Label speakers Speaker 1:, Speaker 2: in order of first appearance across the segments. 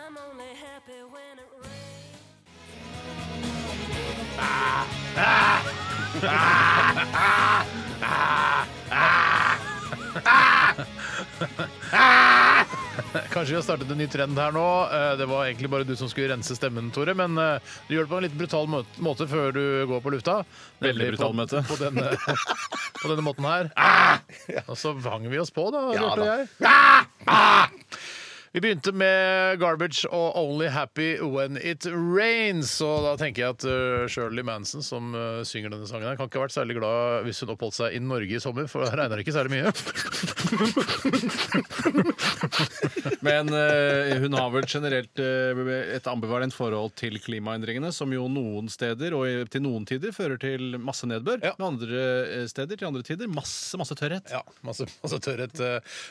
Speaker 1: I'm only happy when it rains.
Speaker 2: Kanskje vi har startet en ny trend her nå. Eh, Det var egentlig bare du som skulle rense stemmen, Tore. Men eh, du gjør det på en litt brutal må- måte før du går på lufta.
Speaker 3: Veldig
Speaker 2: Nemlig
Speaker 3: brutal
Speaker 2: på,
Speaker 3: måte.
Speaker 2: På denne, på denne måten her. Og så vang vi oss på, da,
Speaker 3: Ja,
Speaker 2: Bjarte og
Speaker 3: da. Ah!
Speaker 2: jeg. Vi begynte med Garbage og Only Happy When It Rains. Og da tenker jeg at eh, Shirley Manson, som eh, synger denne sangen, her, kan ikke ha vært særlig glad hvis hun oppholdt seg i Norge i sommer, for det regner ikke særlig mye.
Speaker 3: Men eh, hun har vel generelt eh, et ambivalent forhold til klimaendringene, som jo noen steder og i- til noen tider fører til masse nedbør.
Speaker 2: Ja.
Speaker 3: Men andre eh, steder til andre tider masse, masse tørrhet.
Speaker 2: Ja, masse, masse tørrhet.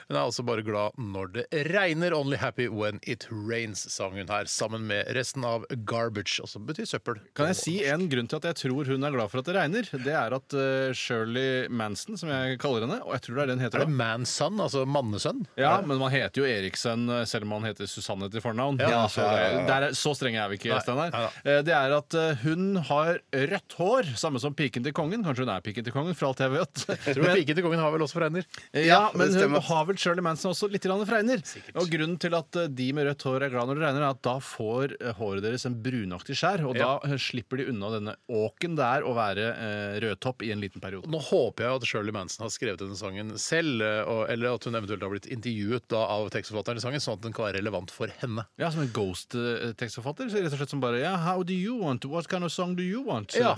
Speaker 2: Hun er altså bare glad når det regner. Only happy when it rains, sang hun her, sammen med resten av garbage, og som betyr søppel.
Speaker 3: Kan jeg si En grunn til at jeg tror hun er glad for at det regner, det er at eh, Shirley Manson, som jeg kaller henne, og jeg tror det er det hun heter
Speaker 2: Er det
Speaker 3: da
Speaker 2: manson, altså mannesønn?
Speaker 3: ja, men man heter jo Eriksen eh, selv om man heter Susanne til fornavn.
Speaker 2: Ja,
Speaker 3: så, Der er, så strenge er vi ikke,
Speaker 2: Nei,
Speaker 3: Steinar.
Speaker 2: nei
Speaker 3: Eh, Det er at eh, hun har rødt hår, samme som piken til kongen. Kanskje hun er piken til kongen, for alt jeg vet.
Speaker 2: Tror du piken til kongen har vel også fregner?
Speaker 3: Ja, men hun har vel Shirley Manson også litt grann fregner. Og grunnen til at eh, de med rødt hår er glad når det regner, er at da får eh, håret deres en brunaktig skjær, og da eh, slipper de unna denne åken det er å være eh, rødtopp i en liten periode.
Speaker 2: Nå håper jeg at Shirley Manson har skrevet denne sangen selv, eh, og, eller at hun eventuelt har blitt intervjuet da, av tekstforfatteren i sangen, sånn at den kan være relevant for henne.
Speaker 3: Ja, Som en ghost-tekstforfatter. så Rett og slett som bare ja, How do you want? What kind of song do you want?
Speaker 2: Ja,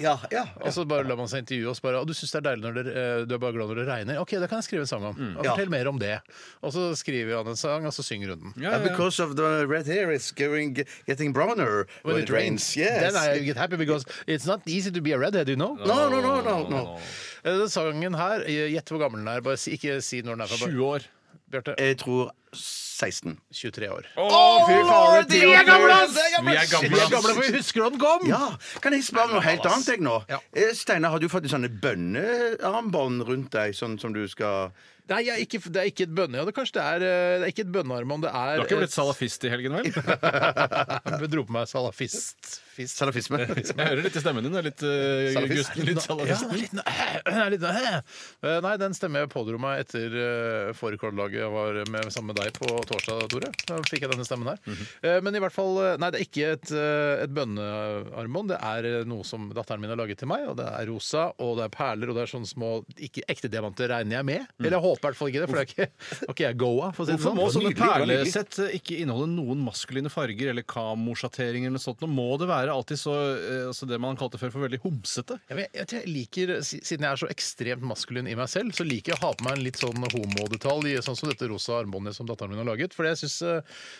Speaker 2: Og så bare lar man seg intervjue oss bare, og du syns det er deilig når det, eh, du er bare glad når det regner. OK, det kan jeg skrive en sang om.
Speaker 3: Mm.
Speaker 2: Ja, Fortell mer om det. Og så skriver han en sang, og så synger hun den.
Speaker 3: Ja, ja, ja.
Speaker 4: Because of the red hair is going, getting browner when it rains. Yes.
Speaker 2: Then I get happy because it's not easy to be a redhead, you know.
Speaker 4: No, no, no, no, no.
Speaker 2: Eh, Den sangen her, eh, gjett hvor gammel den er. Bare si, ikke si når den er fra.
Speaker 3: 20 år.
Speaker 2: Bjarte,
Speaker 4: Jeg tror 16.
Speaker 2: 23 år.
Speaker 3: Å, fy faen! Vi er gamle, ass! Vi er
Speaker 2: Vi er gamle, for vi husker da den kom!
Speaker 4: Ja, Kan jeg spørre om noe helt annet? jeg nå?
Speaker 2: Ja.
Speaker 4: Eh, Steinar, har du fått sånne bønnearmbånd rundt deg, sånn som du skal
Speaker 2: Nei, jeg, er ikke, det er ikke et bønne... Ja, det, kanskje det, er, eh, det er ikke et bønnearmbånd. Det er
Speaker 3: Du har ikke blitt salafist i helgen, vel?
Speaker 2: Jeg dro på meg salafist. Fist.
Speaker 4: Salafisme?
Speaker 3: Jeg hører litt i stemmen din. du er Litt, eh,
Speaker 2: Salafist.
Speaker 3: Gusten, litt
Speaker 2: Ja,
Speaker 3: salafist.
Speaker 2: litt, eh, litt, eh. Eh, Nei, den stemmer jeg pådro meg etter eh, forrige kornlaget jeg var med, sammen med deg på torsdag, Tore. Da fikk jeg denne stemmen her.
Speaker 3: Mhm.
Speaker 2: Eh, Men i hvert fall eh, Nei, det er ikke et, eh, et bønnearmbånd. Det er eh, noe som datteren min har laget til meg, og det er rosa, og det er perler, og det er sånne små Ikke ekte diamanter, regner jeg med. Eller jeg håper i hvert fall ikke det, for det er ikke, har ikke jeg goa, for å si det sånn.
Speaker 3: Mm. Hvorfor må sånne
Speaker 4: nydelig, det var nydelig.
Speaker 3: perlesett eh, ikke inneholde noen maskuline farger eller kamosjatteringer eller noe sånt? Nå må det være alltid så eh, altså det man kalte før for veldig homsete.
Speaker 2: Ja, men jeg, jeg liker, si- Siden jeg er så ekstremt maskulin i meg selv, så liker jeg å ha på meg en litt sånn homodetalj, sånn som dette rosa armbåndet som datteren min har laget. For jeg syns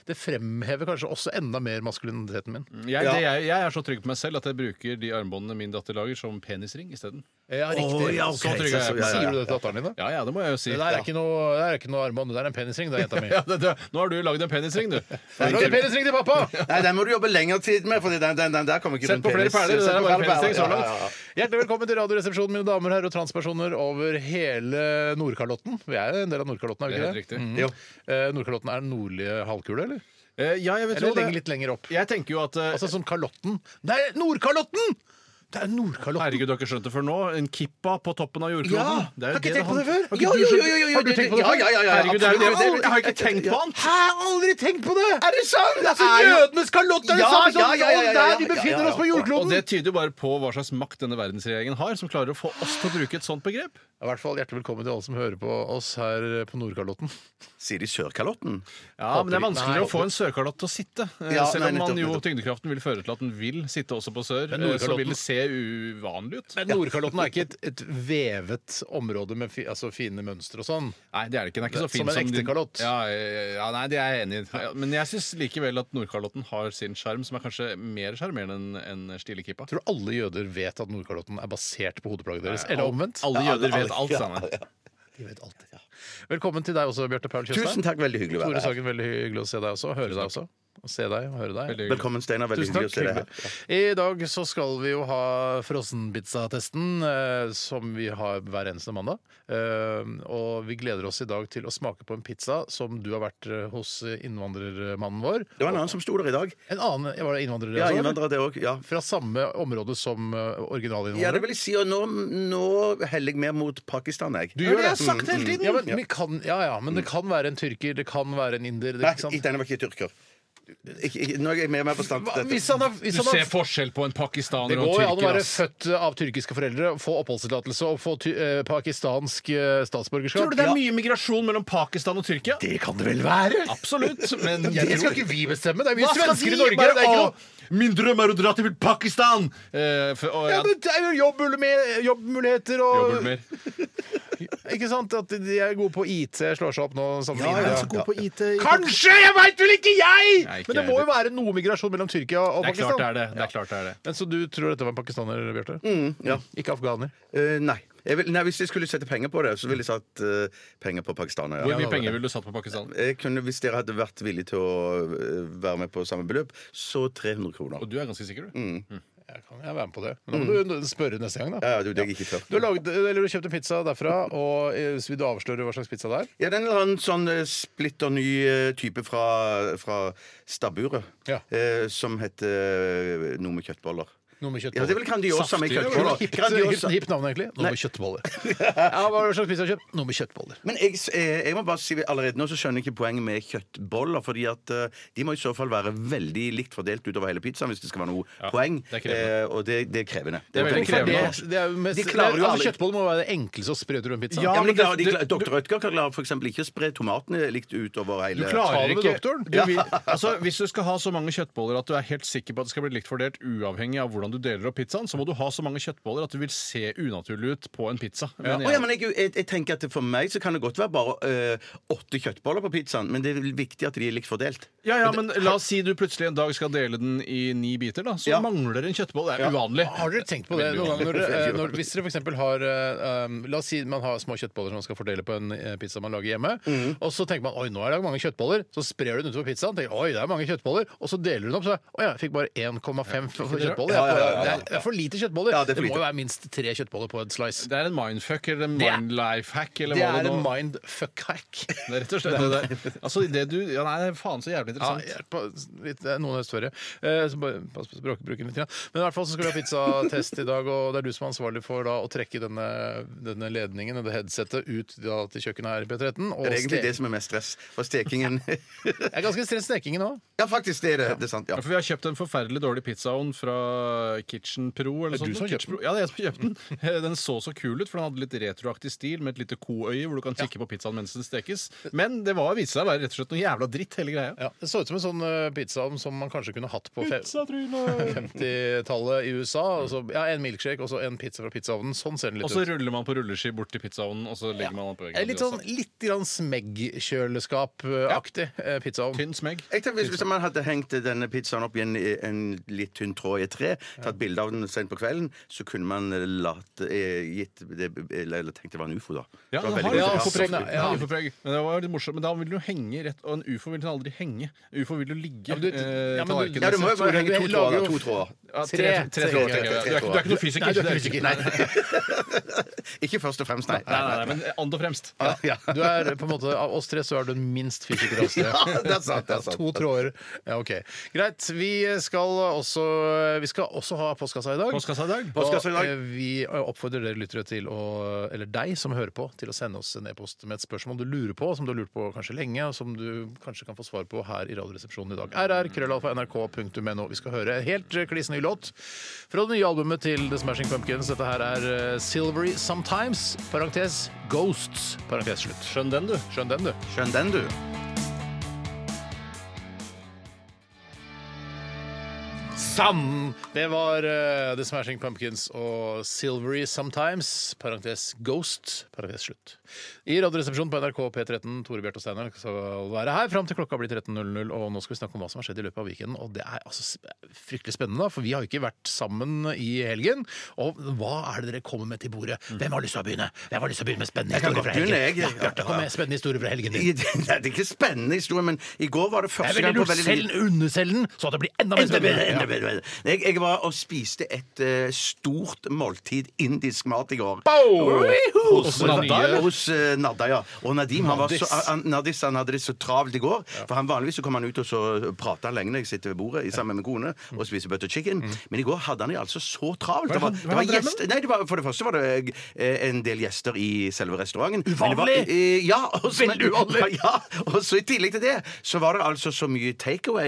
Speaker 2: det fremhever kanskje også enda mer maskuliniteten min.
Speaker 3: Jeg, det, jeg, jeg er så trygg på meg selv at jeg bruker de armbåndene min datter lager, som penisring isteden.
Speaker 2: Ja, riktig. Sånn
Speaker 4: ja, ok.
Speaker 3: Så trygg er jeg. på meg
Speaker 2: Sier
Speaker 3: selv.
Speaker 2: du det til datteren din, da?
Speaker 3: Ja, ja, det må jeg jo si.
Speaker 2: Det der er ikke noe, det der er ikke noe armbånd, det der er en penisring, det er jenta mi.
Speaker 3: Ja, det, det, nå har du lagd en penisring, du.
Speaker 2: Nå er det penisring til pappa!
Speaker 4: Nei, den må du jobbe lengre tid med, for den, den, den der kommer ikke
Speaker 3: Sett på flere
Speaker 4: penis.
Speaker 3: perler, det
Speaker 4: Sett
Speaker 3: der er
Speaker 4: på
Speaker 3: bare
Speaker 4: flere
Speaker 3: penisting så
Speaker 4: perler,
Speaker 3: langt.
Speaker 4: ja, ja, ja.
Speaker 2: Hjertelig velkommen til Radioresepsjonen, mine damer og herrer og transpersoner over hele Nordkalotten. Vi er jo en del av Nordkalotten, er
Speaker 3: Det
Speaker 2: vi
Speaker 3: er
Speaker 2: ikke det?
Speaker 3: helt riktig.
Speaker 4: Jo.
Speaker 2: Eh, Nordkalotten er den nordlige halvkule, eller?
Speaker 3: Eh, Ja, jeg vil
Speaker 2: Eller
Speaker 3: tro det.
Speaker 2: lenger- litt lenger opp?
Speaker 3: Jeg tenker jo at eh,
Speaker 2: Altså som Kalotten. Det er Nordkalotten! Det er Nordkalotten!
Speaker 3: Herregud, du har ikke skjønt det før nå. En kippa på toppen av jordkloden. Det er
Speaker 4: Har
Speaker 3: jo det det
Speaker 4: ikke tenkt på det
Speaker 3: handler-
Speaker 4: før?
Speaker 3: Har ikke
Speaker 4: Jo,
Speaker 3: du
Speaker 4: jo,
Speaker 3: skjønt-
Speaker 4: jo, jo, jo,
Speaker 3: Har ikke
Speaker 4: jo,
Speaker 3: tenkt på det
Speaker 4: ja,
Speaker 3: før?
Speaker 4: ja, ja, ja,
Speaker 3: Herregud, det er jo det
Speaker 4: absolutt.
Speaker 3: det- Jeg har ikke tenkt på han!
Speaker 2: Hæ, jeg har aldri tenkt på det!
Speaker 4: Er det sant?
Speaker 2: Det er altså
Speaker 4: jo-
Speaker 2: jødenes kalott! Det er det
Speaker 4: Ja,
Speaker 2: samme som
Speaker 4: ja, ja, ja, ja, ja,
Speaker 2: der vi
Speaker 4: ja, ja,
Speaker 2: befinner
Speaker 4: ja,
Speaker 2: oss på
Speaker 4: ja.
Speaker 3: Og
Speaker 2: jordkloden!
Speaker 3: det tyder jo bare på hva slags makt denne verdensregjeringen har, som klarer å få oss til å bruke et sånt begrep.
Speaker 2: I hvert fall Hjertelig velkommen til alle som hører på oss her eh, på Nordkalotten.
Speaker 4: Sier de Sørkalotten?
Speaker 3: Ja, Men det er
Speaker 2: Håper-
Speaker 3: vanskeligere
Speaker 2: Nei,
Speaker 3: å få en sørkalott til å sitte. Eh,
Speaker 4: Ja,
Speaker 3: Selv om
Speaker 4: nei,
Speaker 3: man
Speaker 4: nettopp,
Speaker 3: jo
Speaker 4: nettopp.
Speaker 3: tyngdekraften vil føre til at den vil sitte også på sør,
Speaker 2: Men
Speaker 3: eh, så
Speaker 2: Nordkalotten-
Speaker 3: vil det se uvanlig ut.
Speaker 2: Men Nordkalotten er ikke et, et vevet område med fi, altså fine mønstre og sånn.
Speaker 3: Nei, det er det ikke. Den er ikke så
Speaker 2: Som
Speaker 3: fin
Speaker 2: en ekte
Speaker 3: din-
Speaker 2: kalott.
Speaker 3: Ja, ja, ja, nei, det er jeg enig i. Ja, Men jeg syns likevel at Nordkalotten har sin sjarm, som er kanskje mer sjarmerende enn enn stilekippa.
Speaker 2: Tror du alle jøder vet at Nordkalotten er basert på hodeplagget deres? Eller omvendt?
Speaker 3: Alle jøder vet alt, Steinar.
Speaker 2: De vet alt, ja. Velkommen til deg også, Bjarte Paul Tjøstheim.
Speaker 4: Tusen takk, veldig hyggelig å
Speaker 2: Tore
Speaker 4: være her.
Speaker 2: Sagen, veldig hyggelig å se deg også. Høre deg også. å se deg og høre deg.
Speaker 3: Veldig hyggelig.
Speaker 4: Velkommen, Steinar. Veldig
Speaker 2: Tusen
Speaker 4: hyggelig å
Speaker 2: takk.
Speaker 4: se deg her.
Speaker 2: I dag så skal vi jo ha frossenpizzatesten, eh, som vi har hver eneste mandag. Eh, og vi gleder oss i dag til å smake på en pizza som du har vært eh, hos innvandrermannen vår.
Speaker 4: Det var en annen som sto der i dag.
Speaker 2: En annen var det innvandrer?
Speaker 4: Ja,
Speaker 2: altså?
Speaker 4: innvandrere, det òg. Ja.
Speaker 2: Fra samme område som eh,
Speaker 4: ja, det
Speaker 2: originalinnvandreren?
Speaker 4: vil jeg si. Og nå, nå heller jeg mer mot Pakistan, jeg.
Speaker 2: Du
Speaker 3: Det
Speaker 2: gjør
Speaker 3: har jeg sagt hele tiden!
Speaker 2: Ja, men, vi kan, ja, ja, men det kan være en tyrker, det kan være en inder. Det,
Speaker 4: Nei,
Speaker 2: ikke sant?
Speaker 4: denne var ikke tyrker. Ikke, ikke, nå er jeg mer og mer forstand
Speaker 2: Hva-
Speaker 4: til dette.
Speaker 2: Hvis han har, hvis
Speaker 3: Du
Speaker 2: han
Speaker 3: ser
Speaker 2: har
Speaker 3: forskjell på en
Speaker 2: Det
Speaker 3: pakistaner og
Speaker 2: går jo
Speaker 3: en
Speaker 2: an å
Speaker 3: tyrker.
Speaker 2: være
Speaker 3: ass.
Speaker 2: født av tyrkiske foreldre, få oppholdstillatelse og få ty eh, pakistansk eh, statsborgerskap.
Speaker 3: Tror du det er mye migrasjon mellom Pakistan og Tyrkia?
Speaker 2: Det kan det vel være?
Speaker 3: Absolutt. Men
Speaker 2: Det skal ikke vi bestemme. Det er mye
Speaker 3: Hva skal
Speaker 2: svensker i
Speaker 3: de
Speaker 2: Norge.
Speaker 3: bare-
Speaker 2: Det er ikke noe.
Speaker 3: Å, Min drøm er å dra til Pakistan! Eh, for, å,
Speaker 2: Ja,
Speaker 3: ja.
Speaker 2: men det er jo jobbmul- jobbmuligheter og
Speaker 3: Jobber du mer?
Speaker 2: Ikke sant? At de er gode på IT, slår seg opp nå. sammen med
Speaker 3: Ja,
Speaker 2: India.
Speaker 3: jeg er så god på IT.
Speaker 2: Kanskje! Jeg veit vel altså, ikke, jeg!
Speaker 3: Nei, ikke
Speaker 2: Men det
Speaker 3: jeg
Speaker 2: må jo være noe migrasjon mellom Tyrkia og
Speaker 3: Det er klart det er
Speaker 2: Pakistan.
Speaker 3: det. det, er klart det, er det.
Speaker 2: Men Så du tror dette var en pakistaner, Bjarte?
Speaker 4: ja.
Speaker 2: Ikke afghaner?
Speaker 4: Eh, nei. Jeg vil, nei. Hvis jeg skulle sette penger på det, så ville jeg satt eh, penger på pakistanere.
Speaker 3: Hvor
Speaker 4: Ja.
Speaker 3: mye penger ville du satt på Pakistan?
Speaker 4: Jeg kunne, hvis dere hadde vært villige til å eh, være med på samme beløp, så 300 kroner.
Speaker 3: Og du er ganske sikker, du.
Speaker 2: Jeg kan jeg være med på det. Men da må du spørre neste gang, da.
Speaker 4: Ja, ja, du, det er jeg ikke tør.
Speaker 2: Du har lagd, eller du kjøpte pizza derfra, og eh, vil du avsløre hva slags pizza det er?
Speaker 4: Ja, det er en eller annen sånn eh, splitter ny eh, type fra, fra stabburet.
Speaker 2: Ja.
Speaker 4: Eh, som heter eh, noe med kjøttboller.
Speaker 2: Noe med
Speaker 4: Ja, det er vel Grandiosa
Speaker 3: Saftig,
Speaker 4: med
Speaker 3: det er vel
Speaker 4: kjøttboller.
Speaker 2: Hipt hipt-
Speaker 4: Grandiosa.
Speaker 2: sånn hipt navn, egentlig. Noe med kjøttboller. ja, hva slags pizza har du kjøpt? Noe med kjøttboller.
Speaker 4: Men jeg, eh, jeg må bare si allerede nå så skjønner jeg ikke poenget med kjøttboller. fordi at eh, De må i så fall være veldig likt fordelt utover hele pizzaen hvis det skal være noe poeng.
Speaker 3: det er krevende.
Speaker 4: Eh, og det, det er krevende.
Speaker 3: Det er veldig
Speaker 4: må tenke
Speaker 3: krevende.
Speaker 4: på.
Speaker 2: Det, det er jo mest,
Speaker 4: De klarer jo
Speaker 2: det er- altså,
Speaker 4: aldri-
Speaker 2: Kjøttboller må være det enkleste å spre ut over en pizza.
Speaker 3: Ja,
Speaker 4: Ja, men
Speaker 3: men det-
Speaker 4: klarer de,
Speaker 3: det-
Speaker 4: klarer- Dr. Ødgar klarer for eksempel ikke å spre tomatene likt utover hele
Speaker 3: Du klarer
Speaker 2: med
Speaker 3: ikke
Speaker 2: doktoren.
Speaker 3: du vil, altså, Hvis du skal ha så mange kjøttboller at du er helt sikker på at det skal bli likt fordelt, uavhengig av hvordan du deler opp pizzaen, så må du ha så mange kjøttboller at du vil se unaturlig ut på en pizza. mener
Speaker 4: Å
Speaker 3: jeg.
Speaker 4: ja, men jeg, jeg, jeg tenker at For meg så kan det godt være bare eh, åtte kjøttboller på pizzaen, men det er viktig at de er likt fordelt.
Speaker 3: Ja, ja, men La oss si du plutselig en dag skal dele den i ni biter. da Så
Speaker 4: Ja.
Speaker 3: mangler en kjøttboll. Det er uvanlig.
Speaker 2: Har dere tenkt på det
Speaker 3: Veldig
Speaker 2: noen gang? Når,
Speaker 4: uvanlig.
Speaker 2: dere, eh, når, hvis dere for eksempel har eh, um, La oss si man har små kjøttboller som man skal fordele på en eh, pizza man lager hjemme.
Speaker 4: Mhm.
Speaker 2: Og så tenker man oi, nå er det mange kjøttboller. Så sprer du den utover pizzaen. Tenker, oi, det er mange kjøttboller Og så deler du den opp. Så er det, å ja, jeg fikk bare 1,5 for kjøttboller.
Speaker 4: Ja, ja, ja,
Speaker 2: Det er-
Speaker 4: ja, ja.
Speaker 2: Det er for lite kjøttboller.
Speaker 4: Ja, det
Speaker 2: det,
Speaker 4: er for
Speaker 2: må
Speaker 4: lite.
Speaker 2: jo være minst tre kjøttboller på en slice.
Speaker 3: Det er en mindfuck eller en
Speaker 2: Det er-
Speaker 3: mindlifehack eller
Speaker 2: Det
Speaker 3: hva
Speaker 2: er
Speaker 3: det
Speaker 2: en
Speaker 3: nå
Speaker 2: mindfuck-hack.
Speaker 3: Det er rett og slett det der. Altså, det du Ja, nei, faen så jævlig
Speaker 2: Ja,
Speaker 3: interessant.
Speaker 2: jeg- på- litt, det er noen høstferie. Eh, så bare pass på språkbruken litt. grann. Men i hvert fall så skal vi ha pizzatest i dag, og det er du som er ansvarlig for da, å trekke denne, denne ledningen og det headsetet ut da, til kjøkkenet her i P13. Og
Speaker 4: Det er egentlig
Speaker 2: ste-
Speaker 4: det som er mest stress. For stekingen
Speaker 2: Jeg er ganske stress stekingen nå.
Speaker 4: Ja, faktisk, det er det. Det er sant. Ja.
Speaker 3: Ja, for Vi har kjøpt en forferdelig dårlig pizzaovn fra Kitchen Pro. Eller
Speaker 2: Er det
Speaker 3: sånt.
Speaker 2: du som har kjøpt
Speaker 3: Kitchen Pro. Ja, det er jeg som har kjøpt den. Eh, Den så så kul ut, for den hadde litt retroaktig stil med et lite koøye hvor du kan tikke på pizzaen mens den stekes. Men det var, viste seg å være rett og slett noe jævla dritt, hele greia.
Speaker 2: Ja, det så ut som en sånn eh, pizzaovn som man kanskje kunne hatt på fe- 50-tallet i USA. Og så, ja, En milkshake og så en pizza fra pizzaovnen. Sånn ser den litt
Speaker 3: Og så
Speaker 2: ut.
Speaker 3: ruller man på rulleski bort til pizzaovnen, og så legger man den på
Speaker 2: Eh,
Speaker 3: veggen.
Speaker 2: Litt sånn litt grann smeggkjøleskap-aktig eh, pizzaovn.
Speaker 3: Tynn smegg.
Speaker 4: Jeg tenker, hvis, hvis man hadde hengt denne pizzaen opp i en, en litt tynn tråd i et tre, tatt bilde av den sent på kvelden, så kunne man latt, eh, gitt det, eller, eller tenkt det var en ufo, da.
Speaker 3: Ja,
Speaker 4: det
Speaker 3: den
Speaker 4: var
Speaker 3: har
Speaker 4: veldig
Speaker 2: ja,
Speaker 3: en
Speaker 4: godt.
Speaker 2: sånn,
Speaker 3: ufopreg.
Speaker 2: ja.
Speaker 3: Den har ufopreg. Men det var litt morsomt. Men da vil den jo henge rett Og en ufo vil den aldri henge. Ufo vil jo ligge.
Speaker 2: Ja, men du- ja,
Speaker 3: eh,
Speaker 2: men du-
Speaker 3: tallerkenen
Speaker 4: ja, du må jo bare henge to
Speaker 2: Du lager
Speaker 4: tråder.
Speaker 2: jo-
Speaker 4: da, To tråder.
Speaker 3: Ja,
Speaker 2: Tre-
Speaker 3: tre, tre,
Speaker 2: tre-
Speaker 3: tror jeg.
Speaker 4: tre-
Speaker 3: Du er
Speaker 4: tre-
Speaker 3: ikke- du er ikke noe fysiker.
Speaker 2: Nei, du er
Speaker 3: så
Speaker 2: ikke
Speaker 3: det
Speaker 2: fysiker.
Speaker 3: Nei,
Speaker 4: Ikke først og fremst, nei.
Speaker 3: nei, nei, men and og fremst.
Speaker 4: Ja, ja.
Speaker 2: Du er på en måte, Av oss tre så er du den minst fysiker av oss tre.
Speaker 4: Ja, det er sant, det er sant.
Speaker 2: To tråder. Ja, ok. Greit. Vi skal også, vi skal også ha postkassa i dag.
Speaker 3: Postkassa i dag.
Speaker 4: Postkassa i
Speaker 2: Og,
Speaker 4: dag.
Speaker 2: eh, vi oppfordrer dere lyttere til å, eller deg som hører på, til å sende oss en e-post med et spørsmål du lurer på, som du har lurt på kanskje lenge, og som du kanskje kan få svar på her i Radioresepsjonen i dag. rr.krøllalfa.nrk.no. Vi skal høre helt eh, kliss ny låt fra det nye albumet til The Smashing Pumpkins. Dette her er eh, Silvery Sometimes, parentes Ghosts, parentes slutt.
Speaker 3: Skjønn den, du.
Speaker 2: Skjønn den, du.
Speaker 4: Skjønn den, du.
Speaker 2: Sand! Det var eh, The Smashing Pumpkins og Silvery Sometimes, parentes Ghost, parentes slutt. I Radioresepsjonen på NRK P13, Tore Bjarte og Steinar skal være her fram til klokka blir 13.00, og nå skal vi snakke om hva som har skjedd i løpet av weekenden. Og det er altså sp- fryktelig spennende, da, for vi har jo ikke vært sammen i helgen. Og hva er det dere kommer med til bordet? Hvem har lyst til å begynne? Hvem har lyst til å begynne med spennende
Speaker 4: Mm. Jeg kan
Speaker 2: historier fra
Speaker 4: godt begynne,
Speaker 2: helgen?
Speaker 4: jeg.
Speaker 2: Ja, Bjarte, kom med spennende historier fra helgen
Speaker 4: I,
Speaker 2: din.
Speaker 4: nei, det er ikke spennende historie, men i går var det
Speaker 2: Jeg
Speaker 4: første
Speaker 2: vil
Speaker 4: gang på
Speaker 2: gjerne
Speaker 4: veldig
Speaker 2: selv underselge den, så det blir enda mer
Speaker 4: Enda
Speaker 2: spennende.
Speaker 4: bedre, enda bedre, enda bedre. Jeg, jeg var og spiste et eh, stort måltid indisk mat i går.
Speaker 2: Hos
Speaker 4: Hos
Speaker 2: Nadia, eller?
Speaker 4: Nadda, hos eh, Nadda, ja. Og Nadim han var så,
Speaker 2: Nadis.
Speaker 4: han, Nadis han hadde det så travelt i går. For han Vanligvis så kommer han ut og så prater han lenge når jeg sitter ved bordet i- sammen med kone og spiser butter chicken. Men i går hadde han det altså så travelt.
Speaker 2: er
Speaker 4: Det var,
Speaker 2: det han- Mm. hva er
Speaker 4: det var
Speaker 2: det han drev
Speaker 4: gjester Nei, det var, For det første var det eh, en del gjester i selve restauranten. Men det var-
Speaker 2: Uvanlig!
Speaker 4: eh, Ja, og så-
Speaker 2: Veldig uvanlig.
Speaker 4: Ja, og så i tillegg til det så var det altså så mye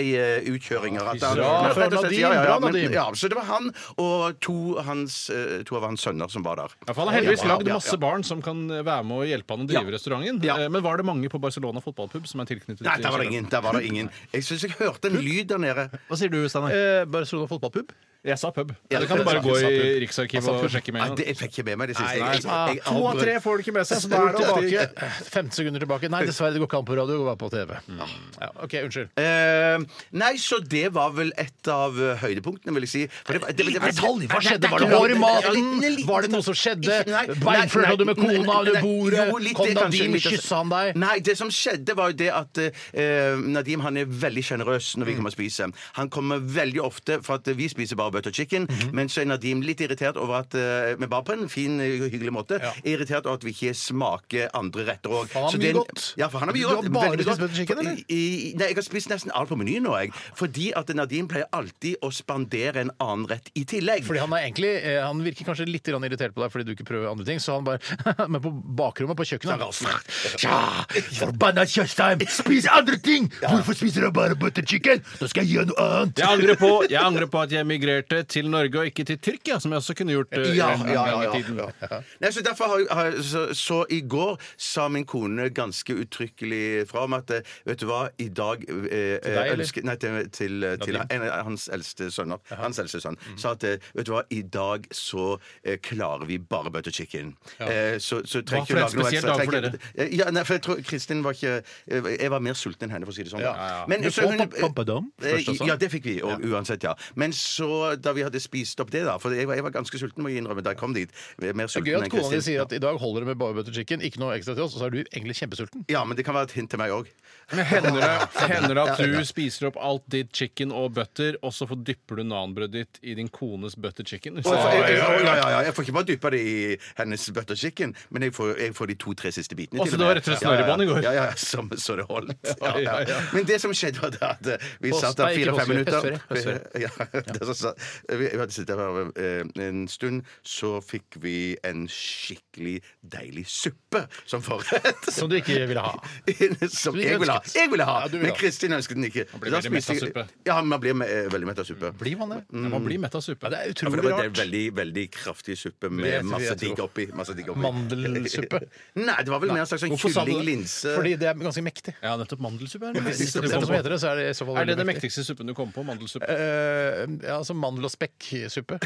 Speaker 4: takeaway-utkjøringer at han-
Speaker 2: Bra
Speaker 4: Ja,
Speaker 2: for
Speaker 4: rett og slett,
Speaker 2: Nadim,
Speaker 4: ja, ja, ja,
Speaker 2: bra,
Speaker 4: men-
Speaker 2: Nadim.
Speaker 4: Ja, så det var han og to, hans, eh, to av hans sønner som var der.
Speaker 3: Ja, for Han har heldigvis
Speaker 4: Ja,
Speaker 3: lagd
Speaker 4: ja, ja.
Speaker 3: masse barn som kan være med og hjelpe han å drive
Speaker 4: Ja.
Speaker 3: restauranten.
Speaker 4: Ja.
Speaker 3: Eh, Men var det mange på Barcelona fotballpub som er tilknyttet?
Speaker 4: Nei,
Speaker 3: til
Speaker 4: der var det
Speaker 3: kjelleren?
Speaker 4: ingen. Der var det ingen. Jeg syns jeg hørte en lyd der nede.
Speaker 3: Hva sier du, Steinar?
Speaker 2: Eh, Barcelona fotballpub?
Speaker 3: Jeg sa pub.
Speaker 4: Ja,
Speaker 3: du kan
Speaker 4: jeg
Speaker 3: bare
Speaker 4: sa-
Speaker 3: gå
Speaker 2: jeg sa
Speaker 3: i
Speaker 2: pub.
Speaker 3: Riksarkivet
Speaker 2: Jeg sa
Speaker 3: og
Speaker 2: pub.
Speaker 3: sjekke med
Speaker 4: Ja,
Speaker 3: en gang.
Speaker 4: det, jeg fikk ikke med meg det siste.
Speaker 3: Nei,
Speaker 4: Jeg- jeg-
Speaker 2: ah,
Speaker 4: jeg-
Speaker 3: To av tre får det ikke med seg, så da er det tilbake.
Speaker 2: 15 eh, sekunder tilbake. Nei, dessverre, det går ikke an på radio, det går bare på TV.
Speaker 3: Mm.
Speaker 2: Ja, OK, unnskyld.
Speaker 4: Eh, nei, så det var vel et av eh, høydepunktene, vil jeg si. For det var- det- det-
Speaker 2: Litt
Speaker 4: det-
Speaker 2: detalj! Hva
Speaker 4: Nei,
Speaker 2: skjedde?
Speaker 4: det-
Speaker 2: Var det
Speaker 4: det-
Speaker 2: hår i
Speaker 4: det-
Speaker 2: maten?
Speaker 4: det- det- det-
Speaker 2: Var det noe som skjedde?
Speaker 4: Nei, nei,
Speaker 2: Beinførte
Speaker 4: nei,
Speaker 2: du med
Speaker 4: nei,
Speaker 2: kona
Speaker 4: nei,
Speaker 2: under
Speaker 4: nei,
Speaker 2: bordet?
Speaker 4: jo, litt
Speaker 2: Kom
Speaker 4: det, kanskje,
Speaker 2: Nadim,
Speaker 4: litt-
Speaker 2: kyssa han deg?
Speaker 4: Nei, det som skjedde, var jo det at eh, Nadim han er veldig sjenerøs
Speaker 2: Mm.
Speaker 4: når vi kommer og spiser. Han kommer veldig ofte, for at vi spiser bare butter chicken,
Speaker 2: Mhm.
Speaker 4: men så er Nadim litt irritert over at eh, Men bare på en fin, eh, hyggelig måte.
Speaker 2: Ja.
Speaker 4: Er irritert over at vi ikke smaker andre retter òg.
Speaker 2: Han har mye godt.
Speaker 4: Ja, for han har mye
Speaker 2: Du har
Speaker 4: godt.
Speaker 2: bare
Speaker 4: veldig mye
Speaker 2: spist
Speaker 4: godt.
Speaker 2: butter chicken,
Speaker 4: For-
Speaker 2: eller?
Speaker 4: i, nei, jeg har spist nesten alt på menyen nå, jeg. Fordi at Nadim pleier alltid å spandere en annen rett i tillegg.
Speaker 2: Fordi han er egentlig eh, Han virker kanskje litt grann irritert på deg fordi du ikke prøver andre ting, så han bare Men på bakrommet på kjøkkenet han bare, Ja, forbanna Tjøstheim! Spis andre ting! Hvorfor spiser du bare butter chicken? Nå skal jeg gjøre noe annet!
Speaker 3: Jeg angrer, på, jeg angrer på at jeg migrerte til Norge og ikke til Tyrkia, som jeg også kunne gjort. eh,
Speaker 4: Ja,
Speaker 3: en gang
Speaker 4: ja, ja,
Speaker 3: i
Speaker 4: ja,
Speaker 3: tiden.
Speaker 4: ja. Nei, så, derfor har, jeg- har, jeg- så, så i går sa min kone ganske uttrykkelig fra om at eh, Vet du hva, i dag eh,
Speaker 2: deg, eller?
Speaker 4: ønsker, Nei, til, til, eh, til en av hans eldste sønner. Hans eldste sønn.
Speaker 3: Mm.
Speaker 4: Sa at eh, vet du hva, i dag så eh, klarer vi bare butter chicken. Eh, så, så trenger
Speaker 3: for
Speaker 4: ikke
Speaker 3: en
Speaker 4: å lage noe
Speaker 3: spesiell
Speaker 4: ekstra.
Speaker 3: dag for
Speaker 4: trenger- Eh, Ja, nei, for jeg tror Kristin var ikke eh, Jeg var mer sulten enn henne, for å si det sånn.
Speaker 2: Ja, ja, ja.
Speaker 4: Men
Speaker 2: Du
Speaker 4: så
Speaker 2: får
Speaker 4: hun-
Speaker 2: pap- pappadam
Speaker 4: Eh,
Speaker 2: først også.
Speaker 4: Ja, det fikk vi og, uansett, ja. Men så, da vi hadde spist opp det, da For jeg var, jeg var ganske sulten, må jeg innrømme, da jeg kom dit. Mer
Speaker 2: Det
Speaker 4: sulten
Speaker 2: er gøy at
Speaker 4: enn
Speaker 2: kona di
Speaker 4: Kristin.
Speaker 2: sier at i dag holder det med bare butter chicken, ikke noe ekstra til oss, og så er du egentlig kjempesulten.
Speaker 4: Ja, men det kan være et hint til meg òg.
Speaker 3: Men hender det, hender det at du spiser opp alt ditt chicken og butter, og så får- dypper du nanbrødet ditt i din kones butter chicken?
Speaker 4: Ja,
Speaker 3: Så-
Speaker 4: ja, ja, jeg får ikke bare dyppe det i hennes butter chicken, men jeg får, jeg får de to-tre siste bitene.
Speaker 3: Å, så
Speaker 4: til og
Speaker 3: du
Speaker 4: med.
Speaker 3: var rett og slett snørrebånd i går?
Speaker 4: Ja, ja, ja, som, så det holdt. Ja,
Speaker 3: ja,
Speaker 4: ja.
Speaker 3: ja.
Speaker 4: Men det som skjedde, var det at eh, vi
Speaker 2: Pås-
Speaker 4: satt der
Speaker 2: nei, ikke
Speaker 4: fire-fem
Speaker 2: påskeferie,
Speaker 4: minutter
Speaker 2: høstferie,
Speaker 4: Ja, det som sa- Vi vi hadde sittet der eh, en stund, så fikk vi en skikkelig deilig suppe som forrett.
Speaker 2: Som du ikke ville ha.
Speaker 4: Som
Speaker 2: du
Speaker 4: jeg ville ha.
Speaker 2: ønsket.
Speaker 4: Jeg ville ha.
Speaker 2: Ja, du ville
Speaker 4: Men
Speaker 2: ha.
Speaker 4: Kristin ønsket den ikke.
Speaker 3: blir
Speaker 4: Da
Speaker 3: veldig mett av
Speaker 4: spiste jeg-
Speaker 3: suppe.
Speaker 4: Ja, man blir eh, veldig mett av suppe.
Speaker 2: Blir man det?
Speaker 3: Man blir mett av suppe.
Speaker 2: Ja, det er
Speaker 4: Ja, for
Speaker 2: utrolig
Speaker 4: det var det
Speaker 2: rart.
Speaker 4: veldig, veldig kraftig suppe
Speaker 2: Vet
Speaker 4: med
Speaker 2: vi,
Speaker 4: masse
Speaker 2: jeg
Speaker 4: digg
Speaker 2: tror.
Speaker 4: oppi. Masse digg oppi.
Speaker 2: Mandelsuppe?
Speaker 4: Nei, det var vel mer en slags sånn
Speaker 3: Hvorfor sa du det?
Speaker 4: kylling, linse
Speaker 2: Fordi det er ganske mektig.
Speaker 3: Ja, nettopp mandelsuppe er det
Speaker 2: Hvis
Speaker 3: mektigste
Speaker 2: det er
Speaker 3: du
Speaker 2: sånn
Speaker 3: kommer
Speaker 2: som
Speaker 3: på.
Speaker 2: heter det, så er det i så fall
Speaker 3: Er det den
Speaker 2: veldig mektig.
Speaker 3: mektigste suppen du kommer på? Mandelsuppe?
Speaker 2: Eh, ja, altså mandel- og spekksuppe.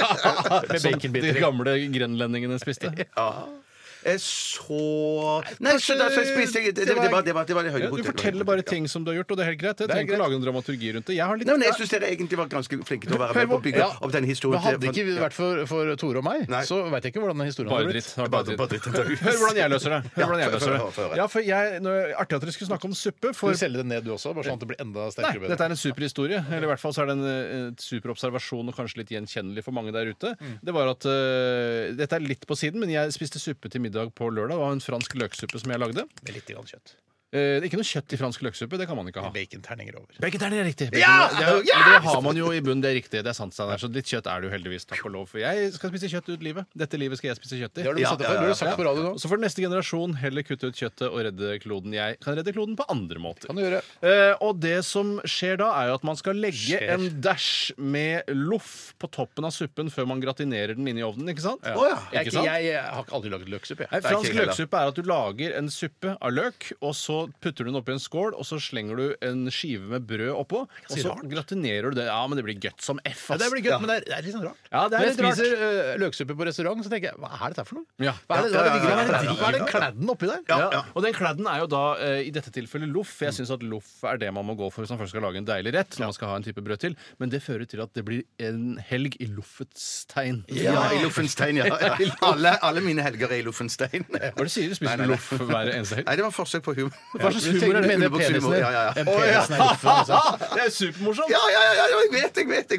Speaker 2: Med
Speaker 3: Som de
Speaker 2: baconbiter i.
Speaker 3: gamle grenlendingene spiste?
Speaker 4: Ja. Eh, Så Nei, så da så spiste jeg Det, det, det, var, det, var, det var det
Speaker 3: Ja, du
Speaker 4: høydepunktet.
Speaker 3: forteller bare ting som du har gjort, og det er helt greit. Jeg
Speaker 2: Det er
Speaker 3: trenger ikke
Speaker 2: greit.
Speaker 3: lage en dramaturgi rundt det. Jeg har litt
Speaker 4: Nei, men jeg syns dere egentlig var ganske flinke til å være med på å bygge
Speaker 2: Ja.
Speaker 4: opp den
Speaker 2: Men
Speaker 4: historien.
Speaker 2: hadde
Speaker 4: til-
Speaker 2: ikke vi vært for, for Tore og meg,
Speaker 4: Nei.
Speaker 2: så veit jeg ikke hvordan den historien
Speaker 3: Bare
Speaker 2: hadde blitt.
Speaker 3: dritt. Det var bare
Speaker 4: Bare- bare
Speaker 3: dritt.
Speaker 4: dritt, antageligvis.
Speaker 3: Hør hvordan jeg løser det. Hør hvordan jeg
Speaker 4: Ja, få-
Speaker 3: løser
Speaker 4: få- få
Speaker 3: det.
Speaker 4: høre.
Speaker 3: Ja, for jeg, nå, artig at dere skulle snakke om suppe.
Speaker 2: Skal
Speaker 3: For
Speaker 2: vi selge den ned, du også? Bare sånn at det blir enda
Speaker 3: Nei,
Speaker 2: sterkere og bedre.
Speaker 3: dette er en superhistorie. Eller i hvert fall så er det en eh, superobservasjon og kanskje litt gjenkjennelig for mange der ute.
Speaker 4: Mm.
Speaker 3: Det var at eh, Dette er litt på siden, men jeg spiste suppe til middag på lørdag. Det var en fransk løksuppe som jeg lagde.
Speaker 2: Med litt grann kjøtt.
Speaker 3: Eh, ikke noe kjøtt i fransk løksuppe. Det kan man ikke ha.
Speaker 2: Baconterninger over.
Speaker 3: Bacon er det riktig.
Speaker 4: Ja!
Speaker 3: Bacon, det, er,
Speaker 4: Ja!
Speaker 3: men det har man jo i bunnen, det er riktig. Det er sant, Steinar. Så litt kjøtt er det jo heldigvis, takk og lov. For jeg skal spise kjøtt ut livet. Dette livet skal jeg spise kjøtt i.
Speaker 2: Det har du
Speaker 4: Ja,
Speaker 2: bestemt deg
Speaker 4: ja,
Speaker 2: for.
Speaker 4: ja,
Speaker 2: Du har sagt
Speaker 3: ja.
Speaker 2: på radio nå.
Speaker 3: Og Så får neste generasjon heller kutte ut kjøttet og redde kloden. Jeg kan redde kloden på andre måter.
Speaker 2: Kan du gjøre.
Speaker 3: Eh, og det som skjer da, er jo at man skal legge
Speaker 2: Skjer.
Speaker 3: en dæsj med loff på toppen av suppen før man gratinerer den inn i ovnen, ikke sant?
Speaker 4: Å, ja.
Speaker 2: Jeg,
Speaker 3: Ikke sant?
Speaker 2: jeg, jeg har aldri laget løksuppe,
Speaker 3: Nei,
Speaker 2: jeg.
Speaker 3: fransk
Speaker 4: ikke jeg heller.
Speaker 3: løksuppe er at du lager en suppe av løk, og så så putter du den oppi en skål, og så slenger du en skive med brød oppå, og
Speaker 2: si
Speaker 3: så
Speaker 2: rart.
Speaker 3: gratinerer du det. Ja, men det blir godt som F,
Speaker 2: Ja,
Speaker 3: ass.
Speaker 2: det blir gøy, men det er, det er litt sånn rart.
Speaker 3: Ja, det er
Speaker 2: Når jeg
Speaker 3: litt rart.
Speaker 2: spiser eh, løksuppe på restaurant, så tenker jeg hva er dette for noe?
Speaker 3: Ja.
Speaker 2: Hva er det, hva er det,
Speaker 4: Ja, ja,
Speaker 2: hva
Speaker 4: ja,
Speaker 2: er
Speaker 4: ja,
Speaker 2: det,
Speaker 4: ja.
Speaker 2: hva er det kladden oppi der?
Speaker 3: Ja. Og den kladden er jo da eh, i dette tilfellet loff. for Jeg syns at loff er det man må gå for hvis man først skal lage en deilig rett. Når man skal ha en type brød til Men det fører til at det blir en helg i loffets tegn.
Speaker 4: Ja, i Loffenstein, ja. ja. Alle, alle mine helger er i Loffenstein.
Speaker 3: Hva er det du sier? Du spiser
Speaker 4: Nei, nei, nei.
Speaker 3: loff hver eneste helg?
Speaker 4: Nei, det var forsøk på humor.
Speaker 3: Hva slags humor er det?
Speaker 2: Mener
Speaker 4: Underbukshumor,
Speaker 2: penisen
Speaker 4: ja, ja, ja.
Speaker 2: En
Speaker 4: Å, ja.
Speaker 2: penisen er litt for, altså.
Speaker 3: Det er supermorsomt!
Speaker 4: Ja, ja, ja, ja, jeg vet, jeg vet, jeg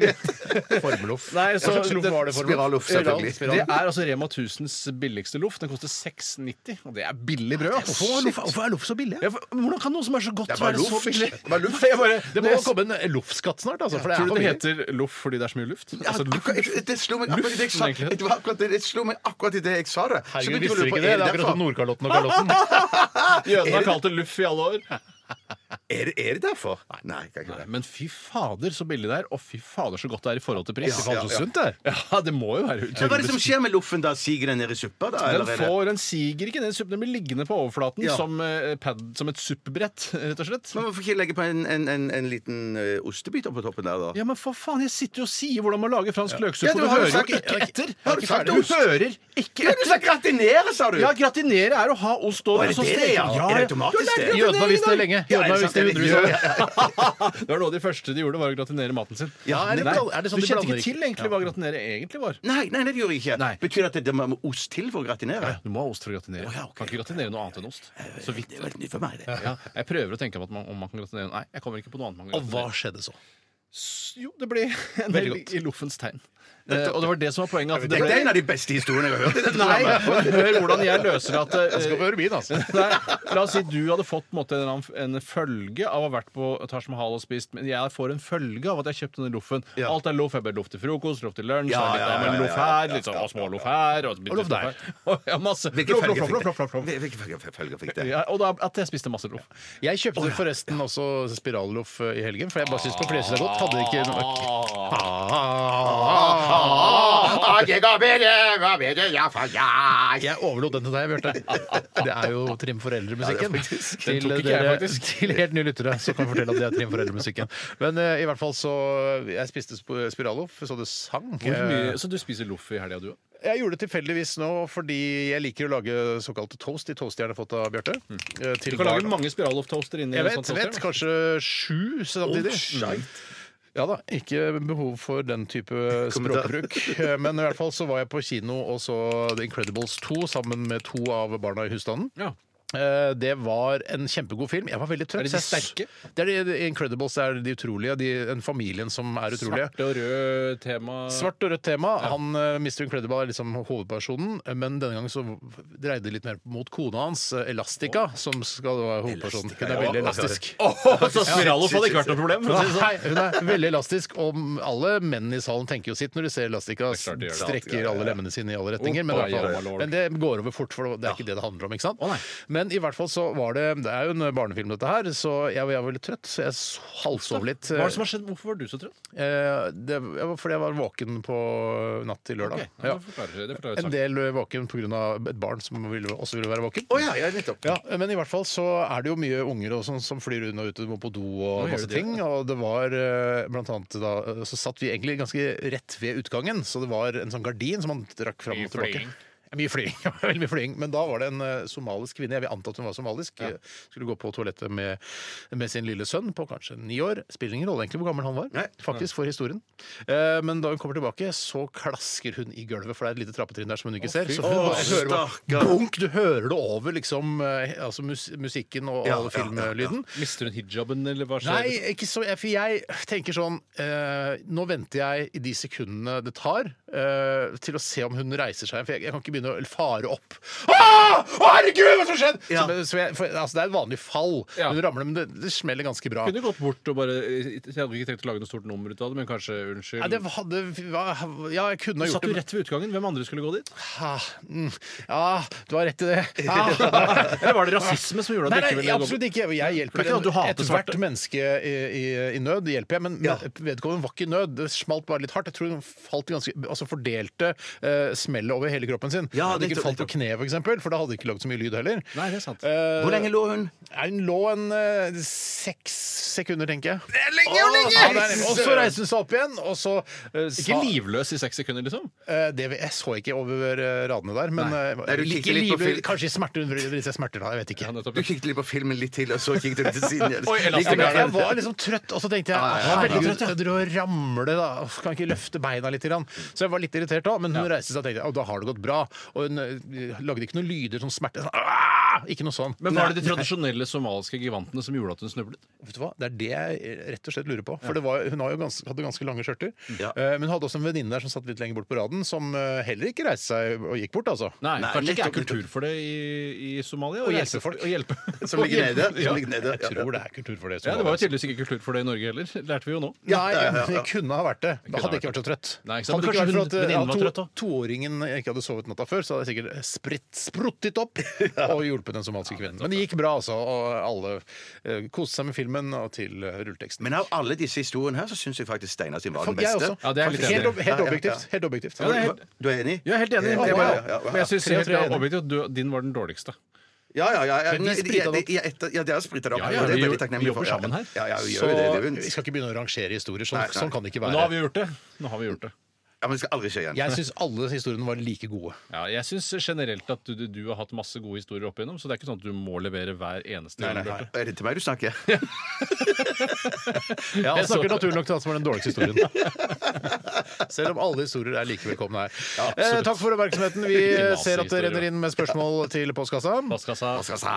Speaker 4: vet.
Speaker 2: Formeloff.
Speaker 3: Nei, så
Speaker 2: Hva slags loff
Speaker 3: det-
Speaker 2: var det for noe?
Speaker 4: Spiralloff, selvfølgelig.
Speaker 2: Spiral,
Speaker 3: Det
Speaker 2: spiral.
Speaker 3: er altså Rema 1000s billigste loff. Den koster 6,90, og det er billig brød. ass.
Speaker 2: Hvorfor er loff- hvorfor er loff så billig?
Speaker 3: Ja, for- Hvordan kan noe som er så godt,
Speaker 4: Det er bare
Speaker 3: være så
Speaker 4: loff.
Speaker 3: billig?
Speaker 4: Det er bare loff.
Speaker 2: Jeg bare, det må
Speaker 3: Det er-
Speaker 2: komme en eh, loffskatt snart, altså. For det
Speaker 3: Tror
Speaker 2: er
Speaker 3: du
Speaker 2: for
Speaker 3: det
Speaker 2: mye.
Speaker 3: heter loff fordi det er så mye luft? Altså, loff.
Speaker 4: Akkurat, det slo meg akkurat, det jeg sa,
Speaker 3: Luften, egentlig.
Speaker 4: det, var akkurat, det, det slo meg akkurat i det jeg sa det. Så
Speaker 2: Herregud,
Speaker 4: begynte jeg å
Speaker 2: visste
Speaker 4: lure
Speaker 2: vi
Speaker 4: på,
Speaker 2: ikke det? Det er akkurat som
Speaker 4: derfor?
Speaker 2: Nordkalotten og Galotten.
Speaker 3: Jødene har kalt det luff i alle år.
Speaker 4: Er det, er det derfor? Nei, jeg kan ikke det.
Speaker 3: Men fy fader, så billig det er, og fy fader, så godt det er i forhold til pris.
Speaker 2: Det var så sunt, det.
Speaker 3: Ja, det må jo være
Speaker 4: Men Hva er det som
Speaker 3: utrolig.
Speaker 4: skjer med loffen da? Siger den ned i suppa, da?
Speaker 3: Den,
Speaker 4: Eller er det
Speaker 3: får, den siger ikke ned i suppen, den blir liggende på overflaten
Speaker 4: Ja.
Speaker 3: som, eh, pad, som et suppebrett, rett og slett.
Speaker 4: Men Hvorfor ikke legge på en, en, en, en liten ø, ostebit oppå toppen der, da?
Speaker 3: Ja, men for faen, jeg sitter jo og sier hvordan man lager fransk løksuppe,
Speaker 4: Ja,
Speaker 3: og
Speaker 4: du
Speaker 3: du
Speaker 4: har jo
Speaker 3: hører jo
Speaker 4: sagt-
Speaker 3: ikke
Speaker 4: ja,
Speaker 3: etter!
Speaker 4: har du sagt
Speaker 3: du
Speaker 4: ost?
Speaker 3: hører ikke
Speaker 4: Ja, du
Speaker 3: etter!
Speaker 4: skal gratinere, sa du!
Speaker 3: Ja, gratinere er å ha ost
Speaker 4: Å,
Speaker 3: over,
Speaker 4: er
Speaker 3: og så
Speaker 4: det det,
Speaker 3: steke.
Speaker 4: ja? Er det
Speaker 3: Ja,
Speaker 4: automatisk det?
Speaker 2: Jødene har visst det lenge.
Speaker 4: Ja, er
Speaker 2: Jødene
Speaker 4: det
Speaker 2: har visst det i hundrevis av år.
Speaker 4: sant?
Speaker 3: Det var noe av de første de gjorde, var å gratinere maten sin.
Speaker 2: Ja, er det
Speaker 3: Nei,
Speaker 2: bra- er det sånn
Speaker 3: du
Speaker 2: de
Speaker 3: kjente
Speaker 2: blander
Speaker 3: ikke til
Speaker 2: ikke?
Speaker 3: egentlig hva gratinere egentlig var.
Speaker 4: Nei, nei, det gjorde jeg ikke.
Speaker 3: Nei.
Speaker 4: Betyr det at det- det må må ost til for å gratinere?
Speaker 3: Du må ha ost for å gratinere.
Speaker 4: Å, ja, ok.
Speaker 3: Kan ikke gratinere noe annet enn ost. Så vidt.
Speaker 4: Det var litt nytt for meg, det.
Speaker 3: Ja, jeg prøver å tenke på at man, om man kan gratinere. Nei, jeg kommer ikke på noe annet man kan
Speaker 2: Og hva
Speaker 3: gratinere.
Speaker 2: skjedde så?
Speaker 3: Jo, det ble en
Speaker 2: Veldig
Speaker 3: del
Speaker 2: godt.
Speaker 3: i loffens tegn. Eh, og det var det som var poenget. At
Speaker 4: Det
Speaker 3: det
Speaker 4: er en
Speaker 3: ble...
Speaker 4: av de beste historiene jeg har hørt. i dette
Speaker 3: Nei,
Speaker 4: programmet.
Speaker 3: hør hvordan jeg løser at eh,
Speaker 2: Jeg skal på Ørebyen, altså.
Speaker 3: Nei, la oss si du hadde fått på en, måte, en, eller annen- en følge av å ha vært på Taj Mahal og spist, men jeg får en følge av at jeg kjøpte denne loffen.
Speaker 4: Ja.
Speaker 3: Alt er loff. Jeg ber loff til frokost, loff til lunsj,
Speaker 4: Ja,
Speaker 3: så er det litt
Speaker 4: ja,
Speaker 3: av en
Speaker 4: ja, ja,
Speaker 3: loff
Speaker 4: ja,
Speaker 3: her, litt sånn, og små loff her Og,
Speaker 2: loff der.
Speaker 3: Og, sånn- ja, masse.
Speaker 4: Hvilke
Speaker 3: Loff,
Speaker 4: følger
Speaker 3: loff,
Speaker 4: fikk
Speaker 3: loff, loff, loff,
Speaker 4: det?
Speaker 3: loff.
Speaker 4: Hvilke følger- følger fikk det?
Speaker 3: Ja, og da, at jeg spiste masse loff.
Speaker 2: Jeg kjøpte forresten også spiralloff eh, i helgen, for jeg bare syntes på flere steder godt. Hadde det ikke noe
Speaker 3: Ah.
Speaker 2: Jeg overlot den til deg, Bjarte. Det er jo Trim for eldre-musikken.
Speaker 3: Den
Speaker 2: til, eh,
Speaker 3: tok ikke jeg,
Speaker 2: dere-
Speaker 3: faktisk.
Speaker 2: til helt nye lyttere så kan jeg fortelle at det er Trim for eldre-musikken. Men eh, i hvert fall så eh, Jeg spiste sp- spiralloff, så det sang.
Speaker 3: Hvor
Speaker 2: Eh,
Speaker 3: mye, så du spiser loff i helga, du òg?
Speaker 2: Jeg gjorde det tilfeldigvis nå fordi jeg liker å lage såkalte toast. De toastjernene jeg har fått av Bjarte. eh, til
Speaker 3: Mm. Du kan lage
Speaker 2: barn.
Speaker 3: mange spiralloff-toaster inni
Speaker 2: Jeg
Speaker 3: en
Speaker 2: vet,
Speaker 3: sånn
Speaker 2: vet
Speaker 3: toaster.
Speaker 2: kanskje sju samtidig. Ja da, ikke behov for den type språkbruk. Eh, Men i hvert fall så var jeg på kino og så The Incredibles 2 sammen med to av barna i husstanden.
Speaker 3: Ja.
Speaker 2: Eh, Det var en kjempegod film. Jeg var veldig trøtt.
Speaker 3: Er det de
Speaker 2: så jeg-
Speaker 3: sterke?
Speaker 2: Det er de, The Incredibles er de utrolige. De, den familien som er utrolige.
Speaker 3: Svart og rød tema
Speaker 2: Svart og rødt tema. Han, eh, Mr. Incredible er liksom hovedpersonen, eh, men denne gangen så dreide det litt mer mot kona hans, eh, Elastica, som skal være hovedpersonen. Hun er veldig elastisk.
Speaker 3: Så spiralloff hadde ikke vært noe problem? for å si det sånn.
Speaker 2: Nei, hun er veldig elastisk, og alle menn i salen tenker jo sitt når de ser elastika
Speaker 3: klart de gjør det.
Speaker 2: strekker alle lemmene sine i alle retninger. Men, i hvert
Speaker 3: Oppa, Oh, ja, ja,
Speaker 2: fall,
Speaker 3: lord.
Speaker 2: men det går over fort, for det er ikke det det handler om. ikke sant?
Speaker 3: nei.
Speaker 2: Men i hvert fall så var det Det er jo en barnefilm, dette her, så jeg, jeg var litt trøtt, så jeg s- halvsov litt.
Speaker 3: Hva er det som har skjedd? Hvorfor var du så trøtt?
Speaker 2: Eh, det, jeg var- fordi jeg var våken på natt til lørdag.
Speaker 3: Ok, ja, det forklarer- det forklarer
Speaker 2: En
Speaker 3: saken.
Speaker 2: del våken pga. et barn som ville, også ville være våken.
Speaker 4: Å ja, ja, nettopp.
Speaker 2: Ja, men i hvert fall så er det jo mye unger og sånn som flyr unna ute må på do og
Speaker 3: Nå gjør
Speaker 2: masse
Speaker 3: de det.
Speaker 2: ting. Og det var eh, blant annet da eh, Så satt vi egentlig ganske rett ved utgangen, så det var en sånn gardin som man trakk fram
Speaker 3: Mye
Speaker 2: og tilbake.
Speaker 3: flying.
Speaker 2: Ja, Mye flying. ja, Veldig mye flying. Men da var det en eh, somalisk kvinne, jeg vil anta at hun var somalisk, eh, skulle gå på toalettet med, med sin lille sønn på kanskje ni år. Spiller ingen rolle egentlig hvor gammel han var,
Speaker 4: Nei.
Speaker 2: faktisk, for historien. Eh, Men da hun kommer tilbake, så klasker hun i gulvet, for det er et lite trappetrinn der som hun ikke ser. Så hun
Speaker 4: Å,
Speaker 2: bare hører bare
Speaker 4: stakkar.
Speaker 2: Bunk, du hører det over liksom, eh, altså mus musikken og
Speaker 4: Ja,
Speaker 2: all
Speaker 4: ja,
Speaker 2: filmlyden.
Speaker 3: Mister hun hijaben, eller hva skjer?
Speaker 2: Nei, ikke så jeg- For jeg tenker sånn eh, Nå venter jeg i de sekundene det tar, eh, til å se om hun reiser seg. For jeg, jeg kan ikke begynne å fare opp. Ah! Å, herregud, hva som skjedde?!
Speaker 4: Ja.
Speaker 2: Så, så jeg, for, altså, det er et vanlig fall.
Speaker 3: Ja.
Speaker 2: Hun ramler, men det, det smeller ganske bra.
Speaker 3: Kunne gått bort og bare Jeg hadde ikke tenkt å lage noe stort nummer ut av det, men kanskje unnskyld.
Speaker 2: Ja, det hadde, hva- ja, jeg kunne ha gjort
Speaker 3: Satt
Speaker 2: det.
Speaker 3: du rett ved utgangen? Hvem andre skulle gå dit?
Speaker 2: Ah, mm, ja, du har rett i det. Ah.
Speaker 3: Eller var det rasisme som gjorde at du
Speaker 2: Nei,
Speaker 3: ikke
Speaker 2: nei,
Speaker 3: ville gå
Speaker 2: absolutt
Speaker 3: bort?
Speaker 2: ikke. Jeg hjelper
Speaker 3: Det er ikke sånn at du hater
Speaker 2: ethvert
Speaker 3: svarte.
Speaker 2: menneske i, i, i nød, hjelper jeg, men
Speaker 4: Ja.
Speaker 2: men vedkommende var ikke i nød. Det smalt bare litt hardt. Jeg tror hun falt ganske Altså fordelte eh, smellet over hele kroppen sin.
Speaker 4: Ja,
Speaker 2: At hun ikke
Speaker 4: nettopp,
Speaker 2: falt på
Speaker 4: nettopp.
Speaker 2: kne, for eksempel, for da hadde det ikke lagd så mye lyd heller.
Speaker 3: Nei, det er sant.
Speaker 2: Eh,
Speaker 4: Hvor lenge lå hun?
Speaker 2: Nei, Hun lå en eh, seks sekunder, tenker jeg.
Speaker 4: Det er lenge,
Speaker 2: Å, ja, det er det. og så reiste hun seg opp igjen, og så eh,
Speaker 3: Ikke
Speaker 2: sa
Speaker 3: livløs i seks sekunder, liksom?
Speaker 2: Eh, det vi, Jeg så ikke over eh, radene der, men eh,
Speaker 4: Nei, du
Speaker 2: ikke
Speaker 4: kikker litt på
Speaker 2: livlig-
Speaker 4: film.
Speaker 2: Kanskje i smerter. Hun vrir seg smerter da, jeg vet ikke.
Speaker 3: Ja, nettopp.
Speaker 4: Du kikket litt på filmen litt til, og så kikket du til siden. igjen.
Speaker 3: Oi, ellers-
Speaker 2: Ja,
Speaker 4: Litt
Speaker 2: men
Speaker 4: mer.
Speaker 2: jeg var liksom trøtt, og så tenkte jeg herregud, jeg dro og ramle, da. Uff, Kan ikke løfte beina litt. grann. Så jeg var litt irritert da, men hun reiste seg og tenkte at da har det gått bra. Og hun eh, lagde ikke noen lyder som smerte. Sånn, «Ah!» ikke noe sånn.
Speaker 3: Men var det de tradisjonelle somaliske gigantene som gjorde at hun snublet?
Speaker 2: Vet du hva? Det er det jeg eh, rett og slett lurer på. For det var, hun har jo ganske, hadde ganske lange skjørter.
Speaker 4: Ja.
Speaker 2: Eh, Men hun hadde også en venninne der som satt litt lenger bort på raden, som eh, heller ikke reiste seg og gikk bort, altså.
Speaker 3: Nei,
Speaker 4: Nei,
Speaker 3: kanskje ikke er
Speaker 4: nettopp,
Speaker 3: kultur for det i, i Somalia?
Speaker 2: Å hjelpe
Speaker 3: reise-
Speaker 2: folk.
Speaker 3: Å hjelpe.
Speaker 4: Som ligger nede. Som ligger nede.
Speaker 2: Jeg tror det er kultur for det.
Speaker 3: Ja, det var jo tydeligvis ikke kultur for det i Norge heller. Lærte vi jo nå.
Speaker 2: Nei, det kunne ha vært det. Da
Speaker 3: Kunne ha
Speaker 2: hadde jeg ikke vært
Speaker 3: vært
Speaker 2: så trøtt.
Speaker 3: Nei, ikke sant?
Speaker 2: hadde det ikke vært for at eh,
Speaker 3: Men kanskje hun- venninnen var
Speaker 2: ja,
Speaker 3: trøtt
Speaker 2: to,
Speaker 3: da?
Speaker 2: toåringen ikke hadde sovet natta før, så hadde jeg sikkert spritt, spruttet opp og hjulpet den somaliske kvinnen. Men det gikk bra, altså. Og alle eh, koste seg med filmen og til eh, rulleteksten.
Speaker 4: Men av alle disse historiene her, så syns jeg faktisk Steinar sin var den
Speaker 2: Jeg
Speaker 4: beste.
Speaker 2: også.
Speaker 3: Ja, det er jeg litt
Speaker 2: helt,
Speaker 3: enig i.
Speaker 2: ob- helt objektivt. Helt objektivt.
Speaker 3: det er helt-
Speaker 4: Du er enig?
Speaker 3: Jeg er helt enig.
Speaker 4: Ja,
Speaker 3: Jeg
Speaker 4: ja,
Speaker 3: bare,
Speaker 4: ja, ja.
Speaker 3: Men jeg syns
Speaker 2: Tre av tre er enig.
Speaker 3: objektivt at din var den dårligste.
Speaker 4: Ja, ja, ja. ja.
Speaker 2: Men vi
Speaker 4: Nei,
Speaker 2: sprita det opp.
Speaker 4: ja, etter- Ja, dere sprita det opp.
Speaker 3: Ja, ja,
Speaker 4: og det er
Speaker 3: vi
Speaker 4: veldig
Speaker 3: jo-
Speaker 4: takknemlig
Speaker 3: vi jobber
Speaker 4: for. Ja,
Speaker 3: sammen her.
Speaker 4: Ja, ja, vi
Speaker 2: Så
Speaker 4: gjør jo det. det er jo en-
Speaker 2: vi skal ikke begynne å rangere historier. Sånn,
Speaker 4: Nei, nei.
Speaker 2: sånn kan det ikke
Speaker 3: Men nå har vi
Speaker 2: være.
Speaker 3: gjort det. Nå har vi gjort det.
Speaker 4: Ja, men det skal aldri skje igjen.
Speaker 2: Jeg syns alle historiene var like gode.
Speaker 3: Ja, jeg syns generelt at du, du har hatt masse gode historier opp igjennom, så det er ikke sånn at du må levere hver eneste.
Speaker 4: Nei, nei,
Speaker 3: gang, Bjarte.
Speaker 4: Er det til meg du snakker?
Speaker 2: Ja, altså.
Speaker 3: Jeg
Speaker 2: han snakker
Speaker 3: så-
Speaker 2: naturlig nok til han som er den dårligste historien. Selv om alle historier er like velkomne her. eh, takk for oppmerksomheten. Vi eh, ser at det
Speaker 3: Nazi-historier.
Speaker 2: renner inn med spørsmål til postkassa.
Speaker 3: Postkassa.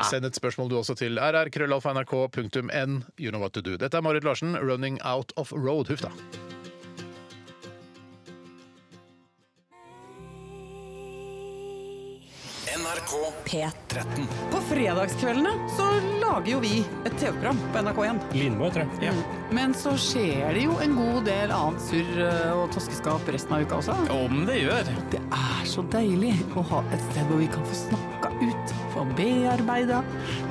Speaker 2: Send et spørsmål du også til rrkrøllalfa.nrk.n. You know what to do. Dette er Marit Larsen, 'Running Out of Road'. Huff da.
Speaker 5: NRK
Speaker 6: P13.
Speaker 5: 13.
Speaker 7: På fredagskveldene så lager jo vi et TV-program på NRK1. Mm. Men så skjer det jo en god del annet surr eh, og toskeskap resten av uka også.
Speaker 8: Om det gjør.
Speaker 7: Det er så deilig å ha et sted hvor vi kan få snakka ut, få bearbeida,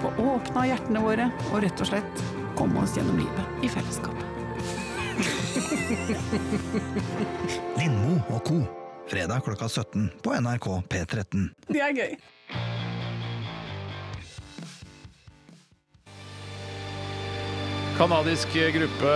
Speaker 7: få åpna hjertene våre og rett og slett komme oss gjennom livet i fellesskap.
Speaker 5: Lindmo og co. Fredag klokka 17 på NRK P13.
Speaker 6: Det er gøy.
Speaker 2: Kanadisk gruppe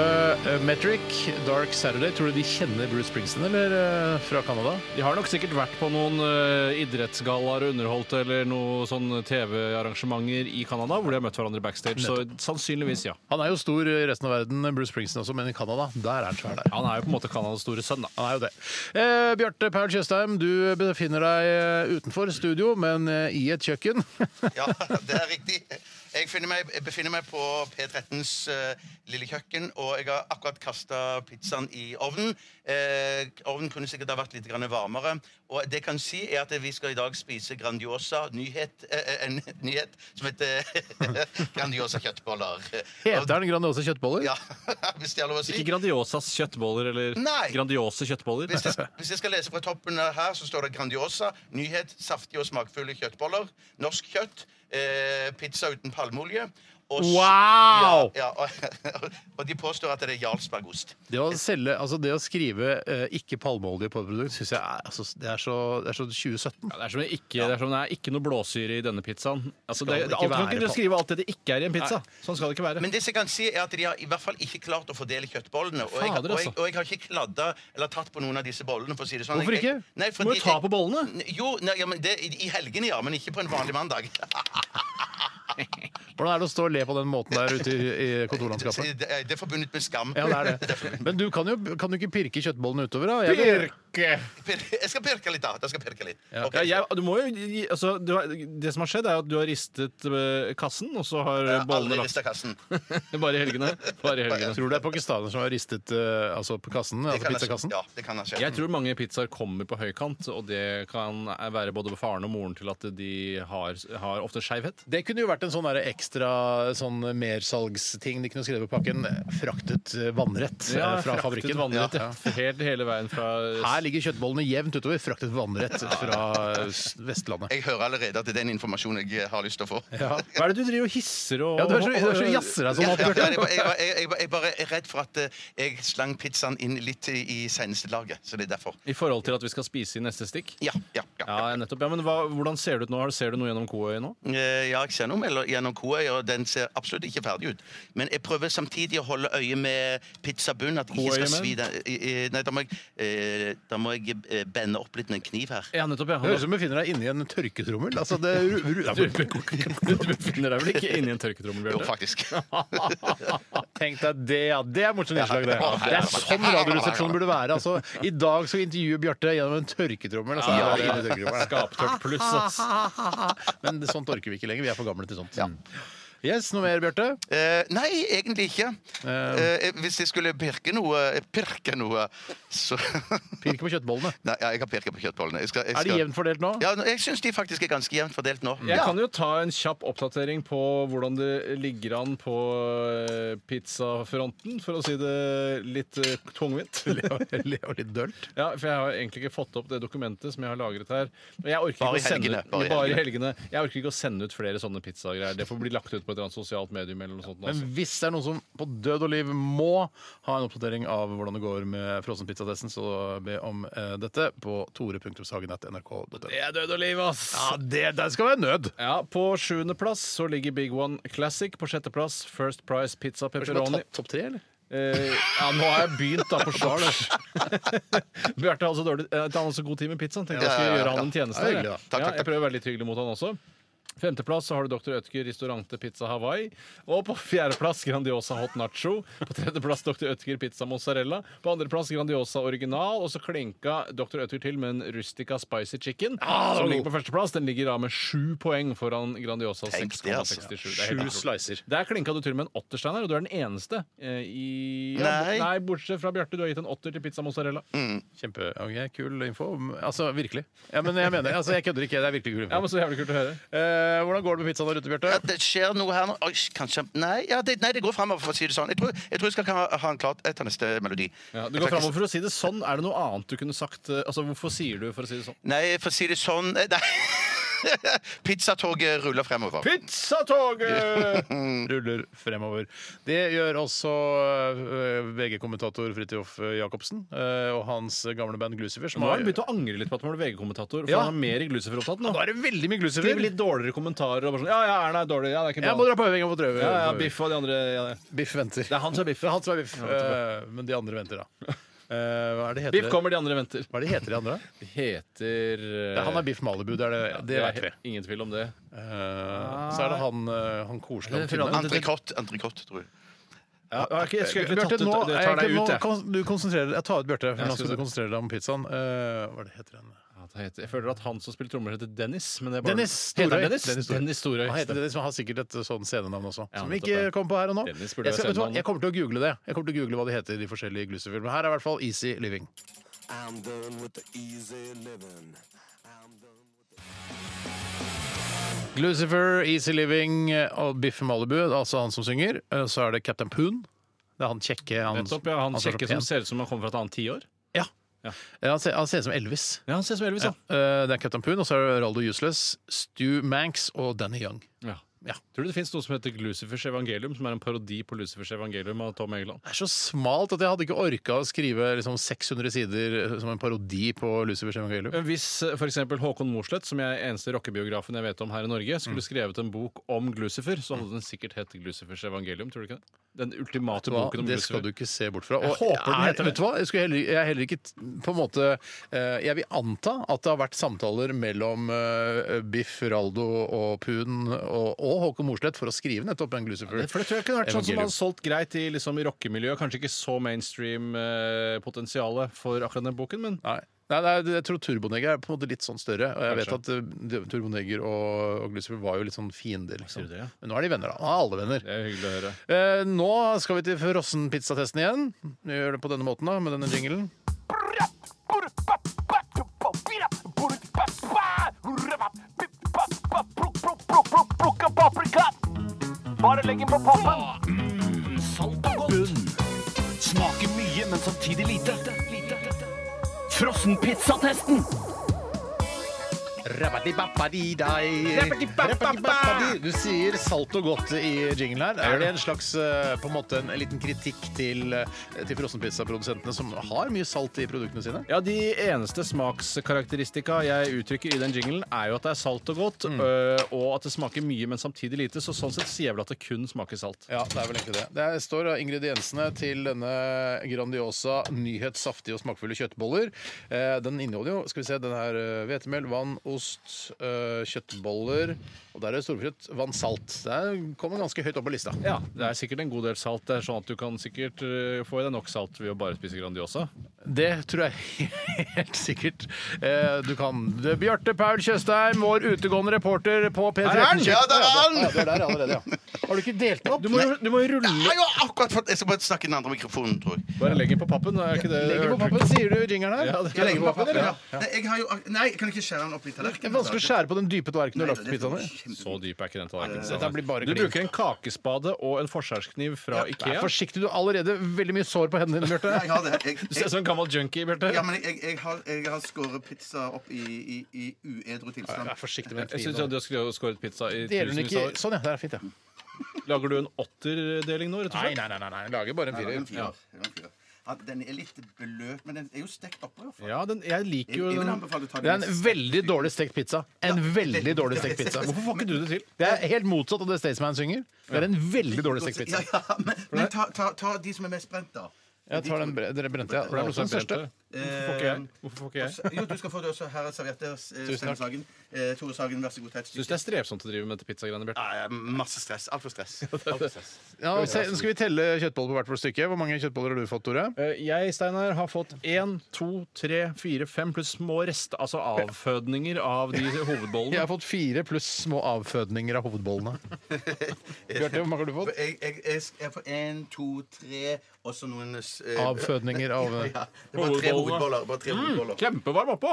Speaker 2: eh, Metric, 'Dark Saturday'. Tror du de kjenner Bruce Springsteen, eller? eh, Fra Canada?
Speaker 3: De har nok sikkert vært på noen uh, idrettsgallaer og underholdt eller noen sånne TV-arrangementer i Canada hvor de har møtt hverandre backstage, så sannsynligvis ja.
Speaker 2: Han er jo stor i resten av verden, Bruce Springsteen også, men i Canada, der er han svær, der.
Speaker 3: Han er jo på en måte Canadas store sønn, da.
Speaker 2: Han er jo det. Eh, Bjarte Paul Tjøstheim, du befinner deg eh, utenfor studio, men eh, i et kjøkken.
Speaker 9: Ja, det er riktig. Jeg, finner meg, jeg befinner meg på P13s eh, lille kjøkken, og jeg har akkurat kasta pizzaen i ovnen. Eh, ovnen kunne sikkert ha vært litt grann varmere. Og det jeg kan si, er at vi skal i dag spise Grandiosa nyhet, eh, en nyhet som heter Grandiosa kjøttboller.
Speaker 2: Heter den Grandiosa kjøttboller?
Speaker 9: Ja, hvis det er lov å si.
Speaker 3: Ikke Grandiosas kjøttboller eller
Speaker 9: Nei.
Speaker 3: Grandiose kjøttboller.
Speaker 9: Hvis jeg, hvis jeg skal lese fra toppen her, så står det Grandiosa. Nyhet, saftige og smakfulle kjøttboller. Norsk kjøtt. Eh, pizza uten palmeolje. Og s-
Speaker 2: Wow!
Speaker 9: Ja, ja, og, og de påstår at det er Jarlsbergost.
Speaker 2: Det å, selge, altså det å skrive eh, 'ikke palmeolje' på et produkt, syns jeg er, altså, det er, så, det er så 2017.
Speaker 3: Ja, det, er som det ikke, det er som det er ikke noe blåsyre i denne pizzaen. Altså, det,
Speaker 2: det ikke
Speaker 3: alt, kan
Speaker 2: være
Speaker 3: ikke
Speaker 2: på-
Speaker 3: skrive alt det det ikke er i en pizza. Sånn skal det ikke være.
Speaker 9: Men det som jeg kan si er at de har i hvert fall ikke klart å fordele kjøttbollene. Og jeg,
Speaker 3: Fader,
Speaker 9: og jeg,
Speaker 3: altså.
Speaker 9: og jeg har ikke kladda eller tatt på noen av disse bollene. for å si det sånn.
Speaker 3: Hvorfor
Speaker 9: Jeg- jeg-
Speaker 3: ikke?
Speaker 9: Nei,
Speaker 3: Må
Speaker 9: fordi
Speaker 3: jo ta
Speaker 9: jeg-
Speaker 3: på bollene.
Speaker 9: Jo, nei, ja, men det, i, i helgene, ja. Men ikke på en vanlig mandag.
Speaker 2: Hvordan er det å stå og le på den måten der ute i, i kontorlandskapet?
Speaker 9: Det, det er forbundet med skam.
Speaker 2: Ja, det er det. Men du kan jo, kan du ikke pirke kjøttbollene utover, da? Jeg-
Speaker 9: Jeg skal pirke litt, da. Jeg skal pirke litt. Ok.
Speaker 3: Ja, jeg, du må jo, gi- altså, du har, det som har skjedd, er at du har ristet eh, kassen, og så har
Speaker 9: Jeg har
Speaker 3: bollene
Speaker 9: Aldri
Speaker 3: lagt
Speaker 9: rista kassen.
Speaker 3: Bare i helgene. Bare i helgene.
Speaker 2: Tror du det er pakistanere som har ristet eh, altså på kassen?
Speaker 9: Det
Speaker 2: Altså
Speaker 9: kan ha skjedd.
Speaker 2: pizzakassen?
Speaker 9: Ja, det kan ha skjedd.
Speaker 3: Jeg tror mange pizzaer kommer på høykant, og det kan være både faren og moren til at de har, har ofte skeivhet.
Speaker 2: Det kunne jo vært en sånn der ekstra sånn mersalgsting de kunne skrevet på pakken. Fraktet eh, vannrett eh, fra
Speaker 3: fraktet
Speaker 2: fabrikken.
Speaker 3: vannrett,
Speaker 2: Ja,
Speaker 3: ja. Helt hele veien fra
Speaker 2: ja. Her ligger kjøttbollene jevnt utover, fraktet på vannrett fra eh, s- Vestlandet.
Speaker 4: Jeg hører allerede at det er den informasjonen
Speaker 9: eh,
Speaker 4: jeg har lyst til å få.
Speaker 2: Ja.
Speaker 3: Hva er det du driver og hisser og
Speaker 2: Ja, du er så, du er så jazzer deg
Speaker 4: Ja,
Speaker 2: sånn opp,
Speaker 4: ja, ja,
Speaker 2: Bjarte.
Speaker 4: jeg, bare- jeg, bare- jeg, jeg, bare- jeg bare er redd for at eh, jeg slang pizzaen inn litt i, i senestelaget. Så det er derfor.
Speaker 3: I forhold til at vi skal spise i neste stikk?
Speaker 4: Ja, ja, ja. ja.
Speaker 3: Ja, nettopp. Ja, men hva, hvordan ser det ut nå? Har- Ser du noe gjennom koøyet nå?
Speaker 4: Eh, ja jeg ser noe mellom, gjennom koøya, og den ser absolutt ikke ferdig ut. Men jeg prøver samtidig å holde øye med pizzabunnen. At jeg ikke
Speaker 3: Koøyemenn?
Speaker 4: skal svi den. i- i- Nei, da må jeg, eh, da må jeg eh, bende opp litt med en kniv her.
Speaker 3: Ja, nettopp, ja.
Speaker 2: Det høres ut som du befinner deg inni en tørketrommel. Altså, det, ru- ru- ja,
Speaker 3: Du
Speaker 2: men-
Speaker 3: befinner deg vel ikke inni en tørketrommel,
Speaker 4: Jo,
Speaker 3: Bjarte?
Speaker 4: faktisk.
Speaker 2: Tenk deg det, ja. Det er morsomt innslag, det. Det er sånn Radioresepsjonen burde være. Altså, I dag skal vi intervjue Bjarte gjennom en tørketrommel. Altså,
Speaker 4: Ja,
Speaker 2: Det er inni tørketrommelen.
Speaker 3: Skaptørt pluss, ass.
Speaker 2: Men det- sånt orker vi ikke lenger. Vi er for gamle til sånt. Yes, Noe mer, Bjarte?
Speaker 4: Eh, nei, egentlig ikke.
Speaker 2: Eh.
Speaker 4: Eh, hvis jeg skulle pirke noe, eh, pirke noe så
Speaker 2: Pirk på kjøttbollene.
Speaker 4: Nei, ja, jeg har pirket på kjøttbollene. Jeg skal, jeg
Speaker 2: Er
Speaker 4: skal...
Speaker 2: de jevnt fordelt nå?
Speaker 4: Ja, nå- jeg syns de faktisk er ganske jevnt fordelt nå.
Speaker 3: Jeg kan jo ta en kjapp oppdatering på hvordan det ligger an på eh, pizzafronten, for å si det litt eh, tungvint.
Speaker 2: Og litt dølt.
Speaker 3: Ja, for jeg har egentlig ikke fått opp det dokumentet som jeg har lagret her. Og jeg orker
Speaker 4: Bare i
Speaker 3: ikke å sende,
Speaker 4: helgene,
Speaker 3: ut-
Speaker 4: bare i
Speaker 3: Bare i helgene. Jeg orker ikke å sende ut flere sånne pizzagreier. Det får bli lagt ut på et eller annet sosialt medium eller noe sånt.
Speaker 2: Men
Speaker 3: Altså.
Speaker 2: hvis det er noen som på død og liv må ha en oppdatering av hvordan det går med frossenpizzatesten, så be om eh, dette på tore.sagen.nrk.no.
Speaker 3: Det er død og liv, ass!
Speaker 2: Ja, det, det skal være nød!
Speaker 3: Ja, På sjuendeplass så ligger Big One Classic. På sjetteplass First Price Pizza Pepperoni.
Speaker 2: Topp top tre, eller?
Speaker 3: Eh, ja, nå har jeg begynt da på Charles. Bjarte hadde så dårlig eh, Han hadde så god tid med pizzaen. Tenkte jeg skulle gjøre han en tjeneste.
Speaker 2: Ja, hyggelig,
Speaker 3: jeg.
Speaker 2: da.
Speaker 4: Takk,
Speaker 3: Ja,
Speaker 4: takk,
Speaker 3: jeg prøver å være litt hyggelig mot han også. Femteplass så har du Dr. Ødker Restaurante Pizza Hawaii. Og på fjerdeplass Grandiosa Hot Nacho. På tredjeplass Dr. Ødker Pizza Mozzarella. På andreplass Grandiosa Original. Og så klinka Dr. Ødker til med en Rustica Spicy Chicken.
Speaker 2: Ah,
Speaker 3: som ligger på førsteplass. Den ligger da med sju poeng foran Grandiosa
Speaker 4: Tenk det, altså.
Speaker 3: 6,67. Det er helt utrolig. Der klinka du til og med en åtter, Steinar, og du er den eneste eh, i ja,
Speaker 4: Nei.
Speaker 3: bo- nei, Mm. bortsett fra Bjarte. Du har gitt en åtter til pizza mozzarella.
Speaker 2: Kjempe, ok, Kul info. Altså, virkelig. Ja, men jeg mener, altså, jeg kødder ikke. Det er virkelig kul info.
Speaker 3: Ja, men Så jævlig kult å høre.
Speaker 2: Eh, hvordan går det med pizzaen der ute, Bjarte?
Speaker 4: Ja, det skjer noe her nå. Oi, kanskje Nei, ja, det, nei, det går framover, for å si det sånn. Jeg tror jeg, tror jeg skal ha, ha en klart etter neste melodi.
Speaker 3: Ja, du går fremover for å si det sånn. Er det noe annet du kunne sagt? eh, Altså, Hvorfor sier du for å si det sånn?
Speaker 4: Nei, for å si det sånn eh, Nei. Pizzatoget ruller fremover.
Speaker 2: Pizzatoget ruller fremover. Det gjør også øh, VG-kommentator Fridtjof Jacobsen øh, og hans gamle band Glucifer. Som
Speaker 3: Nå har
Speaker 2: har,
Speaker 3: han begynt å angre litt på at han var VG-kommentator. For
Speaker 2: Ja.
Speaker 3: han er mer i Glucifer-opptatt nå.
Speaker 2: nå er det veldig mye Glucifer.
Speaker 3: Skriver litt dårligere kommentarer. og bare sånn, Ja, ja, Erna er dårlig. Ja, det er ikke
Speaker 2: Jeg må
Speaker 3: bra.
Speaker 2: dra på øving. Jeg må dra på øving.
Speaker 3: Ja, ja, Biff og de andre. Ja, det.
Speaker 2: Biff venter.
Speaker 3: det er han som er Biff.
Speaker 2: Det er han som er Biff, øh, men de andre venter, da. Eh, hva er det heter
Speaker 3: Biff kommer, de andre venter.
Speaker 2: Hva er det heter de andre?
Speaker 3: Det Heter eh,
Speaker 2: Det er han er Biff Malibu, det er det, det vet vi.
Speaker 3: Ingen tvil om det.
Speaker 2: Eh, så er det han, øh, han koselige han tynne.
Speaker 4: Entrecôte, entrecôte, tror jeg.
Speaker 3: Ja, jeg har ikke- jeg skulle egentlig
Speaker 2: Bjarte,
Speaker 3: tatt
Speaker 2: nå,
Speaker 3: ut Det tar deg
Speaker 2: egentlig,
Speaker 3: ut,
Speaker 2: nå
Speaker 3: jeg.
Speaker 2: kan du konsentrere deg. Jeg tar ut Bjarte. for
Speaker 3: Ja,
Speaker 2: Nå
Speaker 3: skal
Speaker 2: skal du
Speaker 3: du.
Speaker 2: konsentrere deg om pizzaen. Eh, hva er det heter den?
Speaker 3: At han heter, jeg føler at han som spiller trommer, heter Dennis. Men det er bare,
Speaker 2: Dennis
Speaker 3: Heter
Speaker 2: Storøy.
Speaker 3: han Dennis?
Speaker 2: Dennis Storøy.
Speaker 3: Dennis Storøy.
Speaker 2: Han heter Dennis, men har sikkert et sånn scenenavn også.
Speaker 3: Ja,
Speaker 2: som vi
Speaker 3: nettopp
Speaker 2: ikke
Speaker 3: det.
Speaker 2: kommer på her og nå. Jeg,
Speaker 3: Dennis
Speaker 2: skal,
Speaker 3: burde
Speaker 2: vet
Speaker 3: være
Speaker 2: du, hva,
Speaker 3: scenenavn.
Speaker 2: jeg kommer til å google det. Jeg kommer til å google hva de heter, de forskjellige Glucifer-filmene. Her er i hvert fall Easy Living.
Speaker 5: I'm done with the easy living. I'm done.
Speaker 2: Glucifer, Easy Living eh, og Biff Malibu, altså han som synger. Eh, Så er det Captain Poon. Det er han kjekke. Han,
Speaker 3: Nettopp, ja, han
Speaker 2: står
Speaker 3: kjekke
Speaker 2: pen.
Speaker 3: som ser ut som han kommer fra et annet tiår.
Speaker 2: Ja.
Speaker 3: Ja.
Speaker 2: Ja, han, ser, han ser ut som Elvis.
Speaker 3: Ja, han ser ut som Elvis,
Speaker 2: Ja.
Speaker 3: ja.
Speaker 2: Eh, Det er Captain Poon, og så er det Raldo Useless, Stu Manx og Danny Young.
Speaker 3: ja.
Speaker 2: Ja.
Speaker 3: Tror du det fins noe som heter Lucifers evangelium, som er en parodi på Lucifers evangelium av Tom Egeland?
Speaker 2: Det er så smalt at jeg hadde ikke orka å skrive liksom 600 sider eh, som en parodi på Lucifers evangelium.
Speaker 3: Men Hvis f.eks. Håkon Mosleth, som jeg er eneste rockebiografen jeg vet om her i Norge, skulle
Speaker 2: Mm.
Speaker 3: skrevet en bok om Glucifer, så hadde den sikkert hett Glucifers evangelium, tror du ikke det? Den ultimate
Speaker 2: Hva?
Speaker 3: boken om
Speaker 2: Det skal
Speaker 3: Glucifer.
Speaker 2: du ikke se bort fra.
Speaker 3: Jeg håper den heter det.
Speaker 2: vet du hva? Jeg, skulle heller, jeg er heller ikke t- på en måte eh, Jeg vil anta at det har vært samtaler mellom eh, Biff, Raldo og Poon og, og Håkon Mosleth for å skrive nettopp en Glucifer.
Speaker 3: For det tror jeg kunne vært sånn som
Speaker 2: Evangelium.
Speaker 3: hadde solgt greit i, liksom, i rockemiljøet. Kanskje ikke så mainstream eh, potensialet for akkurat den boken, men
Speaker 2: Nei. Nei, nei, jeg tror Turbonegger er på en måte litt sånn større. Og jeg vet at
Speaker 3: Kanskje.
Speaker 2: eh, Turbonegger og, og Glucifer var jo litt sånn fiender.
Speaker 3: Sier
Speaker 2: Liksom.
Speaker 3: du det, ja?
Speaker 2: Men nå er de venner, da. Nå er alle venner.
Speaker 3: det er hyggelig å høre.
Speaker 2: Eh, nå skal vi til frossenpizzatesten igjen. Vi gjør det på denne måten, da, med denne jinglen.
Speaker 5: Bare legg den på pappen. Salt og godt. Smaker mye, men samtidig lite.
Speaker 8: frossenpizzatesten!
Speaker 2: Rappati-bappadi. Du sier salt og godt i jinglen her. Er det en slags eh, på en måte en liten kritikk til, eh, til frossenpizzaprodusentene som har mye salt i produktene sine?
Speaker 3: Ja, De eneste smakskarakteristika jeg uttrykker i den jinglen, er jo at det er salt og godt,
Speaker 2: Mm.
Speaker 3: øh, og at det smaker mye, men samtidig lite. Så sånn sett sier jeg vel at det kun smaker salt.
Speaker 2: Ja, det er vel egentlig det. Det står da ingrediensene til denne Grandiosa nyhetssaftige og smakfulle kjøttboller. Eh, den inneholder jo skal vi se, den her eh, hvetemel, vann, ost, eh, kjøttboller Og der er det storfrukt, vann, salt. Det er- kommer ganske høyt opp på lista.
Speaker 3: Ja, Det er sikkert en god del salt. Det er sånn at Du kan sikkert øh, få i deg nok salt ved å bare spise Grandiosa.
Speaker 2: Det tror jeg helt sikkert eh, du kan. Det er Bjarte Paul Tjøstheim, vår utegående reporter på P13.
Speaker 3: Er han?
Speaker 9: Ja, der er han!
Speaker 2: Ja, du er der allerede, ja. Har du ikke delt den opp?
Speaker 3: Du må, du må rulle
Speaker 9: Jeg har akkurat fått Jeg skal bare snakke i den andre mikrofonen, tror jeg.
Speaker 3: Bare legg den på pappen. Er ikke det
Speaker 2: Legger på pappen, sier du i jingeren her.
Speaker 3: Ja, det-
Speaker 2: Skal jeg legge på pappen, eller?
Speaker 9: Nei, jeg har jo, nei, jeg kan ikke skjære den opp i
Speaker 2: Det er
Speaker 9: tallerkenen.
Speaker 2: vanskelig å skjære på den dype tallerkenen du har lagt på
Speaker 4: sånn
Speaker 2: pizzaen Sånn. din.
Speaker 3: Så dyp er ikke den tallerkenen.
Speaker 2: Dette blir bare
Speaker 3: Du
Speaker 2: klin.
Speaker 3: bruker en kakespade og en forskjærskniv fra
Speaker 2: Vær
Speaker 3: Ikea.
Speaker 2: forsiktig, du har allerede veldig mye sår på hendene dine, Bjarte.
Speaker 9: Jeg har det. Jeg,
Speaker 3: Du ser
Speaker 9: jeg,
Speaker 3: ut som en gammel junkie, Bjarte.
Speaker 9: ja, men jeg, jeg, jeg har, jeg har skåret pizza opp i, i, i uedru tilstand.
Speaker 2: Vær forsiktig med
Speaker 3: Jeg syns
Speaker 2: den
Speaker 3: du skulle skåret pizza i
Speaker 2: Deler den
Speaker 3: tusenvis av
Speaker 2: ikke
Speaker 3: år.
Speaker 2: Sånn, ja. Det er fint, ja.
Speaker 3: Lager du en åtterdeling nå, rett og
Speaker 2: Nei,
Speaker 3: slett?
Speaker 2: nei, nei. nei, nei. Lager bare en
Speaker 9: Jeg lager en
Speaker 2: firer.
Speaker 9: firer. Jeg lager en firer. Ja, den er litt bløt, men den er jo stekt oppå. i hvert fall.
Speaker 3: Ja, den, jeg liker
Speaker 9: Jeg,
Speaker 3: jo
Speaker 9: jeg vil
Speaker 3: den.
Speaker 9: anbefale å ta
Speaker 2: Det er
Speaker 9: den
Speaker 2: en
Speaker 9: mest-
Speaker 2: veldig dårlig stekt pizza. En veldig dårlig stekt pizza.
Speaker 3: Hvorfor får ikke du det til?
Speaker 2: Det er helt motsatt av det Staysman synger. Det er en veldig dårlig stekt
Speaker 9: Ja,
Speaker 2: pizza.
Speaker 9: ja, men, men ta, ta, ta de som er mest brent, da.
Speaker 2: Jeg tar den bre dere brente, ja. Det
Speaker 3: For
Speaker 2: er
Speaker 3: det er
Speaker 2: også den
Speaker 3: noe som
Speaker 2: største.
Speaker 3: brente. Hvorfor får ikke jeg?
Speaker 9: Eh,
Speaker 3: Hvorfor får ikke jeg?
Speaker 9: Jo, du skal få det også. Her er servietter. eh, Stein Sagen. Eh, Tore Sagen, vær så god, ta et
Speaker 3: Syns
Speaker 9: stykke.
Speaker 3: det er strevsomt å drive med dette pizzagreiene, Bjarte.
Speaker 9: Nei, masse stress. Altfor stress. Alt for stress.
Speaker 2: Ja, og se, nå skal vi telle kjøttboller på hvert vårt stykke. Hvor mange kjøttboller har du fått, Tore?
Speaker 3: Eh, Jeg, Steinar, har fått én, to, tre, fire, fem pluss små rest, altså avfødninger av de
Speaker 2: Jeg har
Speaker 3: hovedbollene.
Speaker 2: fått fire pluss små avfødninger av hovedbollene. Bjarte, hvor mange har du fått?
Speaker 9: Jeg, jeg, jeg, jeg får én, to, tre, og så noen eh,
Speaker 2: Avfødninger av eh,
Speaker 9: Ja, det var tre hovedboller. Bare tre hovedboller.
Speaker 3: Kjempevarm oppå!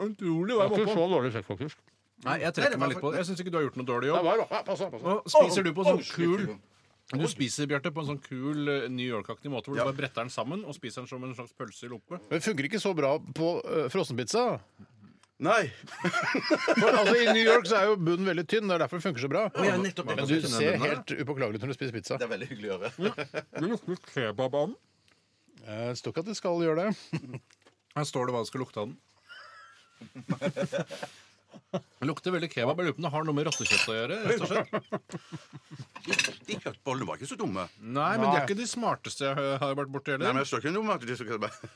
Speaker 3: Utrolig varm oppå.
Speaker 2: dårlig stekt, faktisk.
Speaker 3: Nei,
Speaker 9: Nei,
Speaker 3: jeg
Speaker 9: det
Speaker 3: trekker
Speaker 9: var
Speaker 3: meg litt på
Speaker 9: for-
Speaker 3: det. Jeg syns ikke du har gjort noe dårlig
Speaker 2: Ja,
Speaker 3: jobb.
Speaker 2: bare, ja, pass, pass.
Speaker 3: Nå spiser du på sånn kul Du spiser, Bjarte, på en sånn kul eh, New York-aktig måte hvor du bare bretter den sammen og spiser den som en slags pølse i loppe.
Speaker 2: Men det funker ikke så bra på uh, frossenpizza.
Speaker 9: Nei.
Speaker 2: For, altså, I New York så er jo bunnen veldig tynn. Det er derfor det funker så bra.
Speaker 9: ja, nettopp,
Speaker 2: Men
Speaker 9: nettopp.
Speaker 2: du ser helt upåklagelig ut når du spiser pizza.
Speaker 9: Det er veldig hyggelig å gjøre.
Speaker 3: Det lukter kebab av den.
Speaker 2: Jeg står ikke at det skal gjøre det.
Speaker 3: Her står det hva det skal lukte av den. Det lukter veldig kebab. Jeg lurer på om det har noe med rottekjøtt å gjøre. rett og slett.
Speaker 4: De kjøttbollene var ikke så dumme.
Speaker 3: Nei, men de er ikke de smarteste jeg har- har vært borti
Speaker 4: Nei, men
Speaker 3: heller.
Speaker 4: jeg står ikke noe med at de skal bare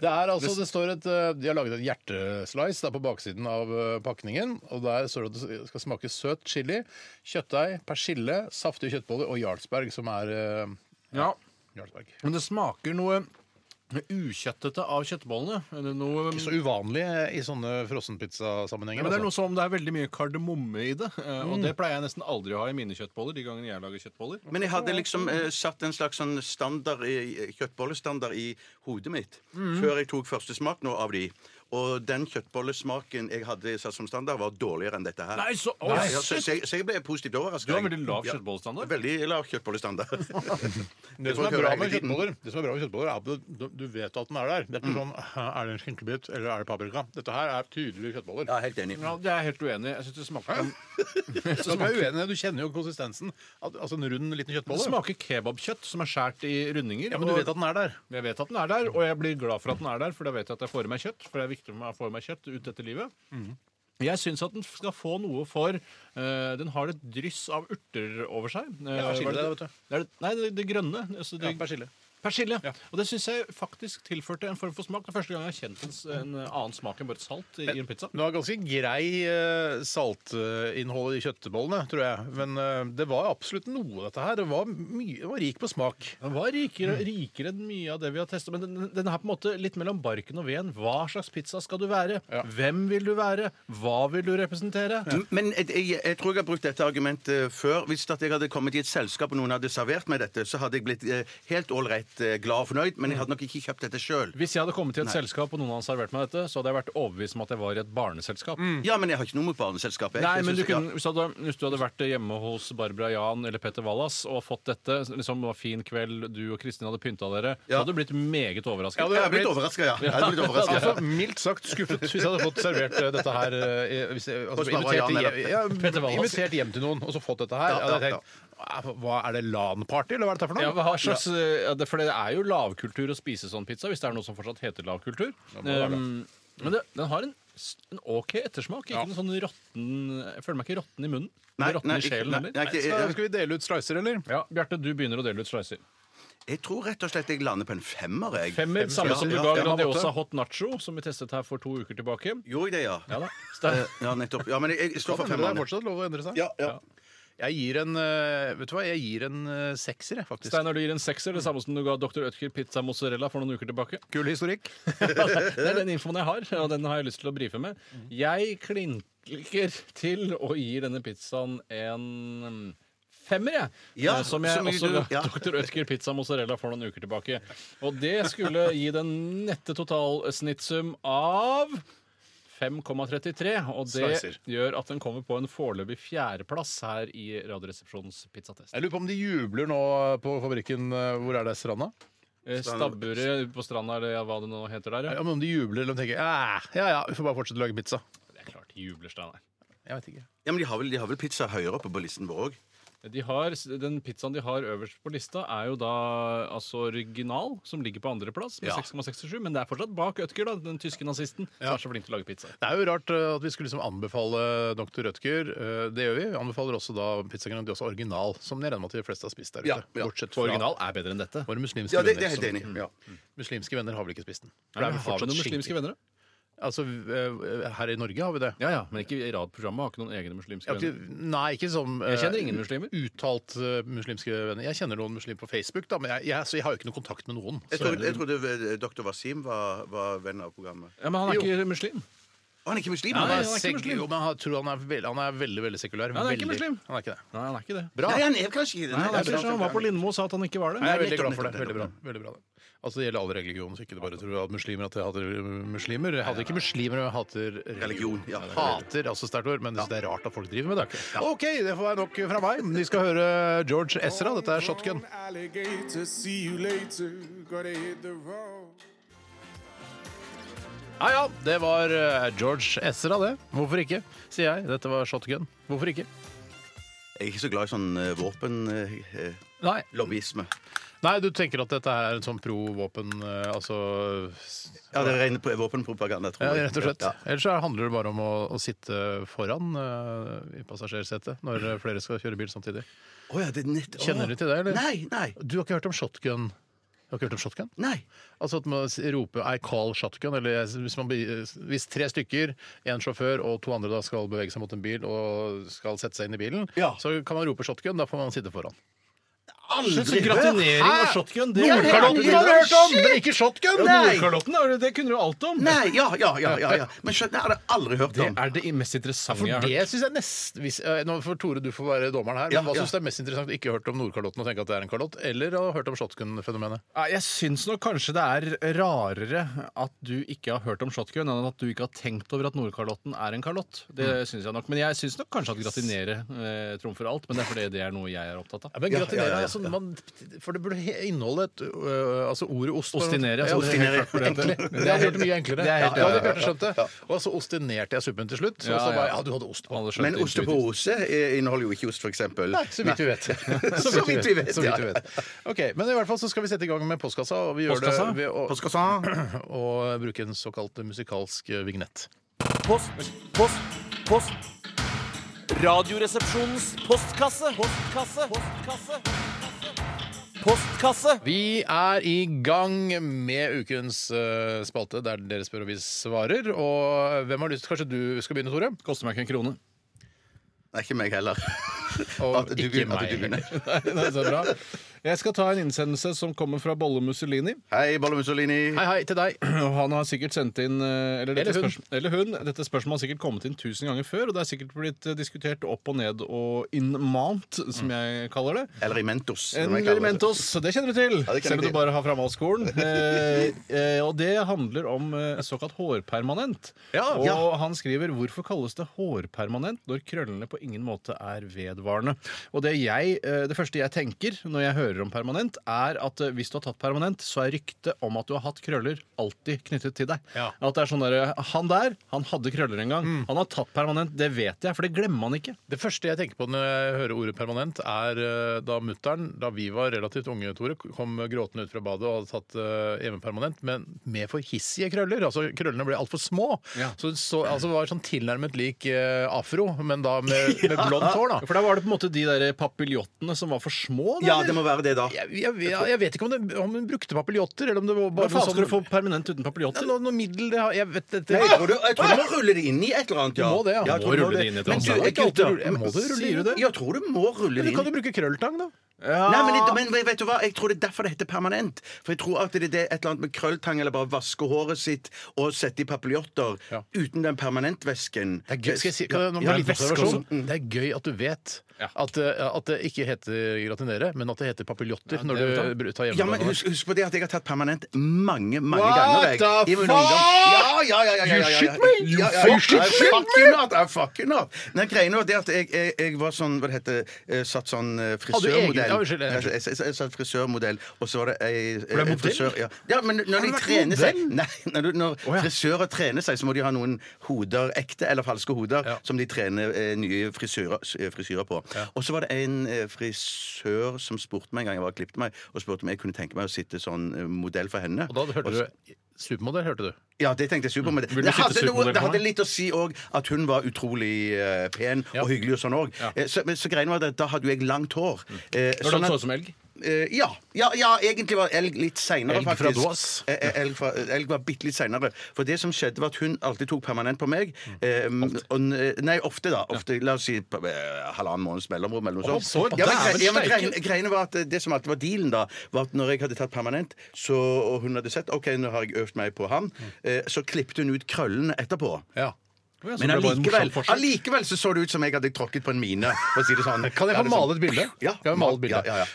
Speaker 2: Det er altså, det står et, eh, De har laget et hjerteslice da, på baksiden av eh, pakningen. og Der står det at det skal smake søt chili, kjøttdeig, persille, saftige kjøttboller og Jarlsberg, som er eh,
Speaker 3: Ja,
Speaker 2: Jarlsberg.
Speaker 3: men det smaker noe ukjøttete av kjøttbollene. Eller noe
Speaker 2: Ikke så uvanlig eh, i sånne frossenpizzasammenhenger.
Speaker 3: Men det er
Speaker 2: altså. Mm.
Speaker 3: noe som om det er veldig mye kardemomme i det. eh, Og det pleier jeg nesten aldri å ha i mine kjøttboller. de gangene jeg lager kjøttboller.
Speaker 4: Men jeg hadde liksom eh, satt en slags sånn standard i, kjøttbollestandard i hodet mitt
Speaker 3: Mhm.
Speaker 4: før jeg tok første smak nå av de. Og den kjøttbollesmaken jeg hadde satt som standard, var dårligere enn dette her.
Speaker 3: Nei, så- å,
Speaker 4: Ja, så,
Speaker 3: shit!
Speaker 4: så, jeg, så jeg ble positivt overrasket.
Speaker 3: Du har veldig lav kjøttbollestandard.
Speaker 4: Ja, veldig lav kjøttbollestandard.
Speaker 2: Det som, er bra med kjøttboller, det som er bra med kjøttboller, er at du, du vet at den er der. Det er ikke sånn
Speaker 4: Mm.
Speaker 2: Er det en skinkebit, eller er det paprika? Dette her er tydelige kjøttboller.
Speaker 4: Ja, helt enig.
Speaker 3: Ja, det er jeg helt uenig i. Jeg syns det smaker
Speaker 2: Så som er uenig, Du kjenner jo konsistensen. At, altså en rund, liten
Speaker 3: Det
Speaker 2: kjøttbolle.
Speaker 3: smaker kebabkjøtt som er skåret i rundinger.
Speaker 2: Ja, Men du vet at den er der.
Speaker 3: og jeg vet at den er der, og jeg blir glad for at den er der, for da vet jeg at jeg får i meg kjøtt. For det er viktig for meg å få i meg kjøtt ut etter livet.
Speaker 2: Mhm.
Speaker 3: Jeg syns at den skal få noe for eh, Den har et dryss av urter over seg. Eh,
Speaker 2: Ja, persille,
Speaker 3: hva er
Speaker 2: det, vet
Speaker 3: Det er det, nei, det, det grønne. Altså det,
Speaker 2: persille.
Speaker 3: Persille.
Speaker 2: Ja.
Speaker 3: Og det syns jeg faktisk tilførte en form for smak. Det er første gang jeg har kjent en, s- en annen smak enn bare salt i, i en pizza.
Speaker 2: Det var ganske grei eh, saltinnhold i kjøttbollene, tror jeg. Men eh, det var absolutt noe av dette her. Det var, mye, det var rik på smak.
Speaker 3: Den var rikere,
Speaker 2: Mm.
Speaker 3: rikere enn mye av det vi har testet, men den, den er på en måte litt mellom barken og veden. Hva slags pizza skal du være? Hvem vil du være? Hva vil du representere?
Speaker 4: Men jeg, jeg, jeg tror jeg har brukt dette argumentet før. Hvis at jeg hadde kommet i et selskap og noen hadde servert meg dette, så hadde jeg blitt eh, helt ålreit helt eh, glad og fornøyd,
Speaker 3: Mm.
Speaker 4: men jeg hadde nok ikke kjøpt dette sjøl.
Speaker 3: Hvis jeg hadde kommet til et selskap og noen hadde servert meg dette, så hadde jeg vært overbevist om at jeg var i et barneselskap.
Speaker 4: Ja, men jeg har ikke noe mot barneselskap. jeg.
Speaker 3: Nei,
Speaker 4: Jeg
Speaker 3: men du
Speaker 4: synes-
Speaker 3: kunne, hvis, du hadde, hvis du hadde vært hjemme hos Barbara Jan eller Petter Wallas og fått dette, liksom, det var fin kveld, du og Kristin hadde pynta dere, så
Speaker 4: Ja.
Speaker 3: hadde du blitt meget overrasket.
Speaker 2: Ja,
Speaker 4: ja. Jeg er blitt overraska, ja. Jeg er blitt overrasket.
Speaker 2: Altså, mildt sagt skuffet hvis jeg hadde fått servert eh, dette her eh, i- hvis jeg, altså,
Speaker 4: Hos Barbara
Speaker 2: invitert,
Speaker 4: Jan,
Speaker 2: hjem,
Speaker 4: eller?
Speaker 2: ja,
Speaker 3: Petter Wallas.
Speaker 2: invitert hjem til noen og så fått dette her.
Speaker 4: Ja,
Speaker 2: Jeg hadde
Speaker 4: ja,
Speaker 2: tenkt "Æ, Hva er det LAN-party, eller hva er dette for noe?
Speaker 3: Ja, hva slags, eh, det- For det er jo lavkultur å spise sånn pizza, hvis det er noe som fortsatt heter lavkultur. Um, men det, den har en, s- en OK ettersmak. Ikke noe sånn råtten Jeg føler meg ikke råtten i munnen.
Speaker 4: Nei,
Speaker 3: råtten
Speaker 4: nei,
Speaker 3: i
Speaker 4: ikke-
Speaker 3: sjelen
Speaker 4: nei,
Speaker 3: heller.
Speaker 4: nei, ikke-
Speaker 2: Skal, skal vi dele ut slicer, eller?
Speaker 3: Ja, Bjarte, du begynner å dele ut slicer.
Speaker 4: Jeg tror rett og slett jeg lander på en femmer. jeg.
Speaker 3: Femmer, samme
Speaker 4: ja,
Speaker 3: som du
Speaker 4: ja,
Speaker 3: ga
Speaker 4: ja,
Speaker 3: Grandiosa Hot Nacho, som vi testet her for to uker tilbake.
Speaker 4: Gjorde jeg det, ja?
Speaker 3: Ja da.
Speaker 4: Eh, Ja, nettopp. Ja, men jeg, jeg står for
Speaker 2: Det er
Speaker 4: femmeren.
Speaker 2: fortsatt lov å endre seg.
Speaker 4: Ja, ja.
Speaker 2: Jeg gir en eh, Vet du hva, jeg gir en eh, sekser, jeg, faktisk.
Speaker 3: Steinar, du gir en sekser, det samme som du ga Dr. Ødker pizza mozzarella for noen uker tilbake.
Speaker 2: Kul historikk.
Speaker 3: Det er den infoen jeg har, og den har jeg lyst til å brife med. Jeg klinker til og gir denne pizzaen en mm, femmer, jeg.
Speaker 4: Ja,
Speaker 3: Eh, som jeg
Speaker 4: så mye
Speaker 3: også
Speaker 4: du-
Speaker 3: ga
Speaker 4: ja.
Speaker 3: Dr. Ødker pizza mozzarella for noen uker tilbake. Og det skulle gi den nette totalsnittsum av 5,33, og det
Speaker 2: Slicer.
Speaker 3: gjør at den kommer på en foreløpig fjerdeplass her i Radioresepsjonens pizzatest.
Speaker 2: Jeg lurer på om de jubler nå på fabrikken eh, Hvor er det? Stranda?
Speaker 3: Eh, Stabburet på stranda, eller hva det nå heter der,
Speaker 2: Ja,
Speaker 3: ja.
Speaker 2: men om de jubler eller om de tenker Ja, ja, ja, vi får bare fortsette å lage pizza.
Speaker 3: Det er klart de jubler, Steinar.
Speaker 2: Jeg vet ikke.
Speaker 4: ja, men de har, vel, de har vel pizza høyere oppe på listen vår òg?
Speaker 3: De har, den pizzaen de har øverst på lista, er jo da altså original, som ligger på andreplass med
Speaker 2: Ja.
Speaker 3: 6,67. Men det er fortsatt bak Ødger, da, den tyske nazisten som er så flink til å lage pizza.
Speaker 2: Det er jo rart eh, at vi skulle liksom anbefale Dr. Rødtger. Eh, Det gjør vi. Vi anbefaler også da pizza Grandiosa original, som jeg regner med at de fleste har spist der ute.
Speaker 4: Ja, ja.
Speaker 2: Bortsett
Speaker 3: For
Speaker 2: fra
Speaker 3: original er bedre enn dette.
Speaker 2: våre muslimske
Speaker 4: Ja, det, det er jeg helt
Speaker 2: venner.
Speaker 4: enig i. Ja.
Speaker 2: som- Muslimske venner har vel ikke spist den? For det er
Speaker 3: Nei, men
Speaker 2: vel
Speaker 3: har vi
Speaker 2: fortsatt
Speaker 3: noen
Speaker 2: skinke.
Speaker 3: muslimske venner? da?
Speaker 2: Altså, eh, Her i Norge har vi det.
Speaker 3: Ja, ja, Men ikke i radprogrammet har ikke noen egne muslimske
Speaker 2: Jeg har
Speaker 3: venner.
Speaker 2: ikke, nei, ikke som eh,
Speaker 3: Jeg kjenner ingen muslimer.
Speaker 2: Uttalt eh, muslimske venner. Jeg kjenner noen muslimer på Facebook, da, men jeg, jeg, så jeg har jo ikke noe kontakt med noen.
Speaker 4: Jeg
Speaker 2: Så-
Speaker 4: trodde, jeg trodde eh, dr. Wasim var, var venn av programmet.
Speaker 3: Ja, Men han er ikke muslim.
Speaker 4: Å, han er ikke muslim?
Speaker 2: Han
Speaker 3: Nei,
Speaker 2: er,
Speaker 3: han
Speaker 4: han er...
Speaker 3: er ikke
Speaker 2: seg-
Speaker 3: muslim.
Speaker 2: jo, men han, tror han, er veldig, han er veldig veldig sekulær.
Speaker 3: Han er ikke
Speaker 2: veldig.
Speaker 3: muslim.
Speaker 2: Han er ikke det.
Speaker 3: Nei, han er ikke det.
Speaker 2: Bra!
Speaker 4: Nei, han er kanskje ikke det.
Speaker 3: Nei, han, er
Speaker 4: Nei,
Speaker 3: ikke, det.
Speaker 4: sant,
Speaker 3: han var
Speaker 4: sant.
Speaker 3: på Lindmo og sa at han ikke var det.
Speaker 2: Nei, jeg er
Speaker 4: Nei,
Speaker 2: veldig
Speaker 4: nettopp,
Speaker 2: glad for det.
Speaker 4: nettopp,
Speaker 2: Veldig bra.
Speaker 4: nettopp.
Speaker 2: Veldig bra. det. Altså, det gjelder alle religioner, så ikke det bare tror at muslimer at jeg hater muslimer. Jeg hater ikke muslimer, men jeg hater religion.
Speaker 4: Religion, ja.
Speaker 2: Hater, altså sterkt ord, men jeg synes det er rart at folk driver med det. OK, det får være nok fra meg. Vi skal høre George Ezra. Dette er Shotgun.
Speaker 6: Alligator, see you later. Gotta hit the road.
Speaker 2: Ja ja, det var eh, George Ezra, det. Hvorfor ikke, sier jeg. Dette var Shotgun. Hvorfor ikke?
Speaker 4: Jeg er ikke så glad i sånn eh, våpenlobbyisme.
Speaker 2: Nei, Nei du tenker at dette er en sånn pro-våpen, eh, altså
Speaker 4: Ja, det er ren pro- våpenpropaganda, tror
Speaker 2: Ja,
Speaker 4: jeg.
Speaker 2: rett og slett.
Speaker 4: Ja.
Speaker 2: Ellers så handler det bare om å, å sitte foran eh, i passasjersetet når eh, flere skal kjøre bil samtidig.
Speaker 4: Å, ja, det er nett... Å.
Speaker 2: Kjenner du til det, eller?
Speaker 4: Nei, nei.
Speaker 2: Du har ikke hørt om shotgun? Du har ikke hørt om shotgun?
Speaker 4: Nei.
Speaker 2: Altså at man s- roper 'I call shotgun', eller eh, hvis, man, blir- hvis tre stykker, én sjåfør og to andre da skal bevege seg mot en bil og skal sette seg inn i bilen,
Speaker 4: Ja.
Speaker 2: så kan man rope 'shotgun'. Da får man sitte foran.
Speaker 4: Aldri
Speaker 3: Gratinering
Speaker 2: Hæ?
Speaker 3: og shotgun, det
Speaker 4: Nordkalotten
Speaker 3: Nordkalotten
Speaker 4: har du hørt om, men
Speaker 2: ikke shotgun!
Speaker 4: Nei!
Speaker 3: Nordkalotten, er det- det kunne du alt om!
Speaker 4: Nei, ja, ja, ja, ja, ja. Men skjønner, jeg har aldri hørt
Speaker 3: Det
Speaker 4: om.
Speaker 3: er det mest interessante jeg
Speaker 2: For
Speaker 3: har hørt.
Speaker 2: det synes jeg nest, hvis, eh, Nå får Tore du får være dommeren her, men
Speaker 4: Ja,
Speaker 2: hva
Speaker 4: ja.
Speaker 2: syns du er mest interessant? Ikke hørt om Nordkalotten og tenke at det er en kalott, eller å ha hørt om shotgun-fenomenet?
Speaker 3: Ja, Jeg syns nok kanskje det er rarere at du ikke har hørt om shotgun, enn at du ikke har tenkt over at Nordkalotten er en kalott. Det
Speaker 2: Mm.
Speaker 3: synes jeg nok. Men jeg syns nok kanskje at gratinere eh, trumfer alt. Men det er fordi det er noe jeg er opptatt av.
Speaker 2: Ja, men
Speaker 4: Ja,
Speaker 2: gratinerer,
Speaker 4: ja, ja, ja.
Speaker 2: Altså, man, for det burde he- inneholde et øh, altså ordet ost.
Speaker 3: Ostinere, altså.
Speaker 2: Ja, ostinere.
Speaker 3: Det er helt klart
Speaker 2: Enkle. Det er helt mye enklere.
Speaker 3: Det er helt-
Speaker 2: ja, det Bjarte skjønte. Og så ostinerte jeg suppen til slutt. Så,
Speaker 3: Ja,
Speaker 2: så bare,
Speaker 3: ja.
Speaker 2: ja, du hadde ost på.
Speaker 3: Alle skjønte
Speaker 4: Men osteoporose eh, inneholder jo ikke ost, for eksempel.
Speaker 2: Nei, så vidt vi vet.
Speaker 4: Så vidt vi vet,
Speaker 2: Så vidt vi
Speaker 4: ja.
Speaker 2: vet. Ok, Men i hvert fall så skal vi sette i gang med postkassa, og vi gjør
Speaker 3: Postkassa?
Speaker 2: det ved å,
Speaker 4: Postkassa.
Speaker 2: å bruke en såkalt musikalsk eh, vignett.
Speaker 8: Post, post, post. Radioresepsjonens postkasse. Postkasse. Postkasse. Postkasse.
Speaker 2: Vi er i gang med ukens eh, spalte, der dere spør og vi svarer. Og hvem har lyst? Kanskje du skal begynne, Tore?
Speaker 3: utbyttet. Koster meg ikke en krone.
Speaker 4: Nei, ikke meg heller.
Speaker 2: Og
Speaker 4: At du
Speaker 2: ikke
Speaker 4: begynner- at
Speaker 2: meg
Speaker 4: du begynner.
Speaker 2: heller. Nei, det er så bra.
Speaker 3: Jeg skal ta en innsendelse som kommer fra Bolle Mussolini.
Speaker 4: Hei, Bolle Mussolini.
Speaker 2: Hei, hei til deg.
Speaker 3: Og han har sikkert sendt inn eh, Eller, dette
Speaker 2: Eller hun.
Speaker 3: spørsm- eller hun. Dette spørsmålet har sikkert kommet inn tusen ganger før, og det er sikkert blitt eh, diskutert opp og ned og in mount,
Speaker 2: Mm.
Speaker 3: som jeg kaller det.
Speaker 4: Eller i Mentos. som
Speaker 3: En
Speaker 4: jeg kaller det.
Speaker 3: Verimentos, det kjenner du til,
Speaker 4: Ja, det kjenner jeg
Speaker 3: selv om du
Speaker 4: til.
Speaker 3: bare har framholdsskolen. Eh, eh, og det handler om eh, såkalt hårpermanent.
Speaker 2: Ja,
Speaker 3: og
Speaker 2: ja.
Speaker 3: han skriver hvorfor kalles det hårpermanent når krøllene på ingen måte er vedvarende. Og det, jeg, eh, det første jeg tenker når jeg hører om permanent, er at eh, hvis du har tatt permanent, så er ryktet om at du har hatt krøller alltid knyttet til deg.
Speaker 2: Ja.
Speaker 3: At det er sånn derre Han der, han hadde krøller en gang.
Speaker 4: Mm.
Speaker 3: Han har tatt permanent, det vet jeg, for det glemmer man ikke.
Speaker 2: Det første jeg tenker på når jeg hører ordet permanent, er eh, da mutter'n, da vi var relativt unge, Tore, kom gråtende ut fra badet og hadde tatt eh, hjemmepermanent, men med for hissige krøller. Altså krøllene ble altfor små.
Speaker 3: Ja.
Speaker 2: Så, så altså, det var sånn tilnærmet lik eh, afro, men da med, med blondt hår, da.
Speaker 3: For da var det på en måte de der papiljottene som var for små? Da,
Speaker 4: Ja,
Speaker 3: eller?
Speaker 4: det må være det, da.
Speaker 2: Jeg, jeg, jeg, jeg vet ikke om, det, om hun brukte papiljotter, eller om det var
Speaker 3: Hva
Speaker 2: bare
Speaker 3: faen skal du få
Speaker 2: noe sånn
Speaker 3: permanent uten papiljotter?
Speaker 2: noe, noe middel det har Jeg vet dette
Speaker 4: Nei, jeg tror, du, jeg tror du må rulle det inn i et eller annet, ja.
Speaker 2: Du må det, ja.
Speaker 4: ja.
Speaker 3: Du
Speaker 4: jeg
Speaker 3: må
Speaker 4: tror du
Speaker 3: rulle det inn i et eller
Speaker 4: Men
Speaker 3: annet.
Speaker 4: du,
Speaker 3: Det er ikke
Speaker 4: gutter,
Speaker 2: alltid- må du rulle det
Speaker 3: Sier du det?
Speaker 4: Jeg tror du må rulle
Speaker 2: Men
Speaker 4: det
Speaker 2: kan du
Speaker 4: inn.
Speaker 2: bruke krølltang, da?
Speaker 4: Nei, men, det- men vet du hva? Jeg tror det er derfor det heter permanent. For jeg tror at det er et eller annet med krølltang eller bare vaske håret sitt og sette i papiljotter
Speaker 2: Ja.
Speaker 4: uten den permanentvæsken.
Speaker 2: Det er gøy, skal jeg si, kan jeg, nå blir
Speaker 4: Ja,
Speaker 2: det,
Speaker 4: litt
Speaker 2: litt
Speaker 4: observasjon.
Speaker 2: observasjon? det er gøy at du vet at, eh, at det ikke heter gratinere, men at det heter papiljotter når
Speaker 3: det vet
Speaker 2: du br- tar
Speaker 4: Ja, men
Speaker 2: hjemmebane.
Speaker 4: husk, husk på det at jeg har tatt permanent mange, mange
Speaker 3: What
Speaker 4: ganger. Jeg,
Speaker 3: the
Speaker 4: i min
Speaker 3: fuck?
Speaker 4: ungdom. Ja, ja, ja, ja, ja, ja, ja.
Speaker 3: You shit me? You
Speaker 4: Ja, ja, ja.
Speaker 3: fucking
Speaker 4: I
Speaker 3: shit
Speaker 4: fuck you not, I fuck you not. Nei, greia er det at jeg, jeg, jeg var sånn, hva det heter, eh, satt sånn eh,
Speaker 2: egen-
Speaker 4: frisørmodell.
Speaker 2: ja, unnskyld,
Speaker 4: Jeg,
Speaker 2: unnskyld.
Speaker 4: jeg, jeg, jeg satt frisørmodell, og så var det ei
Speaker 3: du
Speaker 4: ei
Speaker 3: modell?
Speaker 4: Ja. ja, men når de
Speaker 3: vært
Speaker 4: trener seg
Speaker 3: modell?
Speaker 4: Nei, når, du- når
Speaker 3: ja.
Speaker 4: frisører trener seg, så må de ha noen hoder, ekte eller falske hoder,
Speaker 2: Ja.
Speaker 4: som de trener eh, nye frisyrer, s- eh, frisyrer på. Og så var det en eh, frisør som spurte meg en gang jeg var og klippet meg, og spurte om jeg kunne tenke meg å sitte sånn eh, modell for henne.
Speaker 2: Og da hørte du Supermodell, hørte du.
Speaker 4: Ja, det tenkte jeg supermodell.
Speaker 3: Vil du
Speaker 4: Det
Speaker 3: sitte
Speaker 4: hadde, noe,
Speaker 3: supermodell
Speaker 4: det
Speaker 3: for
Speaker 4: hadde
Speaker 3: meg?
Speaker 4: litt å si òg at hun var utrolig eh, pen
Speaker 2: Ja.
Speaker 4: og hyggelig og sånn òg. Så, men så greien var det at da hadde jo jeg langt hår. Eh,
Speaker 3: Når
Speaker 4: sånn
Speaker 3: du
Speaker 4: at-
Speaker 3: så ut som elg?
Speaker 4: Eh, ja, ja, ja, egentlig var elg litt seinere,
Speaker 2: Elg fra
Speaker 4: faktisk.
Speaker 2: Doas.
Speaker 4: Eh, eh, elg, fra, elg var bitte litt seinere. For det som skjedde, var at hun alltid tok permanent på meg.
Speaker 2: Mm.
Speaker 4: Eh, og, n- nei, ofte, da. Ofte, La oss si på, eh, halvannen måneds mellomrom eller noe
Speaker 2: Å,
Speaker 4: sånt.
Speaker 2: så
Speaker 4: Ja, men,
Speaker 2: dæven
Speaker 4: gre- ja, men
Speaker 2: steike.
Speaker 4: greien, greiene var at eh, det som alltid var dealen, da, var at når jeg hadde tatt permanent, så, og hun hadde sett OK, nå har jeg øvd meg på han, eh, så klippet hun ut krøllene etterpå.
Speaker 2: Mm. Ja.
Speaker 4: Men
Speaker 3: det ble bare en morsom
Speaker 4: allikevel,
Speaker 3: forsøk.
Speaker 4: allikevel så så det ut som jeg hadde tråkket på en mine. For å si det sånn.
Speaker 2: Kan jeg få
Speaker 4: Ja, det er sånn-
Speaker 2: male et bilde?
Speaker 4: Ja,
Speaker 2: Kan jeg male et bilde?
Speaker 4: ja, ja, ja.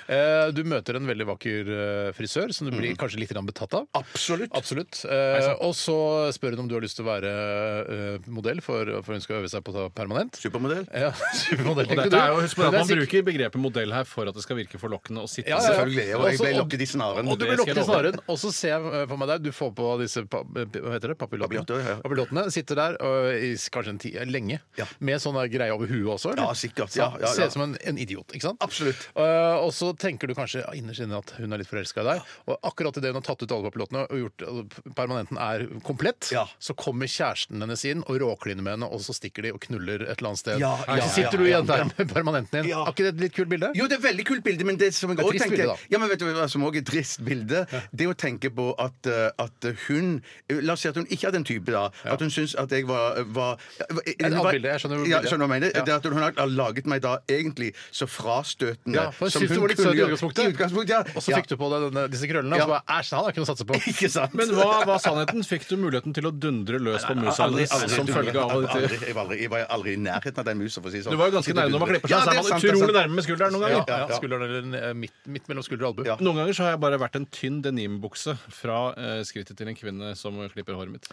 Speaker 2: Eh, Du møter en veldig vakker eh, frisør som du blir kanskje litt grann betatt av.
Speaker 4: Mm. Absolutt.
Speaker 2: Absolutt. Eh, og så spør hun om du har lyst til å være eh, modell, for, for hun skal øve seg på å ta permanent.
Speaker 4: Supermodell.
Speaker 2: Ja, supermodell,
Speaker 3: Og
Speaker 2: tenkte
Speaker 3: dette er
Speaker 2: du.
Speaker 3: jo, husk på at
Speaker 2: Men
Speaker 3: Man
Speaker 2: det er sikk-
Speaker 3: bruker begrepet modell her for at det skal virke forlokkende og sitte sånn.
Speaker 2: Ja, ja, ja.
Speaker 4: Selvfølgelig. Jeg, jeg ble
Speaker 2: Også-
Speaker 4: lokket i snaren.
Speaker 2: Og du blir
Speaker 3: Det skal
Speaker 2: lukket i
Speaker 3: jeg love.
Speaker 2: snaren, og så ser jeg eh, for meg deg, du får på disse pa- eh, hva heter det, papiljottene.
Speaker 4: Papiljotter, ja.
Speaker 2: Papiljottene sitter der ø, i s- kanskje en ti, eh, lenge,
Speaker 4: Ja.
Speaker 2: med sånn der greie over huet også.
Speaker 4: Ja, sikkert. Ja, ja, ja.
Speaker 2: Ser ut som en, en idiot, ikke sant?
Speaker 4: Absolutt.
Speaker 2: Eh, og så tenker du kanskje ja, innerst inne at hun er litt forelska i deg, og akkurat idet hun har tatt ut alle papiljottene og gjort altså, permanenten er komplett,
Speaker 4: Ja.
Speaker 2: så kommer kjæresten hennes inn og råkliner med henne, og så stikker de og knuller et eller annet sted.
Speaker 4: Ja, ja,
Speaker 2: så sitter du
Speaker 4: ja,
Speaker 2: igjen
Speaker 4: ja.
Speaker 2: der med permanenten din.
Speaker 4: Ja.
Speaker 2: Er ikke det et litt kult bilde?
Speaker 4: Jo, det er et veldig kult bilde, men det som jeg
Speaker 2: Det er
Speaker 4: også
Speaker 2: trist
Speaker 4: tenker
Speaker 2: bilde, da.
Speaker 4: Ja, men vet du hva som også er et trist bilde? Det er å tenke på at, eh, at hun La oss si at hun ikke hadde en type, da. At hun syns at jeg var, var Et
Speaker 2: annet bilde, jeg skjønner hvor
Speaker 4: ja,
Speaker 2: bildet er.
Speaker 4: skjønner hva jeg mener.
Speaker 2: Ja.
Speaker 4: Det at hun har laget meg da egentlig så frastøtende
Speaker 2: Ja, for jeg synes du var litt søt i
Speaker 4: gjøre.
Speaker 2: utgangspunktet.
Speaker 4: I utgangspunktet, ja.
Speaker 2: Og så fikk du på deg denne, disse krøllene,
Speaker 4: Ja.
Speaker 2: og så bare æsj, han har ikke noe å satse på.
Speaker 4: Ikke sant?
Speaker 3: Men hva var sannheten? Fikk du muligheten til å dundre løs på musa
Speaker 4: Aldri,
Speaker 3: hennes
Speaker 4: aldri,
Speaker 3: som
Speaker 4: aldri,
Speaker 3: følge av
Speaker 4: aldri,
Speaker 3: dette?
Speaker 4: jeg, var aldri, jeg var aldri i nærheten av den musa, for å si det sånn.
Speaker 3: Du var jo ganske nærme når man klipper
Speaker 4: Ja,
Speaker 3: seg. så er
Speaker 4: det er
Speaker 3: man
Speaker 4: sant, det er sant.
Speaker 3: utrolig nærme med skulderen noen
Speaker 2: Ja,
Speaker 3: ganger.
Speaker 2: ja,
Speaker 4: ja.
Speaker 2: Skulderen eller eh, midt, midt mellom skulder og albu.
Speaker 4: Ja.
Speaker 3: Noen ganger så har jeg bare vært en tynn denimbukse fra eh, skrittet til en kvinne som klipper håret mitt.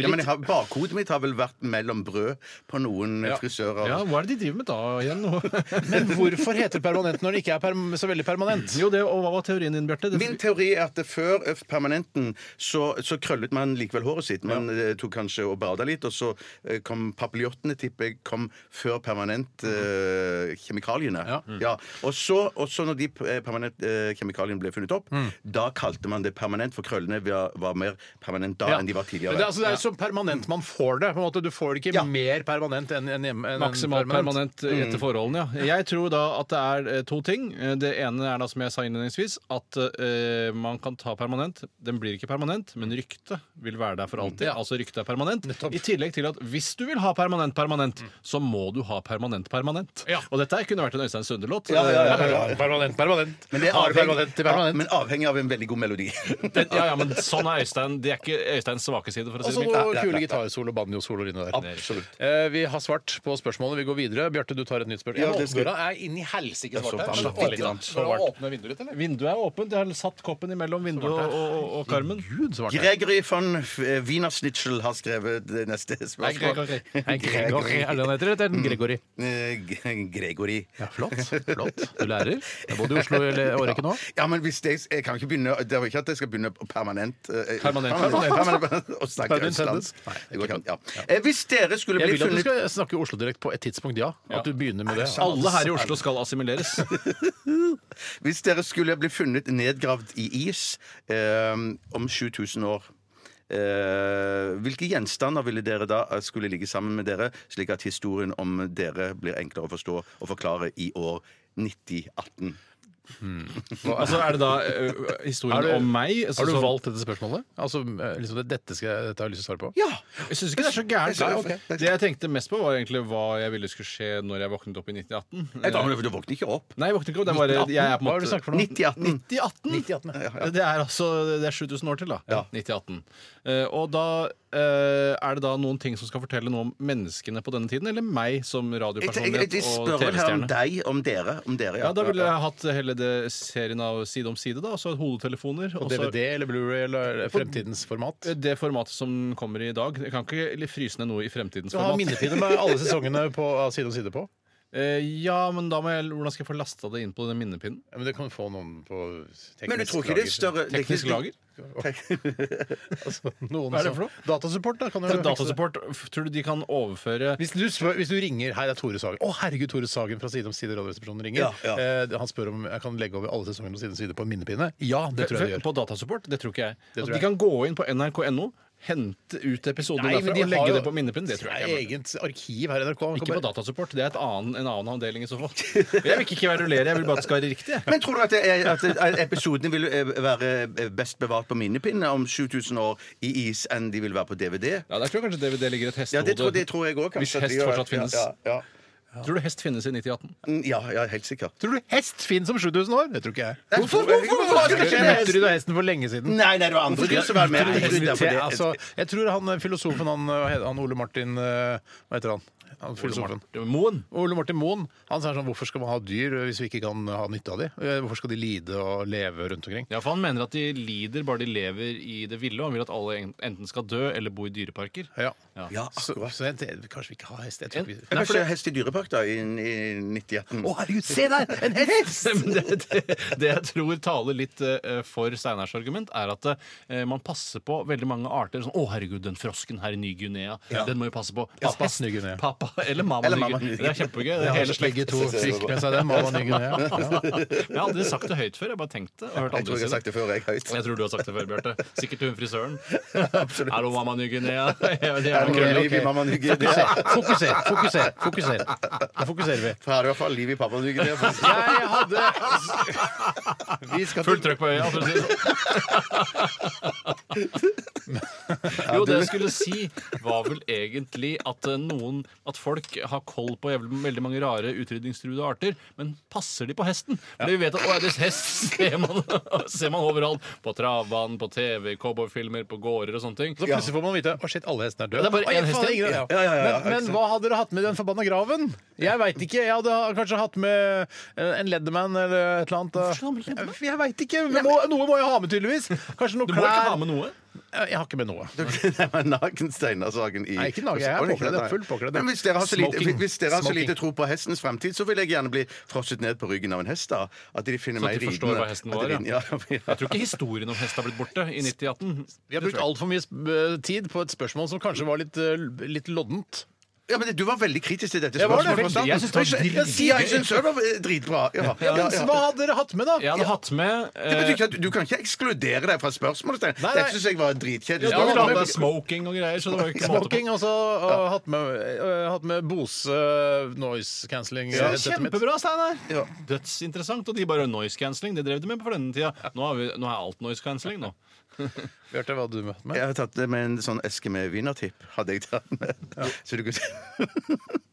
Speaker 4: Ja, men jeg har, bakhodet mitt har vel vært mellom brød på noen eh, frisører.
Speaker 3: Ja, Hva er det de driver med da igjen?
Speaker 2: Men hvorfor heter det permanent når det ikke er perm- så veldig permanent?
Speaker 3: Jo, det, og Hva var teorien din, Bjarte? Det-
Speaker 4: Min teori er at før eh, permanenten så, så krøllet man likevel håret sitt. Man eh, tok kanskje og bada litt, og så eh, kom papiljottene, tipper jeg, kom før permanent eh, kjemikaliene.
Speaker 2: Mhm. Ja.
Speaker 4: Ja. Og, så, og så når de eh, permanent eh, kjemikaliene ble funnet opp,
Speaker 2: Mm.
Speaker 4: da kalte man det permanent, for krøllene var, var mer permanent da
Speaker 2: Ja.
Speaker 4: enn de var
Speaker 2: Men Det, er-
Speaker 4: tidligere.
Speaker 2: altså, det er så permanent man får det. På en måte. Du får gjør det ikke mer permanent enn enn hjemme. enn Mm.
Speaker 3: Maksimalt permanent eh, etter forholdene, ja. Jeg tror da at det er eh, to ting. Eh, Det ene er da, som jeg sa innledningsvis, at eh, man kan ta permanent. Den blir ikke permanent, men ryktet vil være der for
Speaker 2: Mm.
Speaker 3: alltid. Altså ryktet er permanent. I tillegg til at hvis du vil ha permanent permanent, så må du ha permanent permanent.
Speaker 2: Mm. Ja.
Speaker 3: Og dette kunne vært en Øystein Sunde-låt. Eh,
Speaker 4: Ja, ja, ja, ja,
Speaker 2: Ja, Permanent, permanent.
Speaker 4: Men det er
Speaker 2: Har det permanent
Speaker 4: avhengig,
Speaker 2: til permanent.
Speaker 4: ja, men avhengig av en veldig god melodi.
Speaker 3: Den- ja, ja, men sånn er Øystein. Det er ikke Øysteins svake side, for å
Speaker 2: Og
Speaker 3: si
Speaker 2: så
Speaker 3: det
Speaker 2: noe
Speaker 3: mildt.
Speaker 2: kule gitarsolo og banjosolo inni der.
Speaker 4: Absolutt.
Speaker 2: Eh, vi har svart på spørsmålet. Vi går videre. Bjarte, du tar et nytt spørsmål.
Speaker 4: Ja, det
Speaker 2: Åpner
Speaker 4: skal-
Speaker 2: deg. er inn i helsike svart her.
Speaker 4: så
Speaker 2: Slapp
Speaker 4: varmt.
Speaker 2: litt av.
Speaker 4: Så
Speaker 2: Skal du åpne vinduet litt, eller?
Speaker 3: Vinduet er åpent. Jeg har satt koppen imellom vinduet og, og, og karmen.
Speaker 2: Gud, så varmt det er.
Speaker 4: Gregory von eh, Wienersnitschel har skrevet det neste
Speaker 3: Nei,
Speaker 4: spørsmål.
Speaker 3: Gregory. Nei, Gregory. Er det han heter? Eller er det Gregory?
Speaker 4: Eh, G- Gregory.
Speaker 3: Ja, flott. flott. Du lærer. Jeg bodde i Oslo i
Speaker 2: eh,
Speaker 3: årrekken nå.
Speaker 4: Ja, men hvis jeg, jeg kan ikke begynne Det er jo ikke at jeg skal begynne permanent eh,
Speaker 3: Permanent.
Speaker 4: permanent, permanent Å snakke
Speaker 2: Permanent
Speaker 4: østlandsk.
Speaker 2: sentence. Nei,
Speaker 4: Det går ikke an. Ja. Eh, Hvis dere skulle
Speaker 2: Jeg
Speaker 4: bli
Speaker 2: vil at du
Speaker 4: funnet
Speaker 2: skal snakke Oslo direkt på et tidspunkt, ja. At du begynner med det.
Speaker 3: Alle her i Oslo skal assimileres.
Speaker 4: Hvis dere skulle bli funnet nedgravd i is eh, om 7000 år eh, hvilke gjenstander ville dere da eh, skulle ligge sammen med dere, slik at historien om dere blir enklere å forstå og forklare i år 9018?
Speaker 3: Altså, er det da eh, historien
Speaker 2: Er du-
Speaker 3: om meg? Altså,
Speaker 2: Har
Speaker 3: sånn-
Speaker 2: du valgt dette spørsmålet? sånn- Altså, eh, liksom, det- dette, skal, jeg- dette har jeg lyst til å svare på.
Speaker 4: Ja!
Speaker 3: Jeg syns ikke det er så gærent.
Speaker 4: Nei,
Speaker 3: Nei, ok. Det jeg tenkte mest på, var egentlig hva jeg ville skulle skje når jeg våknet opp i 1918.
Speaker 4: Jeg tar med det, for Du våkner ikke opp.
Speaker 3: Nei, jeg våknet ikke opp. Det er bare, jeg er på en
Speaker 2: Hva er det du
Speaker 3: måte
Speaker 2: snakker for noe?
Speaker 4: 9018.
Speaker 3: 9018. Det er altså det er 7000 år til, da.
Speaker 4: Ja.
Speaker 3: 9018. Eh, og da eh, er det da noen ting som skal fortelle noe om menneskene på denne tiden, eller meg som
Speaker 4: Jeg, jeg, jeg,
Speaker 3: radiopersonlighet og
Speaker 4: jeg spør her om
Speaker 3: TV-stjerne?
Speaker 4: deg, om dere. Om dere
Speaker 3: Ja, Da ville jeg hatt hele det serien av Side om side, da. Altså hodetelefoner.
Speaker 2: På
Speaker 3: og så-
Speaker 2: DVD eller Blu-ray eller fremtidens format?
Speaker 3: det formatet som kommer i dag. Jeg kan ikke fryse ned noe i fremtidens
Speaker 2: Du har
Speaker 3: format.
Speaker 2: minnetider med alle sesongene på, av side om side på.
Speaker 3: Eh, ja, men da må jeg, hvordan skal jeg få lasta det inn på den minnepinnen?
Speaker 2: Ja, men det kan du få noen på teknisk
Speaker 4: Men du tror ikke det er større det er
Speaker 3: Teknisk
Speaker 4: ikke-
Speaker 3: lager?
Speaker 2: Altså, noen
Speaker 3: Hva er det
Speaker 2: som-
Speaker 3: for noe?
Speaker 2: Datasupport, da. Kan du fikse det.
Speaker 3: Datasupport, f- tror du de kan overføre
Speaker 2: Hvis du, spør, hvis du ringer Hei, det er Tore Sagen. Å, herregud, Tore Sagen fra Side om side Radioresepsjonen ringer.
Speaker 4: Ja, ja.
Speaker 2: Eh, han spør om jeg kan legge over alle sesongene på Side om side på en minnepinne. Ja, det tror jeg de gjør.
Speaker 3: På datasupport? Det tror ikke jeg.
Speaker 2: Det tror jeg.
Speaker 3: At de kan gå inn på nrk.no, hente ut episoden
Speaker 2: Nei,
Speaker 3: derfra
Speaker 2: men de
Speaker 3: og
Speaker 2: har
Speaker 3: legge
Speaker 2: jo-
Speaker 3: det på minnepinnen. Det tror jeg ikke. er mulig.
Speaker 2: eget arkiv her i NRK. Man kan
Speaker 3: Ikke på
Speaker 2: bare-
Speaker 3: datasupport. Det er et annen, en annen avdeling i så fall. Jeg vil ikke kverulere, jeg vil bare at det skal være riktig. jeg.
Speaker 4: Men tror du at, det er, at det- episodene vil eh, være best bevart på minnepinne om 7000 år i is enn de vil være på DVD?
Speaker 3: Ja, Der tror jeg kanskje DVD ligger et
Speaker 4: Ja,
Speaker 3: hestehode.
Speaker 4: det tror, det tror jeg òg.
Speaker 3: Hvis hest fortsatt finnes.
Speaker 4: Ja, ja,
Speaker 3: Tror du hest finnes i 1918?
Speaker 4: ja. Mm, ja, ja helt sikkert.
Speaker 2: Tror du hest finnes om 7000 år? Det tror ikke jeg.
Speaker 4: Hvorfor- hvorfor- hvorfor skal ikke
Speaker 2: Jeg
Speaker 4: hest?
Speaker 2: møtte du da hesten for lenge siden?
Speaker 4: Nei, nei, det var andre dyr som var med.
Speaker 2: Tror du
Speaker 4: Jeg tror
Speaker 2: hesten-
Speaker 4: det er for det.
Speaker 2: altså, jeg tror han eh, filosofen, han, eh, hva heter han Ole Martin eh, Hva heter han? han filosofen.
Speaker 3: Moen?
Speaker 2: Ole Martin Moen han sier sånn Hvorfor skal man ha dyr hvis vi ikke kan ha nytte av dem? Hvorfor skal de lide og leve rundt omkring?
Speaker 3: Ja, for Han mener at de lider bare de lever i det ville, og han vil at alle en- enten skal dø eller bo i dyreparker.
Speaker 2: Ja.
Speaker 4: Ja,
Speaker 2: Så,
Speaker 4: akkurat.
Speaker 2: så jeg, det, kanskje vi ikke har hest? Jeg tror ikke vi-
Speaker 4: Kanskje hest i dyrepark, da, i, i 1918.
Speaker 2: Å, herregud, se der! En hest!
Speaker 3: Men det, det, det jeg tror taler litt eh, for Steinars argument, er at eh, man passer på veldig mange arter. Sånn, 'Å, herregud, den frosken her i Ny-Guinea, den må vi passe på'.
Speaker 2: Ja,
Speaker 3: Pappa,
Speaker 2: Ny-Guinea.
Speaker 3: pappa eller mamma
Speaker 4: Eller mamma
Speaker 3: Ny-Guinea. Det er kjempegøy. Det er hele slekt.
Speaker 2: Begge to fikk med seg den. Mamma Ny-Guinea. Ja.
Speaker 3: Jeg har aldri sagt det høyt før. Jeg har bare tenkt det. og hørt
Speaker 4: Jeg tror
Speaker 3: andre
Speaker 4: jeg har
Speaker 3: si
Speaker 4: sagt
Speaker 3: det.
Speaker 4: det før, jeg høyt.
Speaker 3: Jeg tror du har sagt det før, Bjarte. Sikkert til hun frisøren. Hallo, mamma Ny-Guinea. Ja, det
Speaker 4: Er
Speaker 3: er
Speaker 4: det
Speaker 3: noe
Speaker 4: noe
Speaker 3: krøll.
Speaker 4: liv i mamma Nygine?
Speaker 2: Fokuser, fokuser, fokuser. fokuser. Nå fokuserer vi.
Speaker 4: Her er i hvert fall liv i pappa Nygine.
Speaker 2: Jeg hadde Vi skal
Speaker 3: Fullt trøkk på øya, for å si det sånn. Jo, det jeg skulle si, var vel egentlig at eh, noen At folk har koll på jævlig, veldig mange rare utrydningstruede arter, men passer de på hesten? Fordi vi vet at å, ja, det er hest ser man, ser man overalt. På travbanen, på TV, cowboyfilmer, på gårder og sånne ting.
Speaker 2: Så plutselig får man vite Å shit, alle hestene er døde.
Speaker 3: Det er bare
Speaker 2: Oi,
Speaker 3: én hest
Speaker 2: faen,
Speaker 3: igjen.
Speaker 2: ingen-
Speaker 3: Ja,
Speaker 4: ja, ja, ja,
Speaker 2: men, men hva hadde dere hatt med i den forbanna graven? Jeg veit ikke. Jeg hadde ha- kanskje hatt med eh, en Leatherman eller et eller annet. da. Jeg veit ikke. Men må, noe må jeg ha med, tydeligvis. Kanskje noe
Speaker 3: Du må ikke
Speaker 2: klær.
Speaker 3: ha med noe.
Speaker 2: Jeg har ikke med noe.
Speaker 4: Nei, men Nakensteinersaken i
Speaker 2: Nei, ikke naken. Jeg er påkledd. Jeg er fullt påkledd.
Speaker 4: Men hvis dere har så lite,
Speaker 2: Smoking.
Speaker 4: hvis dere har så
Speaker 2: Smoking.
Speaker 4: lite tro på hestens fremtid, så vil jeg gjerne bli frosset ned på ryggen av en hest. da At de finner
Speaker 3: Så
Speaker 4: meg
Speaker 3: at de forstår
Speaker 4: ridende.
Speaker 3: hva hesten
Speaker 4: At de
Speaker 3: var, ja.
Speaker 4: ridende- ja. ja.
Speaker 3: Jeg tror ikke historien om hest har blitt borte i 1918.
Speaker 2: Vi har brukt altfor mye sp- tid på et spørsmål som kanskje var litt, eh, litt loddent.
Speaker 4: Ja, men Du var veldig kritisk til dette
Speaker 2: Jeg var det, veldig.
Speaker 4: spørsmålet. fra starten.
Speaker 2: Jeg synes det var
Speaker 4: Jeg- jeg-
Speaker 2: dritgøy.
Speaker 4: Jeg syns det var eh, dritbra. Ja, ja, ja,
Speaker 2: men Hva hadde dere hatt med, da?
Speaker 3: Jeg hadde hatt med eh,
Speaker 4: Det betyr ikke at Du kan ikke ekskludere deg fra spørsmålet. Stein.
Speaker 2: Nei, nei.
Speaker 4: Dette syns jeg var et dritkjedelig.
Speaker 3: ja,
Speaker 4: spørsmål.
Speaker 3: men det er smoking og greier, så det var jo ikke måte på.
Speaker 2: Smoking, altså. Og hatt med, eh, hatt med Bose eh, noise cancelling. eh,
Speaker 3: Ja,
Speaker 2: headsetet mitt.
Speaker 3: kjempebra, Steinar!
Speaker 4: Ja.
Speaker 3: Dødsinteressant. Og de bare noise cancelling. Det drev de med på denne tida. Nå, har vi, nå er alt noise cancelling nå.
Speaker 2: Bjarte, hva hadde du hatt med?
Speaker 4: Jeg har tatt det med en sånn eske med wienertipp. Hadde jeg tatt med. Så du kunne,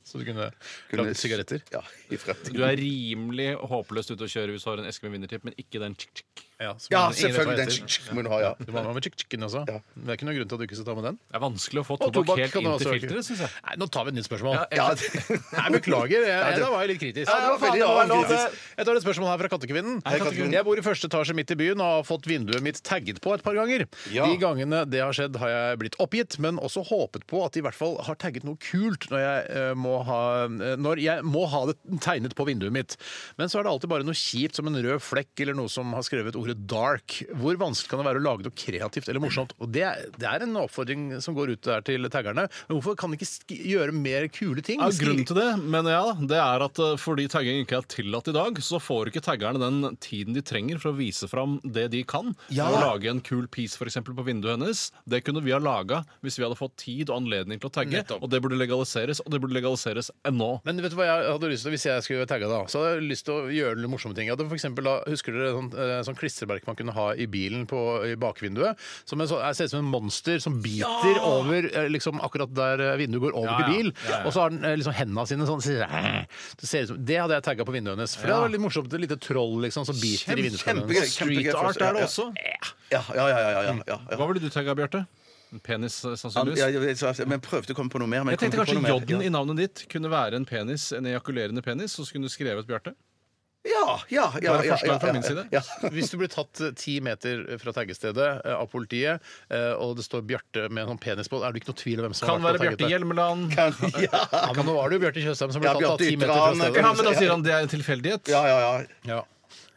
Speaker 2: Så du kunne
Speaker 4: kunne
Speaker 2: lagd sigaretter?
Speaker 4: Ja, i
Speaker 3: Du
Speaker 4: fremtiden.
Speaker 3: er rimelig håpløst ute å kjøre hvis du har en eske med vinnertipp, men ikke den tsk, tsk.
Speaker 2: Ja, som
Speaker 4: Ja,
Speaker 2: ingen vet hva
Speaker 4: selvfølgelig. Den
Speaker 2: heter.
Speaker 4: sk- sk- må du ha, ja.
Speaker 2: Du må ha med chicken også.
Speaker 4: Ja.
Speaker 2: Det er ikke noen grunn til at du ikke skal ta med den.
Speaker 3: Det er vanskelig å få
Speaker 2: Og
Speaker 3: tobakk
Speaker 2: tobakk
Speaker 3: helt
Speaker 2: kan du
Speaker 3: inn til
Speaker 2: også ikke.
Speaker 3: filteret, syns jeg.
Speaker 2: Nei, nå tar vi et nytt spørsmål.
Speaker 4: Ja,
Speaker 2: Nei, beklager. Jeg, jeg,
Speaker 4: det-
Speaker 2: da var jeg litt kritisk.
Speaker 4: Ja, det var veldig
Speaker 2: Faen, det
Speaker 4: rart
Speaker 2: lov. Jeg tar et spørsmål her fra Kattekvinnen.
Speaker 4: Kattekvinnen.
Speaker 2: Jeg bor i første etasje midt i byen og har fått vinduet mitt tagget på et par ganger.
Speaker 4: Ja.
Speaker 2: De gangene det har skjedd, har jeg blitt oppgitt, men også håpet på at de i hvert fall har tagget noe kult når jeg, eh, må, ha, eh, når jeg må ha det tegnet på vinduet mitt. Men så er det alltid bare noe kjipt som en rød flekk eller noe som har skrevet ordet dark. Hvor vanskelig kan det være å lage noe kreativt eller morsomt? Og det, er- det er en oppfordring som går ut der til taggerne. Men hvorfor kan de ikke sk gjøre mer kule ting?
Speaker 3: Ja, grunnen til det, mener jeg, da, det er at eh, fordi tagging ikke er tillatt i dag, så får ikke taggerne den tiden de trenger for å vise fram det de kan. Å lage en kul piece for eksempel, på vinduet hennes, det kunne vi ha laga hvis vi hadde fått tid og anledning til å tagge.
Speaker 2: Nettopp.
Speaker 3: Og det burde legaliseres, og det burde legaliseres ennå.
Speaker 2: Men vet du hva jeg hadde lyst til hvis jeg skulle tagge da? Så hadde jeg lyst til å gjøre noen morsomme ting. Jeg hadde for eksempel, da, husker dere sånn, eh, sånn klistremerke man kunne ha i bilen på, i bakvinduet? Som en, sånn- jeg ser ut som en monster som biter over eh, liksom, akkurat der eh, vinduet går over
Speaker 3: Ja,
Speaker 2: til
Speaker 3: ja.
Speaker 2: bil.
Speaker 3: Ja, ja.
Speaker 2: Og så har den eh, liksom hendene sine sånn sier, "Æ." det, ser ut som, det hadde jeg tagga på vinduet hennes. For det var litt morsomt. Et lite troll liksom, som biter i vinduet
Speaker 4: kjempegøy.
Speaker 2: hennes.
Speaker 3: Street art er det også.
Speaker 4: Ja, ja, ja. ja, ja, ja, ja.
Speaker 3: Hva ville du tagga, Bjarte? En penis, eh,
Speaker 4: Han, ja,
Speaker 3: sannsynligvis?
Speaker 4: jeg, jeg, men prøvde å komme på noe mer. Men
Speaker 3: Jeg tenkte
Speaker 4: kom ikke
Speaker 3: kanskje
Speaker 4: på noe mer.
Speaker 3: J-en i navnet ditt kunne være en penis, en ejakulerende penis, og så kunne du skrevet Bjarte.
Speaker 4: Ja, ja, ja,
Speaker 3: Bare
Speaker 4: ja,
Speaker 3: forslag
Speaker 4: ja,
Speaker 3: fra
Speaker 4: ja,
Speaker 3: min side.
Speaker 4: Ja.
Speaker 2: Hvis du blir tatt eh, ti meter fra taggestedet eh, av politiet, eh, og det står Bjarte med en sånn penis på, er det ikke noe tvil om hvem som
Speaker 3: Kan
Speaker 2: har vært
Speaker 3: være
Speaker 2: på tagget
Speaker 3: Bjarte
Speaker 2: der?
Speaker 3: Hjelmeland.
Speaker 4: Kan, ja.
Speaker 2: Ja, men nå var det jo Bjarte Tjøstheim som ble
Speaker 4: Ja,
Speaker 2: tatt av
Speaker 4: Bjarte
Speaker 2: ti meter fra
Speaker 4: Ytran,
Speaker 2: stedet.
Speaker 3: Ja, men da sier han det er en tilfeldighet.
Speaker 4: Ja, ja, ja.
Speaker 2: Ja. Ja,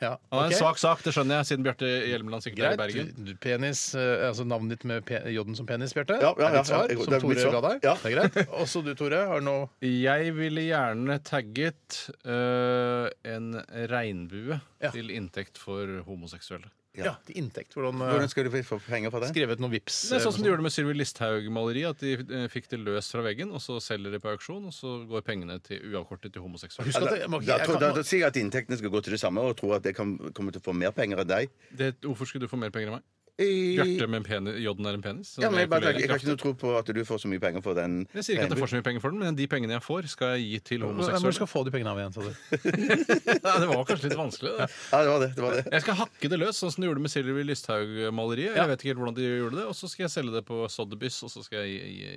Speaker 3: Ja, det er
Speaker 2: ok.
Speaker 3: en svak sak, det skjønner jeg, siden Bjarte Hjelmeland sikkert er i
Speaker 2: Greit.
Speaker 3: Bergen.
Speaker 2: Du- du- Penis, eh, altså navnet ditt med pe- J-en som penis, Bjarte.
Speaker 4: Ja, ja,
Speaker 2: er ditt
Speaker 4: ja,
Speaker 2: svar,
Speaker 4: ja, det er
Speaker 2: som Tore
Speaker 4: mitt svar.
Speaker 2: ga deg.
Speaker 4: Ja.
Speaker 2: Det er greit. Også du, Tore, har nå
Speaker 3: Jeg ville gjerne tagget øh, en regnbue
Speaker 2: Ja.
Speaker 3: til inntekt for homoseksuelle.
Speaker 2: ja. til inntekt. Hvordan, eh,
Speaker 4: Hvordan skal du få penger for det?
Speaker 2: skrevet noen vips? eh,
Speaker 3: Det er sånn som de gjorde med Sylvi Listhaug-maleriet, at de eh, fikk det løst fra veggen, og så selger de på auksjon, og så går pengene til, uavkortet til homoseksuelle.
Speaker 2: Husk at
Speaker 4: Da,
Speaker 2: jeg, må ikke-
Speaker 4: da,
Speaker 2: jeg
Speaker 4: tror- da,
Speaker 2: kan-
Speaker 4: da sier jeg at inntektene skal gå til det samme, og tror at jeg kan, kommer til å få mer penger enn deg.
Speaker 3: Det, hvorfor skulle du få mer penger enn meg?
Speaker 4: I-
Speaker 3: Bjarte med en penis, J-en er en penis?
Speaker 4: Ja, men jeg, bare,
Speaker 3: ejakulerer
Speaker 4: jeg har ikke
Speaker 3: kraftig.
Speaker 4: noe tro på at du får så mye penger for den.
Speaker 3: jeg sier ikke at jeg får så mye penger for den, men de pengene jeg får, skal jeg gi til
Speaker 2: Hvem er det du skal
Speaker 3: homoseksuelle.
Speaker 2: få de pengene av igjen? sa du?
Speaker 3: Nei, det var kanskje litt vanskelig. Det.
Speaker 4: Ja, det var det. det, var det.
Speaker 3: Jeg skal hakke det løs, sånn som de gjorde med Sylvi Lysthaug-maleriet. Jeg vet ikke helt hvordan de gjorde det Og så skal jeg selge det på Sotheby's, og så skal jeg gi, gi,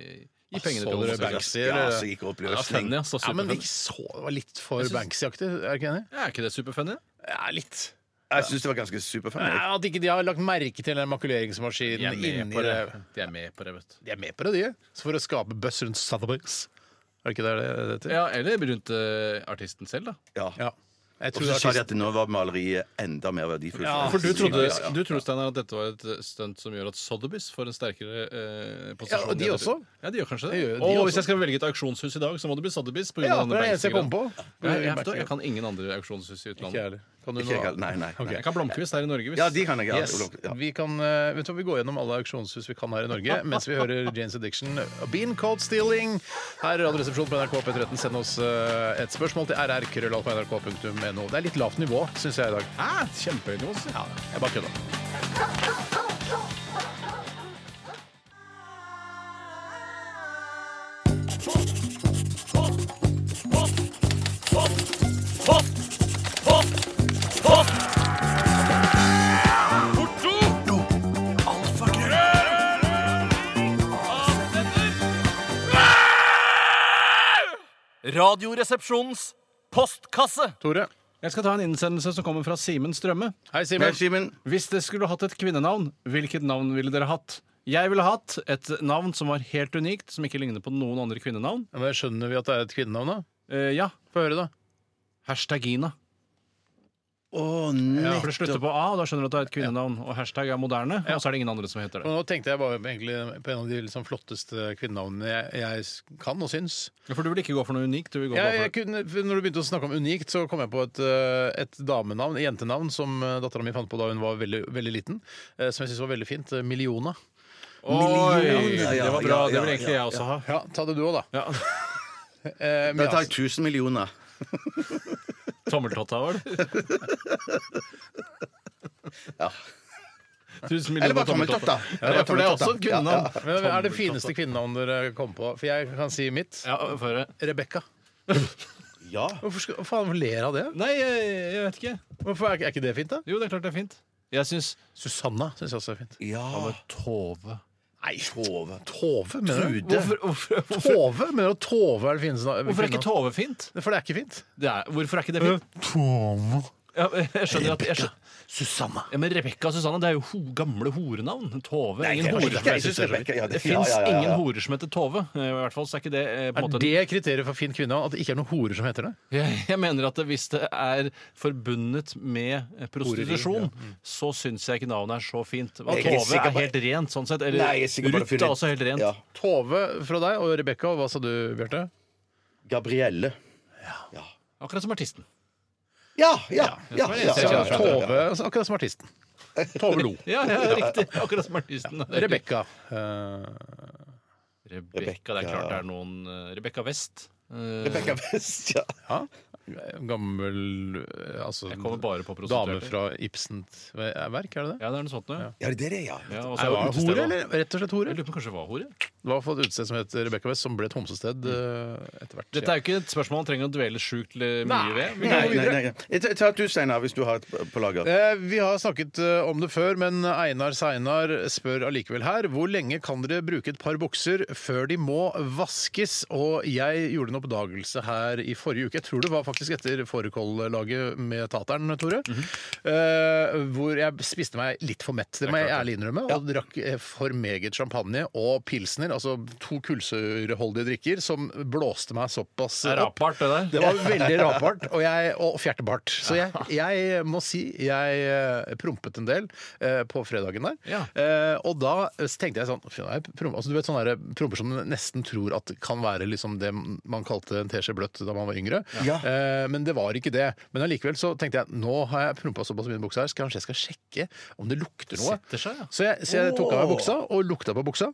Speaker 3: gi pengene til
Speaker 2: Solder og
Speaker 3: homoseksuelle.
Speaker 2: Banksy,
Speaker 4: Ja,
Speaker 2: eller?
Speaker 4: så gikk
Speaker 3: Ja,
Speaker 4: oppløsning.
Speaker 3: funny, ass, det er
Speaker 2: Ja, men
Speaker 3: superfunny.
Speaker 2: ikke så, det var litt for
Speaker 3: Jeg synes-
Speaker 2: Banksy-aktig, er du ikke enig?
Speaker 3: Ja, er ikke det superfunny?
Speaker 2: Ja, litt.
Speaker 4: Jeg syns det var ganske superfunny.
Speaker 2: Ja, at ikke de har lagt merke til den makuleringsmaskinen
Speaker 3: De er med
Speaker 2: inni
Speaker 3: på det.
Speaker 2: det.
Speaker 3: De er med på det, vet du.
Speaker 2: De er med på det, de. Så for å skape buzz rundt Sotheby's. Er det ikke det det heter?
Speaker 3: Ja, eller rundt eh, artisten selv, da.
Speaker 4: Ja.
Speaker 2: Ja. Jeg
Speaker 4: Og
Speaker 2: tror
Speaker 4: så sa de
Speaker 2: artist-
Speaker 4: at nå var maleriet enda mer verdifullt.
Speaker 2: Ja,
Speaker 3: For du trodde,
Speaker 4: Ja, ja, ja.
Speaker 3: du tror, Steinar, at dette var et eh, stunt som gjør at Sotheby's får en sterkere eh, posisjon?
Speaker 2: Ja, og de
Speaker 3: i dette.
Speaker 2: også.
Speaker 3: Ja, de gjør kanskje det.
Speaker 2: Det gjør de
Speaker 3: og
Speaker 2: også.
Speaker 3: hvis jeg skal velge et auksjonshus i dag, så må det bli Sotheby's. På grunn
Speaker 2: Ja,
Speaker 3: av
Speaker 2: det
Speaker 3: denne
Speaker 2: er det eneste jeg kom
Speaker 3: Banksy-greia.
Speaker 2: på.
Speaker 3: Nei, jeg, vet du, jeg kan ingen andre auksjonshus
Speaker 2: Ikke
Speaker 3: i
Speaker 2: jeg
Speaker 3: utlandet.
Speaker 2: heller. Kan du
Speaker 4: Ikke jeg
Speaker 2: noe?
Speaker 4: heller. Nei, nei.
Speaker 2: Ok.
Speaker 4: nei.
Speaker 3: Jeg kan Blomkvist her i Norge, hvis
Speaker 4: Ja, de kan jeg. Ja.
Speaker 2: Yes.
Speaker 4: Ja.
Speaker 2: Vi kan, eh, vet du, hva, vi går gjennom alle auksjonshus vi kan her i Norge mens vi hører Janes Addiction. Bean Coat Stealing. Her er Radioresepsjonen på NRK P13. Send oss eh, et spørsmål til rrkrøllalfa.nrk.no. Det er litt lavt nivå, syns jeg i dag.
Speaker 3: Hæ? Kjempehøyt nivå. sier jeg.
Speaker 2: Jeg bare kødda.
Speaker 8: Radioresepsjonens postkasse.
Speaker 2: Tore.
Speaker 3: Jeg skal ta en innsendelse som kommer fra Simen Strømme.
Speaker 2: Hei,
Speaker 4: Men
Speaker 2: Simen.
Speaker 4: Simen,
Speaker 3: Hvis dere skulle hatt et kvinnenavn, hvilket navn ville dere hatt? Jeg ville hatt et navn som var helt unikt, som ikke ligner på noen andre kvinnenavn.
Speaker 2: Ja, men skjønner vi at det er et kvinnenavn, da?
Speaker 3: Eh, ja,
Speaker 2: Få høre, da.
Speaker 3: hashtagina.
Speaker 4: Å,
Speaker 3: Ja, for det slutter
Speaker 4: nettopp.
Speaker 3: på A, og da skjønner du at det er et kvinnenavn. Og hashtag er moderne, og så er det ingen andre som heter
Speaker 2: Og
Speaker 3: det.
Speaker 2: nå tenkte jeg bare egentlig på en av de liksom flotteste kvinnenavnene jeg, jeg kan og syns.
Speaker 3: Ja, For du vil ikke gå for noe unikt? Du vil gå
Speaker 2: Jeg,
Speaker 3: bare
Speaker 2: jeg kunne, når du begynte å snakke om unikt, så kom jeg på et, eh, et damenavn, et jentenavn, som dattera mi fant på da hun var veldig, veldig liten, eh, som jeg syntes var veldig fint. eh, Miliona.
Speaker 3: for Oi!
Speaker 4: Millioner, ja,
Speaker 3: Det var bra.
Speaker 4: ja,
Speaker 3: Det vil
Speaker 4: ja,
Speaker 3: egentlig jeg også ha.
Speaker 2: Ja, ta det du òg, da.
Speaker 3: Ja.
Speaker 2: Eh, men
Speaker 4: Da
Speaker 2: ja,
Speaker 4: tar jeg 1000 millioner.
Speaker 3: Tommeltotta, var det?
Speaker 4: Ja.
Speaker 3: Tusen
Speaker 4: Eller
Speaker 3: millioner
Speaker 4: bare tommeltott, da.
Speaker 3: Ja, for det er også et kvinnenavn.
Speaker 2: men hva er det fineste kvinnenavn dere kom på? For jeg kan si mitt.
Speaker 3: Ja, få høre.
Speaker 2: Rebekka.
Speaker 4: Ja.
Speaker 2: Hvorfor skal, faen, hvorfor ler av det?
Speaker 3: Nei, jeg, jeg vet ikke.
Speaker 2: Hvorfor er, ikke- er ikke det fint, da?
Speaker 3: Jo, det er klart det er fint. Jeg syns
Speaker 2: Susanna syns jeg også er fint.
Speaker 4: ja.
Speaker 3: Tove
Speaker 2: Nei, Tove. Tove, mener du?
Speaker 3: Hvorfor, hvorfor, hvorfor,
Speaker 2: Tove? Mener du at Tove er det fineste navnet?
Speaker 3: hvorfor er ikke Tove fint?
Speaker 2: For det er ikke fint.
Speaker 3: Det er, hvorfor er ikke det fint?
Speaker 4: Eh,
Speaker 2: Tove.
Speaker 3: Ja, jeg skjønner at jeg skjønner.
Speaker 2: Susanna.
Speaker 3: Ja, Men Rebekka og Susanne det er jo ho gamle horenavn. Tove. ingen
Speaker 4: det er
Speaker 3: horer
Speaker 4: riktig.
Speaker 3: som
Speaker 4: Jeg
Speaker 3: heter
Speaker 4: synes Rebecca- ja, det-
Speaker 3: Det
Speaker 4: ja,
Speaker 3: fins
Speaker 4: ja, ja, ja.
Speaker 3: ingen horer som heter Tove. Eh, I hvert fall så er ikke det eh, på en
Speaker 2: Er
Speaker 3: måte
Speaker 2: det kriteriet for fint kvinne? At det ikke er noen horer som heter det?
Speaker 3: jeg, jeg mener at det- hvis det er forbundet med eh, prostitusjon, så syns jeg ikke navnet er så fint. Og
Speaker 4: Mm. Jeg er ikke
Speaker 3: Tove
Speaker 4: sikker
Speaker 3: er
Speaker 4: på-
Speaker 3: helt rent, sånn sett. Eller
Speaker 4: Nei, jeg er sikker på det.
Speaker 3: Ruth er også helt rent.
Speaker 4: Ja.
Speaker 2: Tove fra deg og Rebekka, og hva sa du, Bjarte?
Speaker 4: Gabrielle.
Speaker 3: Akkurat som artisten.
Speaker 4: Ja, ja, ja. ja,
Speaker 2: Ja,
Speaker 4: ja, ja.
Speaker 2: Tove, altså, akkurat som artisten. Tove Lo.
Speaker 3: Ja, ja, riktig. Akkurat som artisten.
Speaker 2: Rebekka. eh,
Speaker 3: Rebekka, det er klart det er noen eh, Rebekka West. Eh,
Speaker 4: Rebecca West, ja.
Speaker 2: ja. Gammel eh, altså,
Speaker 3: Jeg kommer bare på
Speaker 2: dame
Speaker 3: prostituerte.
Speaker 2: fra Ibsens verk, er det det?
Speaker 3: Ja, det er noe sånt noe.
Speaker 4: Ja, det er det, ja.
Speaker 3: Ja, og så
Speaker 2: Er
Speaker 3: er det
Speaker 2: det
Speaker 3: utested,
Speaker 2: hore,
Speaker 3: da.
Speaker 2: eller? Rett og slett hore?
Speaker 3: Jeg lurer på om det kanskje var hore.
Speaker 2: Det var i hvert fall et utested som het Rebekka West, som ble et homsested eh, etter hvert.
Speaker 3: Dette er jo ikke et spørsmål man trenger å dvele sjukt eh, mye ved.
Speaker 2: Nei.
Speaker 3: Men
Speaker 4: Nei, nei, nei. Jeg tar- tar du, Steinar, hvis du har et på lager.
Speaker 2: Eh, Vi har snakket eh, om det før, men Einar Seinar spør allikevel her. Hvor lenge kan dere bruke et par bukser før de må vaskes? Og jeg gjorde en oppdagelse her i forrige uke. Jeg tror det var faktisk etter Fårikål-laget med Tateren, Tore. eh, hvor jeg spiste meg litt for mett. Det må jeg ærlig innrømme. Og drakk eh, for meget champagne og pilsner, altså to kullsøreholdige drikker, som blåste meg såpass
Speaker 3: det er
Speaker 2: opp.
Speaker 3: rapart, det der.
Speaker 2: Det var veldig rapbart og, jeg- og fjertebart. Så jeg, jeg må si jeg eh, prompet en del eh, på fredagen der.
Speaker 3: Ja.
Speaker 2: Eh, og da eh, så tenkte jeg sånn fy, nei, prom, altså, Du vet sånne der promper som man nesten tror at kan være liksom det man kalte en teskje bløtt da man var yngre.
Speaker 4: Ja.
Speaker 2: Eh, men det var ikke det. Men allikevel så tenkte jeg nå har jeg prompa såpass mye i buksa her, så kanskje jeg skal sjekke om det lukter noe.
Speaker 3: Setter seg, ja.
Speaker 2: Så jeg, så jeg tok av meg buksa og lukta på buksa,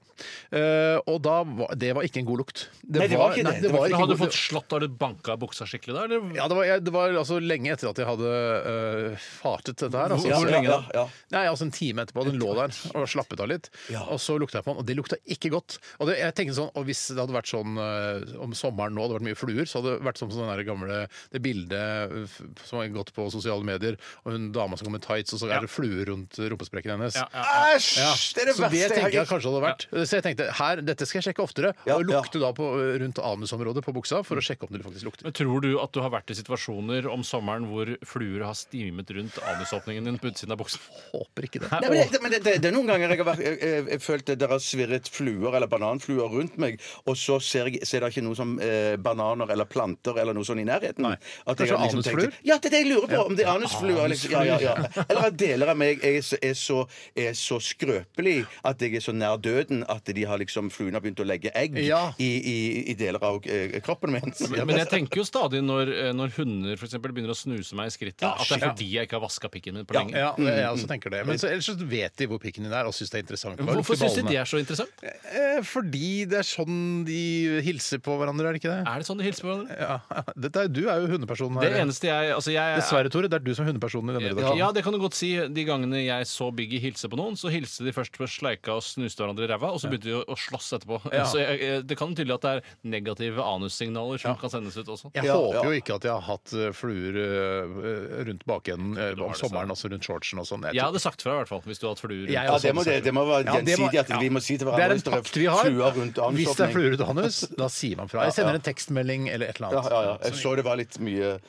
Speaker 2: Eh, og da var, det var ikke en god lukt.
Speaker 4: Nei, det var ikke det.
Speaker 2: nei,
Speaker 4: Det
Speaker 2: ikke
Speaker 4: var
Speaker 3: Men
Speaker 2: en
Speaker 3: hadde
Speaker 2: god-
Speaker 3: du fått slått av du banka buksa skikkelig da? Eller?
Speaker 2: ja, det var, jeg, det var altså lenge etter at jeg hadde øh, fartet dette her. Altså,
Speaker 4: Ja,
Speaker 2: Så-
Speaker 4: ja, ja, ja.
Speaker 2: Nei, altså En time etterpå. Den lå der og slappet av litt. Og så lukta jeg på den, og det lukta ikke godt. Og det, jeg tenkte sånn, og Hvis det hadde vært sånn øh, om sommeren nå, det hadde vært mye fluer, så hadde det vært som sånn der gamle, det bildet øh, f- som har gått på sosiale medier, og hun dama som går med tights, og så er det fluer rundt rumpesprekken hennes.
Speaker 3: Ja, ja.
Speaker 4: Æsj!
Speaker 2: Ja.
Speaker 4: Det er det
Speaker 2: så det
Speaker 4: verste
Speaker 2: tenker jeg
Speaker 4: jeg har
Speaker 2: kanskje hadde vært. Så jeg tenkte her, dette skal jeg sjekke oftere.
Speaker 4: Ja,
Speaker 2: og
Speaker 4: ja.
Speaker 2: lukte da på, eh, rundt anusområdet på buksa for å sjekke om det faktisk lukter.
Speaker 3: Men tror du at du har vært i situasjoner om sommeren hvor fluer har stimet rundt anusåpningen din på utsiden av buksen?
Speaker 2: Håper ikke det.
Speaker 4: Nei, men det, men det, det, det er noen ganger jeg har vært, jeg, jeg, jeg følt at dere har svirret fluer eller bananfluer rundt meg, og så ser, jeg, ser det ikke noe som eh, bananer eller planter eller noe sånt i nærheten. At jeg
Speaker 2: Kanskje
Speaker 4: har liksom tenkt-
Speaker 2: anusfluer?
Speaker 4: Ja, det er det jeg lurer på. Om det er anusfluer. Eller, ja, ja, ja. eller at deler av meg er, så- er, så, er så skrøpelig at jeg er så nær døden at de har liksom fluene har begynt å legge egg
Speaker 2: Ja.
Speaker 4: i, i, i deler av eh, kroppen min.
Speaker 3: Men jeg tenker jo stadig når, eh, når hunder for eksempel, begynner å snuse meg i skrittet, at det er
Speaker 2: shit.
Speaker 3: fordi jeg ikke har vaska pikken min på lenge.
Speaker 2: Ja,
Speaker 4: Mm,
Speaker 2: det- jeg også tenker det. Men så, ellers så vet de hvor pikken din er, og syns det er interessant. Hva
Speaker 3: Hvorfor
Speaker 2: lukter
Speaker 3: syns de
Speaker 2: ballene?
Speaker 3: det er så interessant?
Speaker 2: Eh, Fordi det er sånn de hilser på hverandre, er det ikke det?
Speaker 3: Er det sånn de hilser på hverandre?
Speaker 2: Ja. Dette er, du er jo hundepersonen her.
Speaker 3: Det eneste jeg altså jeg
Speaker 2: Dessverre, Tore, det er du som er hundepersonen i denne redaksjonen.
Speaker 3: Ja, det kan du godt si. De gangene jeg så Biggie hilse på noen, så hilste de først på sleika og snuste hverandre i ræva, og så begynte de å, å slåss etterpå.
Speaker 2: Ja.
Speaker 3: Så jeg, jeg- det kan tydelig at det er negative anussignaler som kan sendes ut også.
Speaker 2: Jeg
Speaker 4: Ja,
Speaker 2: håper
Speaker 4: ja.
Speaker 2: jo ikke at jeg har hatt eh, fluer eh, rundt bakenden eh, om
Speaker 3: det,
Speaker 2: sommeren, altså rundt shortsen og sånn. Jeg
Speaker 3: Jeg
Speaker 2: tror-
Speaker 3: hadde sagt fra, i hvert fall, hvis du hadde hatt fluer.
Speaker 2: Jeg
Speaker 4: Ja,
Speaker 2: også
Speaker 4: det må, det, det må være
Speaker 2: Ja, det må-
Speaker 4: gjensidig at
Speaker 2: ja.
Speaker 4: vi må si til
Speaker 2: Det er
Speaker 4: hverandre
Speaker 2: en
Speaker 4: hvis det er
Speaker 2: pakt vi har.
Speaker 4: fluer
Speaker 2: Hvis
Speaker 4: rundt
Speaker 2: det er
Speaker 4: anusåpning.
Speaker 2: fluer rundt anus, da sier man fra. Jeg sender en tekstmelding eller et eller
Speaker 4: Ja,
Speaker 2: annet.
Speaker 4: ja, ja. Jeg så det var litt mye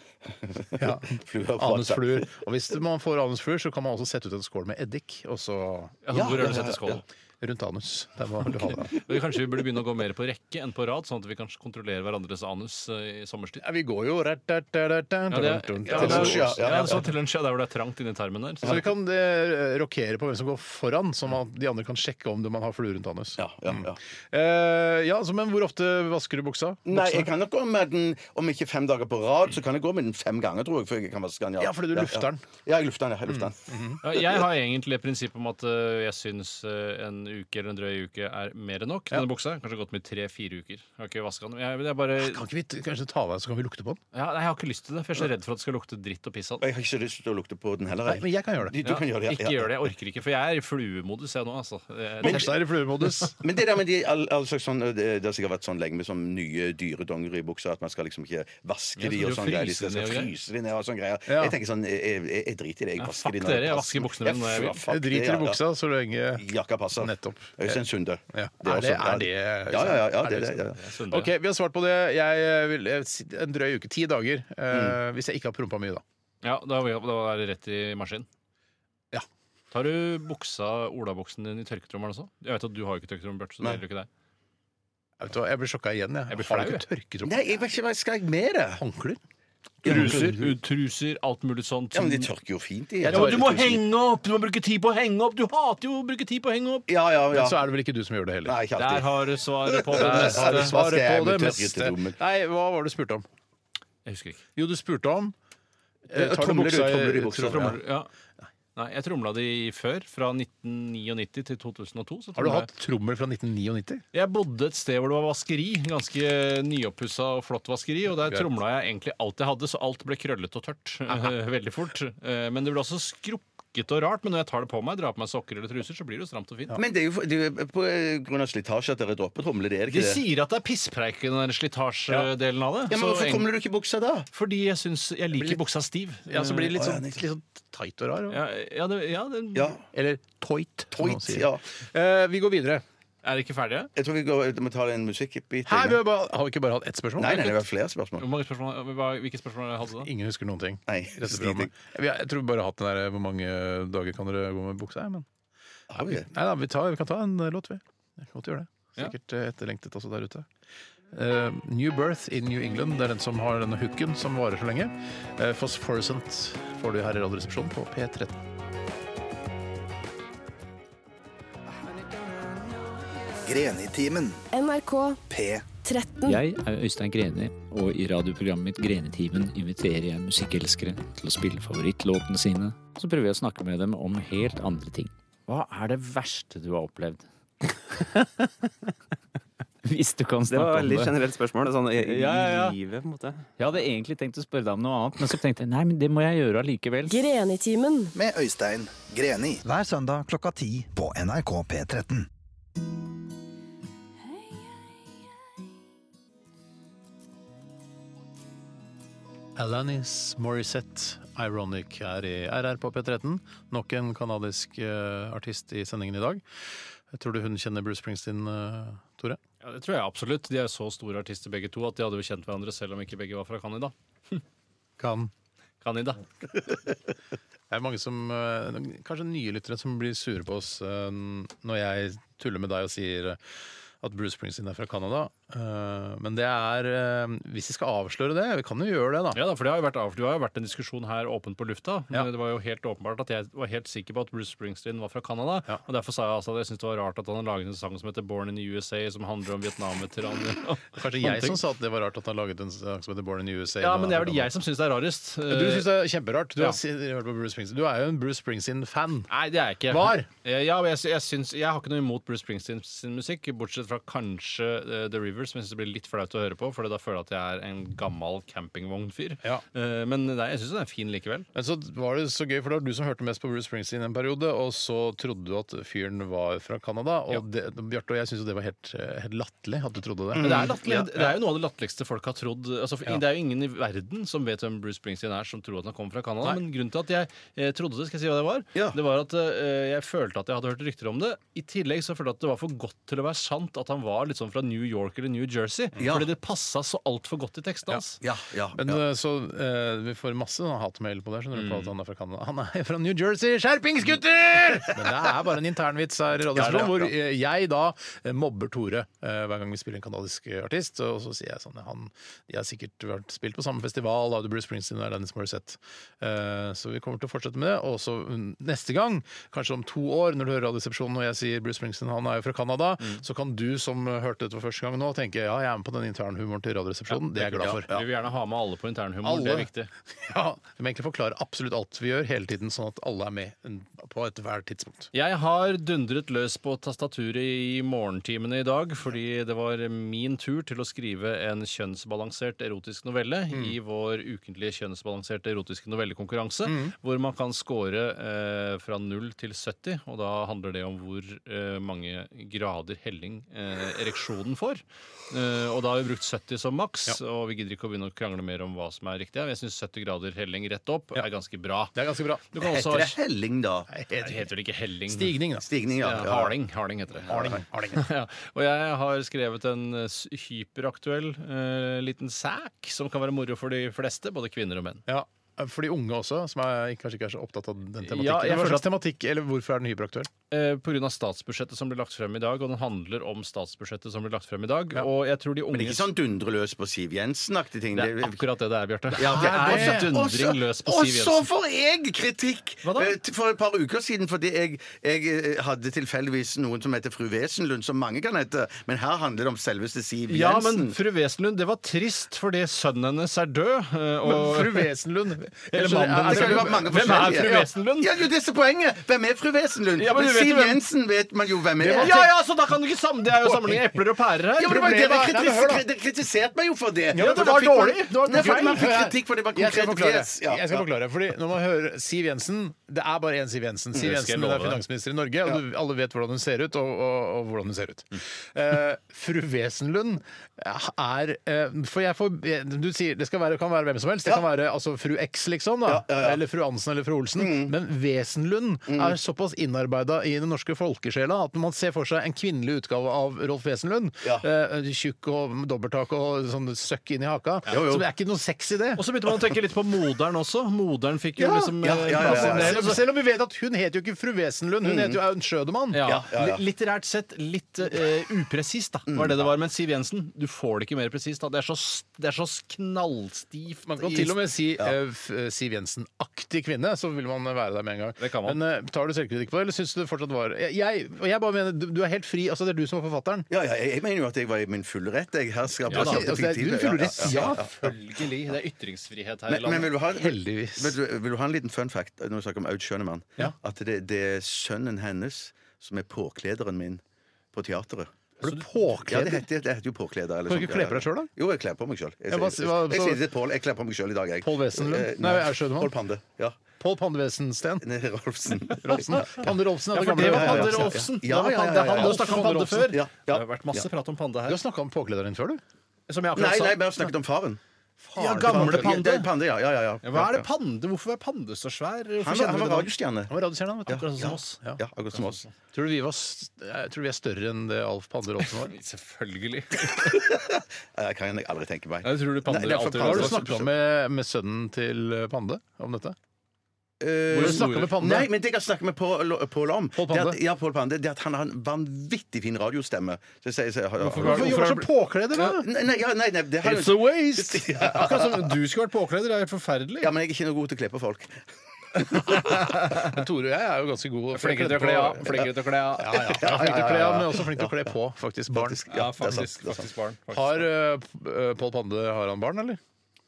Speaker 2: Ja.
Speaker 4: fluer.
Speaker 2: Anusfluer. Og hvis man får anusfluer, så kan man også sette ut en skål med eddik, og så
Speaker 3: Ja, hvor er det du setter skålen?
Speaker 2: Eh, rundt anus. Der må du ha det.
Speaker 3: Og Kanskje vi burde begynne å gå mer på rekke enn på rad, sånn at vi kan kontrollere hverandres anus eh, i sommerstid.
Speaker 2: Ja, vi går jo rært, rært, rært, rært,
Speaker 3: Ja,
Speaker 2: rundt,
Speaker 3: det er, ja,
Speaker 2: rundt,
Speaker 3: det er,
Speaker 2: rundt.
Speaker 3: ja, så til lunsj, ja, der hvor det er trangt inni tarmen der.
Speaker 2: Så
Speaker 3: Så
Speaker 2: vi kan eh, rokere på hvem som går foran, så man, de andre kan sjekke om det- man har flue rundt anus.
Speaker 4: Ja, ja,
Speaker 2: Mm.
Speaker 4: ja.
Speaker 2: Eh, ja, så, men hvor ofte vasker du buksa?
Speaker 4: Nei, jeg kan nok gå med den om ikke fem dager på rad, så kan jeg gå med den fem ganger, tror jeg. Før jeg kan vaske den,
Speaker 2: Ja, fordi du lufter den. Mm.
Speaker 4: Ja, jeg lufter den. ja, Jeg lufter den.
Speaker 3: Ja, Jeg har egentlig prinsippet om at eh, jeg syns eh, en uke eller en drøy uke er mer enn nok. Denne buksa har kanskje gått med tre-fire uker. Jeg har ikke vaska den. Jeg, jeg, bare,
Speaker 4: Ah,
Speaker 2: Kan ikke vi t- kanskje ta av den, så kan vi lukte på den?
Speaker 3: ja, nei, jeg har ikke lyst til det, for jeg er så redd for at det skal lukte dritt og piss av
Speaker 4: Og
Speaker 3: den.
Speaker 4: jeg har ikke lyst til å lukte på den heller.
Speaker 2: Nei, men jeg kan gjøre det.
Speaker 4: Du, du kan gjøre det. ja,
Speaker 3: Ikke
Speaker 4: ja.
Speaker 3: gjør det. Jeg orker ikke, for jeg er i fluemodus jeg nå, altså. Jeg-
Speaker 2: Buksa er i fluemodus.
Speaker 4: Men det der med de, all, all slags sånn, det, det har sikkert vært sånn lenge med sånn nye dyre dongeribukser at man skal liksom ikke vaske
Speaker 3: Ja,
Speaker 4: de
Speaker 3: så
Speaker 4: og
Speaker 3: du
Speaker 4: sånn greier. De
Speaker 3: fryser
Speaker 4: skal,
Speaker 3: de og
Speaker 4: skal
Speaker 3: greier.
Speaker 4: fryse de ned og sånn greier.
Speaker 2: Ja.
Speaker 4: Jeg tenker sånn, jeg, jeg, jeg driter i det. Jeg
Speaker 3: Ja,
Speaker 4: vasker
Speaker 3: fuck
Speaker 4: de når det
Speaker 3: dere, jeg
Speaker 4: passer.
Speaker 3: vasker buksene mine når jeg vil.
Speaker 4: fuck
Speaker 2: Jeg driter
Speaker 4: det,
Speaker 2: i buksa så lenge
Speaker 4: Ja. Jakka passer.
Speaker 2: Nettopp.
Speaker 4: Øystein Sunde.
Speaker 2: Ja.
Speaker 4: er
Speaker 2: Er det-
Speaker 4: også-
Speaker 2: er det-
Speaker 4: Ja, ja, ja. ja,
Speaker 2: er det
Speaker 4: det,
Speaker 2: liksom-
Speaker 4: er det,
Speaker 3: Jeg
Speaker 4: ja, ja.
Speaker 3: er sundere.
Speaker 2: OK, vi har svart på det. Jeg eh, vil, jeg, si- en drøy uke. Ti dager. eh, Hvis jeg ikke har prompa mye, da.
Speaker 3: Ja, da, da er det rett i maskin.
Speaker 2: Ja.
Speaker 3: Tar du buksa, olabuksen din i tørketrommelen også? Jeg vet at du har jo ikke tørketrommel, Bjarte, så det
Speaker 4: Nei.
Speaker 3: gjelder jo ikke deg.
Speaker 2: Jeg, vet, hva, jeg blir sjokka igjen, jeg.
Speaker 3: Jeg blir
Speaker 2: har
Speaker 3: flau,
Speaker 2: du ikke tørketrommel?
Speaker 4: Nei, jeg vet ikke hva jeg skal jeg med det.
Speaker 2: Håndklær?
Speaker 3: Truser, truser, alt mulig sånt.
Speaker 4: Ja, men de tørker jo fint, de.
Speaker 2: tror-
Speaker 3: du må henge opp! Du må bruke tid på å henge opp! Du hater jo å bruke tid på å henge opp!
Speaker 4: Ja, ja,
Speaker 2: Men
Speaker 4: ja.
Speaker 2: så er det vel ikke du som gjør det heller.
Speaker 4: Nei, ikke
Speaker 3: Der
Speaker 4: alltid.
Speaker 3: har du svaret på det
Speaker 4: Der har du
Speaker 3: meste.
Speaker 4: svaret.
Speaker 2: Svaret
Speaker 4: skal jeg
Speaker 2: på det
Speaker 4: med
Speaker 2: meste.
Speaker 4: tørketrommel?
Speaker 2: Nei, hva var det du spurte om?
Speaker 3: Jeg husker ikke.
Speaker 2: Jo, du spurte om eh,
Speaker 4: Eh,
Speaker 2: tar du
Speaker 4: tromler
Speaker 2: buksa
Speaker 4: ut,
Speaker 2: i-
Speaker 4: tromler i buksa,
Speaker 2: tromler-
Speaker 3: Ja.
Speaker 4: ja.
Speaker 3: Nei, jeg tromla de før, fra 1999 til 2002. Så
Speaker 2: Har du
Speaker 3: tromla
Speaker 2: hatt trommel fra 1999?
Speaker 3: jeg- Jeg bodde et sted hvor det var vaskeri. Ganske nyoppussa og flott vaskeri. Og der
Speaker 2: Greit.
Speaker 3: tromla jeg egentlig alt jeg hadde, så alt ble krøllete og tørt eh, veldig fort. Eh, Men det ble også skrukket og rart. Men når jeg tar det på meg, drar på meg sokker eller truser, så blir det jo stramt og fint.
Speaker 4: Men det er jo det er jo på eh, grunn av slitasje at dere dropper tromler, det er det
Speaker 3: De
Speaker 4: ikke det?
Speaker 3: sier at det er pisspreik i den der slitasjedelen av det.
Speaker 4: Ja, men
Speaker 3: så
Speaker 4: Hvorfor
Speaker 3: egentlig-
Speaker 4: tromler du ikke i buksa da?
Speaker 3: Fordi jeg syns jeg liker buksa stiv.
Speaker 2: Ja, så blir det litt
Speaker 4: Å, ja,
Speaker 2: sånn,
Speaker 4: nettopp.
Speaker 2: litt sånn tight og rar.
Speaker 3: ja, ja, det, ja, det,
Speaker 4: Ja,
Speaker 2: Eller toit. som man
Speaker 4: Toit,
Speaker 2: sier.
Speaker 4: ja.
Speaker 2: Eh, vi går videre.
Speaker 3: Er dere ikke ferdige?
Speaker 4: Jeg tror vi går, må ta en musikkbit.
Speaker 2: Her vi har, bare, har vi ikke bare hatt ett spørsmål?
Speaker 4: Nei, nei, det var flere spørsmål.
Speaker 3: Hvor mange spørsmål, hva- hvilke spørsmål hadde dere da?
Speaker 2: Ingen husker noen ting.
Speaker 4: Nei,
Speaker 2: i dette programmet. Vi har- Jeg tror vi bare har hatt den der Hvor mange dager kan dere gå med buksa? her, Men...
Speaker 4: Har vi det?
Speaker 2: Nei, da, vi, tar, vi kan ta en eh, låt, vi. Jeg kan godt gjøre det.
Speaker 3: Ja.
Speaker 2: Sikkert eh, etterlengtet også der ute. Eh, New Birth in New England Det er den som har denne hooken som varer så lenge. Eh, Phosphorescent får du her i Radioresepsjonen på P13.
Speaker 5: Grenitimen.
Speaker 1: NRK P13.
Speaker 10: Jeg er Øystein Greni, og i radioprogrammet mitt Grenetimen inviterer jeg musikkelskere til å spille favorittlåtene sine, og så prøver jeg å snakke med dem om helt andre ting. Hva er det verste du har opplevd? Hvis du kan
Speaker 11: Det
Speaker 10: snakke
Speaker 11: var
Speaker 10: om
Speaker 11: veldig
Speaker 10: det.
Speaker 11: generelt spørsmål. Sånn, i, i
Speaker 10: Ja, ja, ja.
Speaker 11: livet, på en måte.
Speaker 10: Jeg hadde egentlig tenkt å spørre deg om noe annet, men så tenkte jeg nei, men det må jeg gjøre allikevel.
Speaker 1: Grenetimen.
Speaker 5: Med Øystein Greni. Hver søndag klokka ti på NRK P13.
Speaker 2: Alanis Morissette, Ironic, her i RR på P13. Nok en kanadisk eh, artist i sendingen i dag. Tror du hun kjenner Bruce Springsteen, eh, Tore?
Speaker 3: Ja, det tror jeg absolutt. De er så store artister begge to at de hadde jo kjent hverandre selv om ikke begge var fra Canada.
Speaker 2: Kan.
Speaker 3: Canada.
Speaker 2: Det er mange som, eh, kanskje nye lyttere som blir sure på oss eh, når jeg tuller med deg og sier at Bruce Springsteen er fra Canada. Eh, Men det er eh, Hvis vi skal avsløre det, vi kan jo gjøre det, da.
Speaker 3: Ja da, for det har jo vært, av- det har jo vært en diskusjon her åpent på lufta.
Speaker 2: Ja.
Speaker 3: Det var jo helt åpenbart at jeg var helt sikker på at Bruce Springsteen var fra Canada.
Speaker 2: Ja.
Speaker 3: Og derfor sa jeg altså at jeg syntes det var rart at han har laget en sang som heter Born in the USA, som handler om Vietnam-veteraner.
Speaker 2: Kanskje jeg som sa at det var rart at han laget en sang som heter Born in USA.
Speaker 3: Ja,
Speaker 2: men
Speaker 3: men det er vel jeg som syns det er rarest.
Speaker 2: Ja, Du syns det er kjemperart. Du, har
Speaker 3: Ja.
Speaker 2: si- hørt på Bruce Springsteen. du er jo en Bruce Springsteen-fan.
Speaker 3: Nei, det er jeg ikke.
Speaker 2: Var?
Speaker 3: Eh, Ja, men jeg, sy- jeg, syns, jeg har ikke noe imot Bruce Springsteen sin musikk, bortsett fra kanskje eh, The Rivers, men jeg syns det blir litt flaut å høre på, for da føler jeg at jeg er en gammel campingvognfyr.
Speaker 2: Ja.
Speaker 3: Eh, Men nei, jeg syns den er fin likevel.
Speaker 2: Men så var det så gøy, for det var du som hørte mest på Bruce Springsteen en periode, og så trodde du at fyren var fra Canada. Og det, Bjarte og jeg syns jo det var helt, eh, helt latterlig at du trodde det.
Speaker 3: Men det er, latterlig.
Speaker 2: Mm. Ja.
Speaker 3: det er jo noe av det latterligste folk har trodd. Altså, for,
Speaker 2: Ja.
Speaker 3: Det er jo ingen i verden som vet hvem Bruce Springsteen er, som tror at han kommer fra Canada.
Speaker 2: Nei.
Speaker 3: Men grunnen til at jeg eh, trodde det, skal jeg si hva det var,
Speaker 4: Ja.
Speaker 3: det var at eh, jeg følte at jeg hadde hørt rykter om det. I tillegg så følte jeg at det var for godt til å være sant at han var litt sånn fra New York eller New Jersey.
Speaker 2: Ja.
Speaker 3: Fordi det passa så altfor godt til teksten hans.
Speaker 4: Ja, ja,
Speaker 2: Men eh, så eh, vi får masse sånn hatmail på det. Skjønner du på at han er fra Canada? Han er fra New Jersey! Skjerpings, gutter! Men det er bare en internvits her i
Speaker 3: Ja,
Speaker 2: Radiosporten,
Speaker 3: det er
Speaker 2: hvor
Speaker 3: bra.
Speaker 2: eh, jeg da eh, mobber Tore eh, hver gang vi spiller en kanadisk eh, artist. Og så sier jeg sånn han, De har sikkert vært spilt på samme festival, da, Bruce Springsteen og Alanis Morissette. Eh, så vi kommer til å fortsette med det. Og så mm, neste gang, kanskje om to år, når du hører Radioresepsjonen og jeg sier Bruce Springsteen han er jo fra Canada, Mm. så kan du som eh, hørte dette for første gang nå, tenke ja, jeg er med på den internhumoren til Radioresepsjonen. det er jeg glad for.
Speaker 3: Vi vil gjerne ha med alle på internhumor.
Speaker 2: Alle.
Speaker 3: Det er viktig.
Speaker 2: Ja, Vi må egentlig forklare absolutt alt vi gjør hele tiden, sånn at alle er med på ethvert tidspunkt.
Speaker 3: Jeg har dundret løs på tastaturet i morgentimene i dag, fordi det var min tur til å skrive en kjønnsbalansert erotisk novelle
Speaker 2: Mm.
Speaker 3: i vår ukentlige kjønnsbalanserte erotiske novellekonkurranse,
Speaker 2: Mm.
Speaker 3: hvor man kan score eh, fra 0 til 70, og da handler det om hvor eh, mange grader helling eh, ereksjonen får. Eh, og da har vi brukt 70 som maks, og vi gidder ikke å begynne å krangle mer om hva som er riktig. her. Jeg syns 70 grader helling rett opp er ganske bra.
Speaker 2: Det er ganske bra.
Speaker 3: Du kan også ha
Speaker 4: Heter det helling, da?
Speaker 3: Nei, Det heter vel ikke helling.
Speaker 2: Stigning, da.
Speaker 4: Stigning, ja.
Speaker 3: Ja, Harling, Harling heter det. ja. Og jeg har skrevet en eh, s- hyperaktuell eh, liten sæk som kan være moro for de fleste, både kvinner og menn.
Speaker 2: Ja, For de unge også, som er, kanskje ikke er så opptatt av den tematikken.
Speaker 3: Ja, jeg
Speaker 2: Hva
Speaker 3: føler
Speaker 2: slags tematikk, eller Hvorfor er den hyperaktuell?
Speaker 3: Eh, på grunn av statsbudsjettet som ble lagt frem i dag, og den handler om statsbudsjettet som ble lagt frem i dag. Og jeg tror de unge
Speaker 4: Men ikke sånn dundre løs på Siv Jensen-aktig ting.
Speaker 3: Det er akkurat det det er, Bjarte.
Speaker 4: Ja,
Speaker 3: det
Speaker 4: ok.
Speaker 3: er
Speaker 4: Også- også-
Speaker 3: dundring løs på Siv
Speaker 4: Og så
Speaker 3: Jensen.
Speaker 4: får jeg kritikk!
Speaker 3: Hva da?
Speaker 4: Eh, t- For et par uker siden, fordi jeg, jeg eh, hadde tilfeldigvis noen som heter fru Wesenlund, som mange kan hete, men her handler det om selveste Siv Jensen.
Speaker 3: Ja, men fru Wesenlund, det var trist fordi sønnen hennes er død. eh, Og
Speaker 2: Fru Wesenlund
Speaker 3: Eller
Speaker 2: skjønner, er
Speaker 3: mannen,
Speaker 4: Det
Speaker 2: det-
Speaker 4: kan jo være mange
Speaker 3: Hvem er
Speaker 4: forskjellige.
Speaker 3: fru
Speaker 4: Ja.
Speaker 3: Wesenlund?
Speaker 4: Ja, det er jo disse poenget! Hvem er fru Wesenlund?
Speaker 3: Ja, men du
Speaker 4: men
Speaker 3: vet
Speaker 4: Siv
Speaker 3: jo hvem-
Speaker 4: Jensen vet man jo hvem er.
Speaker 3: ja, ja, så da kan du ikke sam... Det er jo sammenligning epler og pærer her.
Speaker 4: Ja, men det var jo
Speaker 3: Problemet
Speaker 4: det Dere
Speaker 3: er- Nei, men hør da.
Speaker 4: kritiserte kritisert meg jo for det.
Speaker 3: Ja, men det
Speaker 4: For da
Speaker 3: var
Speaker 4: fikk man-
Speaker 3: dårlig. Det var- det var
Speaker 4: Nei, fordi
Speaker 3: feil.
Speaker 4: Man fikk kritikk for det var
Speaker 2: Jeg skal
Speaker 4: konkret
Speaker 2: forklare.
Speaker 4: fjes. Ja.
Speaker 2: Jeg skal forklare fordi når man hører Siv Jensen Det er bare én Siv Jensen. Siv
Speaker 3: Det
Speaker 2: Jensen
Speaker 3: skal jeg
Speaker 2: hun er
Speaker 3: love deg.
Speaker 2: finansminister i Norge, og du, alle vet hvordan hun ser ut. Og, og, og hvordan hun ser ut
Speaker 3: Mm.
Speaker 2: Eh, Fru Wesenlund er eh, For jeg får Du sier det skal være, kan være hvem som helst. Det kan være altså, fru X, liksom. Da, Eller fru Hansen eller fru Olsen.
Speaker 3: Mm.
Speaker 2: Men Wesenlund er såpass innarbeida i den norske folkesjela at når man ser for seg en kvinnelig utgave av Rolf Wesenlund,
Speaker 4: Ja.
Speaker 2: eh, tjukk og med dobbelttak og sånn søkk inn i haka, så det er ikke noe sexy det.
Speaker 3: Og så begynte man å tenke litt på moderen også. Moderen fikk jo
Speaker 2: Ja.
Speaker 3: liksom
Speaker 4: Ja,
Speaker 3: eh,
Speaker 4: ja, ja,
Speaker 3: plass i
Speaker 4: ja.
Speaker 3: den
Speaker 4: Mm.
Speaker 3: delen,
Speaker 2: Selv,
Speaker 3: så-
Speaker 2: selv om vi vet at hun heter jo ikke fru Wesenlund, hun heter jo Aun Schødemann.
Speaker 3: ja.
Speaker 4: ja, Mm. ja.
Speaker 3: Li- Litterært sett litt eh, upresist, da. Var det det var. Men Siv Jensen, du får det ikke mer presist. da. Det er så, s- det er så knallstivt.
Speaker 2: Man kan til og med si eh, f- eh, Siv Jensen-aktig kvinne, så vil man være der med en gang.
Speaker 3: Det kan man.
Speaker 2: Men eh, tar du selvkritikk på det, eller syns du det fortsatt var Jeg- jeg, og jeg bare mener, du, du er helt fri. Altså, det er du som er forfatteren.
Speaker 4: Ja, ja, jeg jeg mener jo at jeg var i min fulle rett. Jeg her skal
Speaker 2: Ja, da.
Speaker 4: plasserte
Speaker 2: Altså, det er-
Speaker 4: fiktive,
Speaker 2: du fyller rett.
Speaker 4: ja, ja, ja.
Speaker 2: Ja,
Speaker 3: Selvfølgelig. Det er ytringsfrihet her i
Speaker 4: Men, men
Speaker 3: landet.
Speaker 4: vil, du ha,
Speaker 2: Heldigvis.
Speaker 4: Vil, du, vil du ha en liten fun fact når vi snakker om Aud Schønemann? At det, det er sønnen hennes som er påklederen min på teateret.
Speaker 2: Er du
Speaker 4: Ja, det
Speaker 2: påkledd?
Speaker 4: heter, det heter jo påkleder. Eller
Speaker 2: Kan du
Speaker 4: sånt,
Speaker 2: ikke kle på deg
Speaker 4: ja.
Speaker 2: selv, da?
Speaker 4: Jo, jeg kler på meg sjøl. Jeg,
Speaker 2: Ja, hva-
Speaker 4: sier-
Speaker 2: hva-
Speaker 4: jeg
Speaker 2: så-
Speaker 4: sier det til Pål. Jeg kler på meg sjøl i dag, jeg.
Speaker 2: Paul Wesenlund?
Speaker 4: Eh,
Speaker 2: Nei, Aud Schønemann.
Speaker 4: Pål Pande. Ja.
Speaker 2: Pål Pande Wesensten?
Speaker 4: Nei, Rolfsen.
Speaker 2: Rolfsen? Pande Rolfsen?
Speaker 3: Ja,
Speaker 2: er
Speaker 3: for
Speaker 2: gamle-
Speaker 3: det var
Speaker 2: Ja, ja,
Speaker 3: Pande
Speaker 2: ja.
Speaker 3: Rolfsen.
Speaker 4: Ja,
Speaker 3: Det var
Speaker 4: ja,
Speaker 3: Pande-
Speaker 4: ja, ja, ja.
Speaker 3: Han har jo snakket om Pande før.
Speaker 4: Ja, ja.
Speaker 3: Det har vært masse prat om Pande
Speaker 2: Du
Speaker 3: her.
Speaker 2: har snakka om påklederen din før, du.
Speaker 3: Som jeg
Speaker 4: Nei,
Speaker 3: akkurat
Speaker 4: nei,
Speaker 3: sa.
Speaker 4: vi har snakket om faren.
Speaker 3: Ja, gamle
Speaker 4: Ja, det
Speaker 3: Pande.
Speaker 4: er Pande, ja, ja, ja, ja.
Speaker 3: Ja, Hva er det Pande? Hvorfor er Pande så svær? Hvorfor
Speaker 4: Han, var-
Speaker 3: kjenner vi det sånn,
Speaker 4: han var
Speaker 3: da?
Speaker 4: radiostjerne.
Speaker 2: Han var radiostjerne, vet du.
Speaker 3: Akkurat som oss.
Speaker 2: Ja.
Speaker 4: Ja, akkurat som oss.
Speaker 2: Tror du vi, var, st- jeg tror vi er større enn det Alf Pande Rolfsen var?
Speaker 3: Selvfølgelig. sånn.
Speaker 4: Jeg kan Eh, jeg aldri tenke meg.
Speaker 3: Jeg tror du Pande
Speaker 4: Nei, det er for
Speaker 3: alltid
Speaker 2: Hva har du
Speaker 4: Pande-
Speaker 2: snakka med, med sønnen til eh, Pande om dette?
Speaker 4: Eh,
Speaker 2: Hvor du snakket med Pande?
Speaker 4: Nei, men det jeg har snakket med Pål Pål om,
Speaker 2: Pål
Speaker 4: det
Speaker 2: Pande?
Speaker 4: at, ja, Pål Pande, det er at han har en vanvittig fin radiostemme. Så jeg sier- sier- har-
Speaker 3: var-
Speaker 2: Hvorfor gjør du så påkledd? da?
Speaker 4: Nei, nei, ja, nei, nei, det har jo-
Speaker 3: a waste! Akkurat som du skulle vært påkledd. Det er helt forferdelig.
Speaker 4: Ja, men jeg er ikke noe god til å kle på folk.
Speaker 2: Men Tore og jeg er jo ganske gode
Speaker 3: Flinkere til å kle av. Flinkere til å kle av.
Speaker 2: Ja, ja. Jeg er flink til å kle av, men også flink til å kle på, faktisk. Barn.
Speaker 4: Faktisk, ja, det er sant, det er sant.
Speaker 3: faktisk barn. faktisk.
Speaker 2: Har uh, Pål Pande har han barn, eller?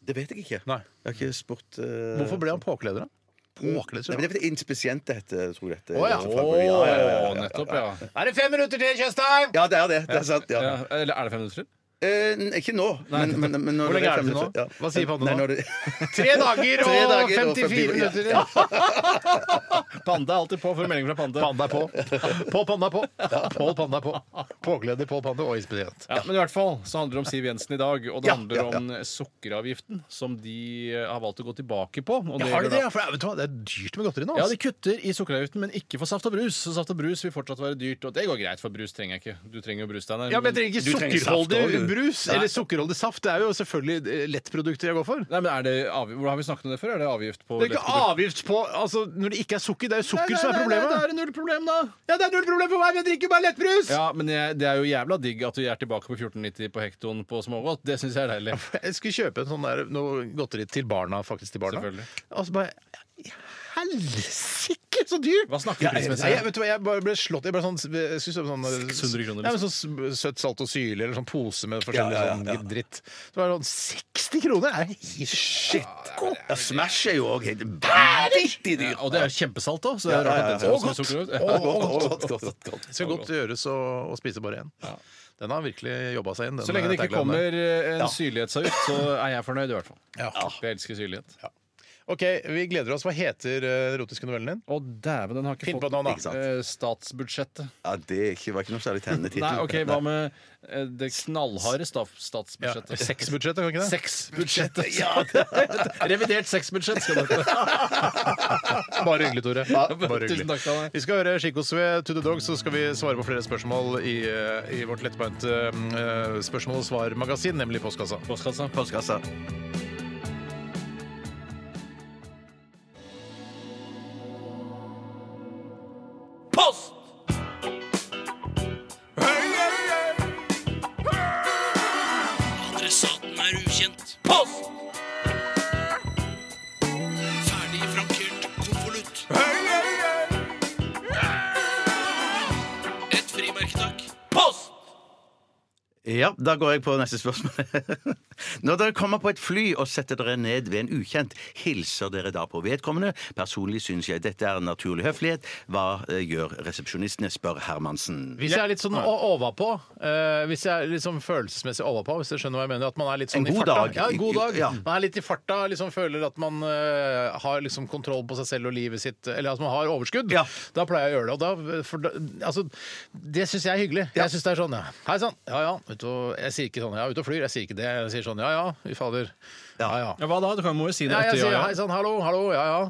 Speaker 4: Det vet jeg ikke.
Speaker 2: Nei.
Speaker 4: Jeg har ikke spurt eh, Mm.
Speaker 2: Hvorfor ble han påkleder, da? Påkleder,
Speaker 4: Nei,
Speaker 2: tror
Speaker 4: men det
Speaker 2: jeg.
Speaker 4: er fordi inspisient det heter, tror jeg. dette-
Speaker 2: Å, ja.
Speaker 4: dette fagordet. Ja, ja, ja, ja, ja.
Speaker 3: nettopp, ja.
Speaker 2: Er det fem minutter til Tjøstheim?
Speaker 4: Ja, det er det. Det er sant. Ja.
Speaker 3: ja. Eller er det fem minutter til?
Speaker 4: Eh, n- ikke nå. Men, men, men når
Speaker 2: Hvor lenge er det til
Speaker 4: fem
Speaker 2: nå?
Speaker 4: minutter-
Speaker 2: Hva sier Pande
Speaker 4: Nei,
Speaker 2: nå?
Speaker 4: når det-
Speaker 2: Tre dager og
Speaker 4: Tre dager og
Speaker 2: 54
Speaker 4: 54
Speaker 2: minutter til.
Speaker 3: Panda er alltid på for melding fra Panda.
Speaker 2: Panda er på. Pål Panda er på. Pål Panda er på. Påkleder, Pål Panda og inspirert.
Speaker 3: Ja, men i hvert fall så handler det om Siv Jensen i dag, og det
Speaker 4: Ja,
Speaker 3: handler
Speaker 4: ja, ja.
Speaker 3: om sukkeravgiften, som de eh, har valgt å gå tilbake på. Og det
Speaker 2: Har de
Speaker 3: gjør da-
Speaker 2: det? Ja, For det er- vet du hva, det er dyrt med godteri nå.
Speaker 3: Ja, de
Speaker 2: Altså.
Speaker 3: kutter i sukkeravgiften, men ikke for saft og brus. Så saft og brus vil fortsatt være dyrt, og det går greit, for brus trenger jeg ikke. Du trenger jo brus, Steinar.
Speaker 2: Ja, men jeg trenger
Speaker 3: Du
Speaker 2: ikke sukkerholdig
Speaker 3: saft også, du.
Speaker 2: brus eller sukkerholdig saft. Det er jo selvfølgelig eh, lettprodukter jeg går for.
Speaker 3: Nei, men er det avgift? Hvor har vi snakket om det før? Er det avgift på
Speaker 2: Det er ikke avgift på altså, Når det ikke er sukker, det er jo sukker som er problemet.
Speaker 3: Da er det null problem, da.
Speaker 2: Ja, det er null problem for meg, men jeg drikker bare lettbrus!
Speaker 3: Ja, men jeg, det er jo jævla digg at vi er tilbake på 14,90 på hektoen på smågodt. Det syns jeg er deilig.
Speaker 2: Jeg skulle kjøpe en sånn der, noe godteri til barna, faktisk til barna.
Speaker 3: Selvfølgelig.
Speaker 2: Og så bare Helsike, så dyr!
Speaker 3: Hva snakker vi
Speaker 2: jeg,
Speaker 3: prismessig?
Speaker 2: jeg, jeg, vet du hva, jeg bare ble slått jeg bare sånn, jeg skulle kjøpe sånn
Speaker 3: 600 kroner,
Speaker 2: Ja, men sånn s- søtt salt og syle, eller sånn pose med forskjellig
Speaker 4: Ja, ja, ja, ja.
Speaker 2: sånn dritt. Så var det sånn 60 kroner! Det er helt shit!
Speaker 4: Ja, Smash er jo òg helt vanvittig dyr.
Speaker 3: Og det er kjempesalt, da. Så det er
Speaker 4: Ja, ja,
Speaker 3: rart
Speaker 4: ja,
Speaker 3: at den ser
Speaker 4: ja.
Speaker 3: ut som en
Speaker 2: Å,
Speaker 3: sukkerrør.
Speaker 2: godt, godt, godt, godt, godt. Det skal godt gjøres å, å spise bare én. Den har virkelig jobba seg inn. den
Speaker 3: Så lenge det ikke
Speaker 2: taglinen der.
Speaker 3: kommer eh, en syrlighetsavgift, så er jeg fornøyd, i hvert fall. Jeg elsker syrlighet.
Speaker 2: OK, vi gleder oss. Hva heter eh, den erotiske novellen din?
Speaker 3: Å, dæven, den har ikke
Speaker 2: Finn på
Speaker 3: fått
Speaker 2: et navn, da.
Speaker 4: Ikke sant?
Speaker 3: eh, statsbudsjettet.
Speaker 4: Ja, det er ikke, var ikke noe særlig tennende tittel.
Speaker 3: Nei, OK, hva med eh, det knallharde sta- statsbudsjettet?
Speaker 2: Sexbudsjettet, kan ikke det?
Speaker 3: Sexbudsjettet! Ja, Revidert sexbudsjett skal det hete.
Speaker 2: Bare hyggelig, Tore. Bare hyggelig.
Speaker 3: Tusen takk til deg.
Speaker 2: Vi skal høre Chico Sve, To The Dog, så skal vi svare på flere spørsmål i, eh, i vårt lettbeinte eh, spørsmål- og svar-magasin, nemlig Postkassa.
Speaker 3: Postkassa.
Speaker 4: Postkassa.
Speaker 8: Post! Adressaten er ukjent. Post! Ferdig frankert konvolutt. Et frimerke, takk. Post!
Speaker 4: Ja, da går jeg på neste spørsmål. Når dere kommer på et fly og setter dere ned ved en ukjent, hilser dere da på vedkommende? Personlig syns jeg dette er en naturlig høflighet. Hva eh, gjør resepsjonistene, spør Hermansen.
Speaker 2: Hvis jeg er litt sånn o- overpå, eh, hvis jeg er litt sånn følelsesmessig overpå, hvis du skjønner hva jeg mener, at man er litt sånn
Speaker 4: En
Speaker 2: i
Speaker 4: god
Speaker 2: farta
Speaker 4: dag.
Speaker 2: Ja, en god dag.
Speaker 4: Ja.
Speaker 2: Man er litt i farta, liksom føler at man eh, har liksom kontroll på seg selv og livet sitt, eller at man har overskudd.
Speaker 4: Ja.
Speaker 2: Da pleier jeg å gjøre det. Og da, for da altså, det syns jeg er hyggelig. Jeg syns det er sånn ja. Hei sann, ja ja. Ute og, jeg sier ikke sånn ja, ute og flyr. Jeg sier ikke det. Jeg sier sånn ja ja, fy fader. Ja ja.
Speaker 3: Ja, hva da? Du kan må jo si det
Speaker 2: ja jeg
Speaker 3: etter
Speaker 2: sier
Speaker 3: ja,
Speaker 2: hei
Speaker 3: ja.
Speaker 2: sann, hallo, hallo, ja ja.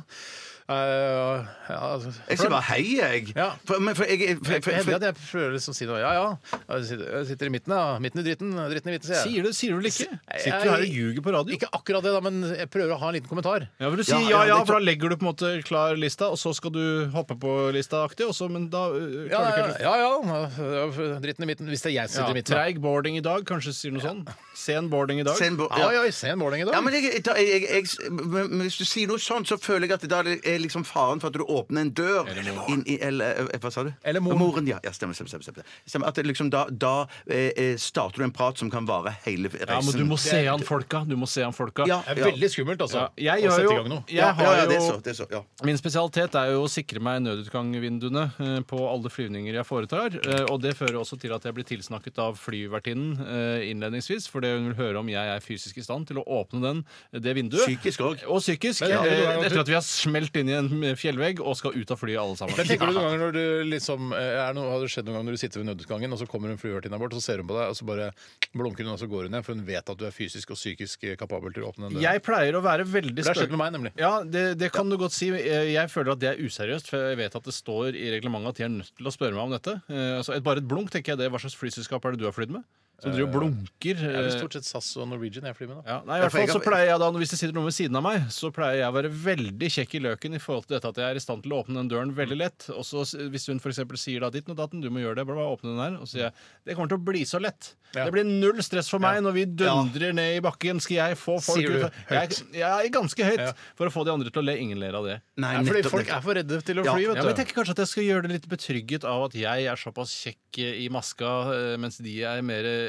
Speaker 2: Eh, ja altså,
Speaker 4: Jeg sier bare hei, jeg.
Speaker 2: Ja.
Speaker 4: For, men for, jeg, for,
Speaker 2: jeg
Speaker 4: for,
Speaker 2: hender
Speaker 4: for,
Speaker 2: at jeg prøver liksom å si noe. Ja, ja. Jeg sitter- Jeg sitter i midten, da. Midten i dritten. Dritten i midten, sier jeg.
Speaker 3: Sier du det? Sier du det ikke?
Speaker 2: Jeg-
Speaker 3: Sitter du her og ljuger på radio?
Speaker 2: Ikke akkurat det, da, men jeg prøver å ha en liten kommentar.
Speaker 3: Ja, for du
Speaker 4: Ja,
Speaker 3: sier ja,
Speaker 4: ja,
Speaker 3: ja,
Speaker 4: det-
Speaker 3: for da legger du på en måte klar lista, og så skal du hoppe på lista aktig, og så, men da
Speaker 2: Ja,
Speaker 3: øh, klarer du ikke
Speaker 2: ja,
Speaker 3: helt
Speaker 2: ja. ja, Dritten i midten. Hvis det er jeg som sitter i
Speaker 3: ja,
Speaker 2: midten. da.
Speaker 3: Treig boarding i dag, kanskje sier noe sånn. Sen boarding i dag.
Speaker 4: Sen bo-
Speaker 2: Oi, oi, se en måling i dag.
Speaker 4: Ja, men, jeg, da- jeg, jeg, jeg, men men hvis du sier noe sånt, så føler jeg at da er liksom faren for at du åpner en dør inn i eller, eh, Hva sa du?
Speaker 2: Eller moren.
Speaker 4: ja. ja stemmer, stemmer, stemmer, stemmer. stemmer. At det liksom da, da eh, eh, starter du en prat som kan vare hele reisen.
Speaker 3: Ja, men du må se an folka. Du må se an folka.
Speaker 4: Ja,
Speaker 2: Det
Speaker 4: ja.
Speaker 2: er veldig skummelt, altså.
Speaker 3: Ja, jeg
Speaker 2: å
Speaker 3: har
Speaker 2: sette
Speaker 3: jo-
Speaker 2: i gang noe.
Speaker 3: jeg
Speaker 4: ja,
Speaker 3: har
Speaker 4: ja, ja, det er
Speaker 3: jo-
Speaker 4: så. Det er så ja.
Speaker 3: Min spesialitet er jo å sikre meg nødutgangvinduene eh, på alle flyvninger jeg foretar. eh, Og det fører også til at jeg blir tilsnakket av flyvertinnen eh, innledningsvis, fordi hun vil høre om jeg er fysisk i stand til å åpne den, det vinduet.
Speaker 4: Psykisk òg.
Speaker 3: Og psykisk.
Speaker 2: Men, ja,
Speaker 3: eh,
Speaker 2: det var-
Speaker 3: Etter at vi har smelt inn i en fjellvegg og skal ut av flyet alle sammen.
Speaker 2: Men tenker du noen ganger når du liksom eh, er noe, Har det skjedd noen ganger når du sitter ved nødutgangen, og så kommer en flyvertinne bort, og så ser hun på deg, og så bare blunker hun, og så går hun igjen, for hun vet at du er fysisk og psykisk eh, kapabel til å åpne den døren.
Speaker 3: Jeg pleier å være veldig
Speaker 2: Det har skjedd med meg, nemlig.
Speaker 3: Ja, det, det kan du godt si. Eh, Jeg føler at det er useriøst, for jeg vet at det står i reglementet at de er nødt til å spørre meg om dette. Eh, Altså, et, bare et blunk, tenker jeg det. Hva slags flyselskap er det du har flydd med? Som driver og blunker.
Speaker 2: Det er
Speaker 3: eh,
Speaker 2: vel stort sett SAS og Norwegian jeg flyr med, da.
Speaker 3: Ja, nei, i hvert
Speaker 4: for jeg
Speaker 3: fall så
Speaker 4: kan-
Speaker 3: pleier jeg da, Hvis det sitter noen ved siden av meg, så pleier jeg å være veldig kjekk i løken i forhold til dette at jeg er i stand til å åpne den døren veldig lett. Og så s- Hvis hun for eksempel sier da ditt og datten, du må gjøre det, bla, bla, åpne den her, og så sier jeg det kommer til å bli så lett.
Speaker 2: Ja.
Speaker 3: Det blir null stress for meg når vi dundrer ned i bakken. Skal jeg få folk
Speaker 2: Sier du
Speaker 3: ut? Jeg, jeg er ganske høyt
Speaker 2: Ja.
Speaker 3: for å få de andre til å le. Ingen ler av det.
Speaker 4: Nei,
Speaker 2: Ja, fordi
Speaker 4: nettopp,
Speaker 2: folk
Speaker 4: nettopp.
Speaker 2: er for redde til å
Speaker 4: Ja.
Speaker 2: fly,
Speaker 3: Ja, men jeg
Speaker 2: vet du.
Speaker 3: tenker kanskje at jeg skal gjøre det litt betrygget av at jeg er såpass kjekk eh, i maska, eh, mens de er mer eh,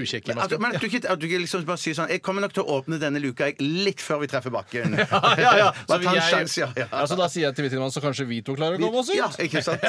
Speaker 2: Ukjekke i
Speaker 4: At, du-
Speaker 2: maska.
Speaker 4: men at du ikke, at du ikke liksom bare sier sånn Jeg kommer nok til å åpne denne luka jeg, litt før vi treffer bakken.
Speaker 3: ja, ja.
Speaker 4: Bare
Speaker 3: vil
Speaker 4: ta en
Speaker 3: jeg-
Speaker 4: sjanse, ja. ja.
Speaker 3: Altså, da sier jeg til Vittigmann, så kanskje vi to klarer å komme oss ut?
Speaker 4: Ja, ikke sant?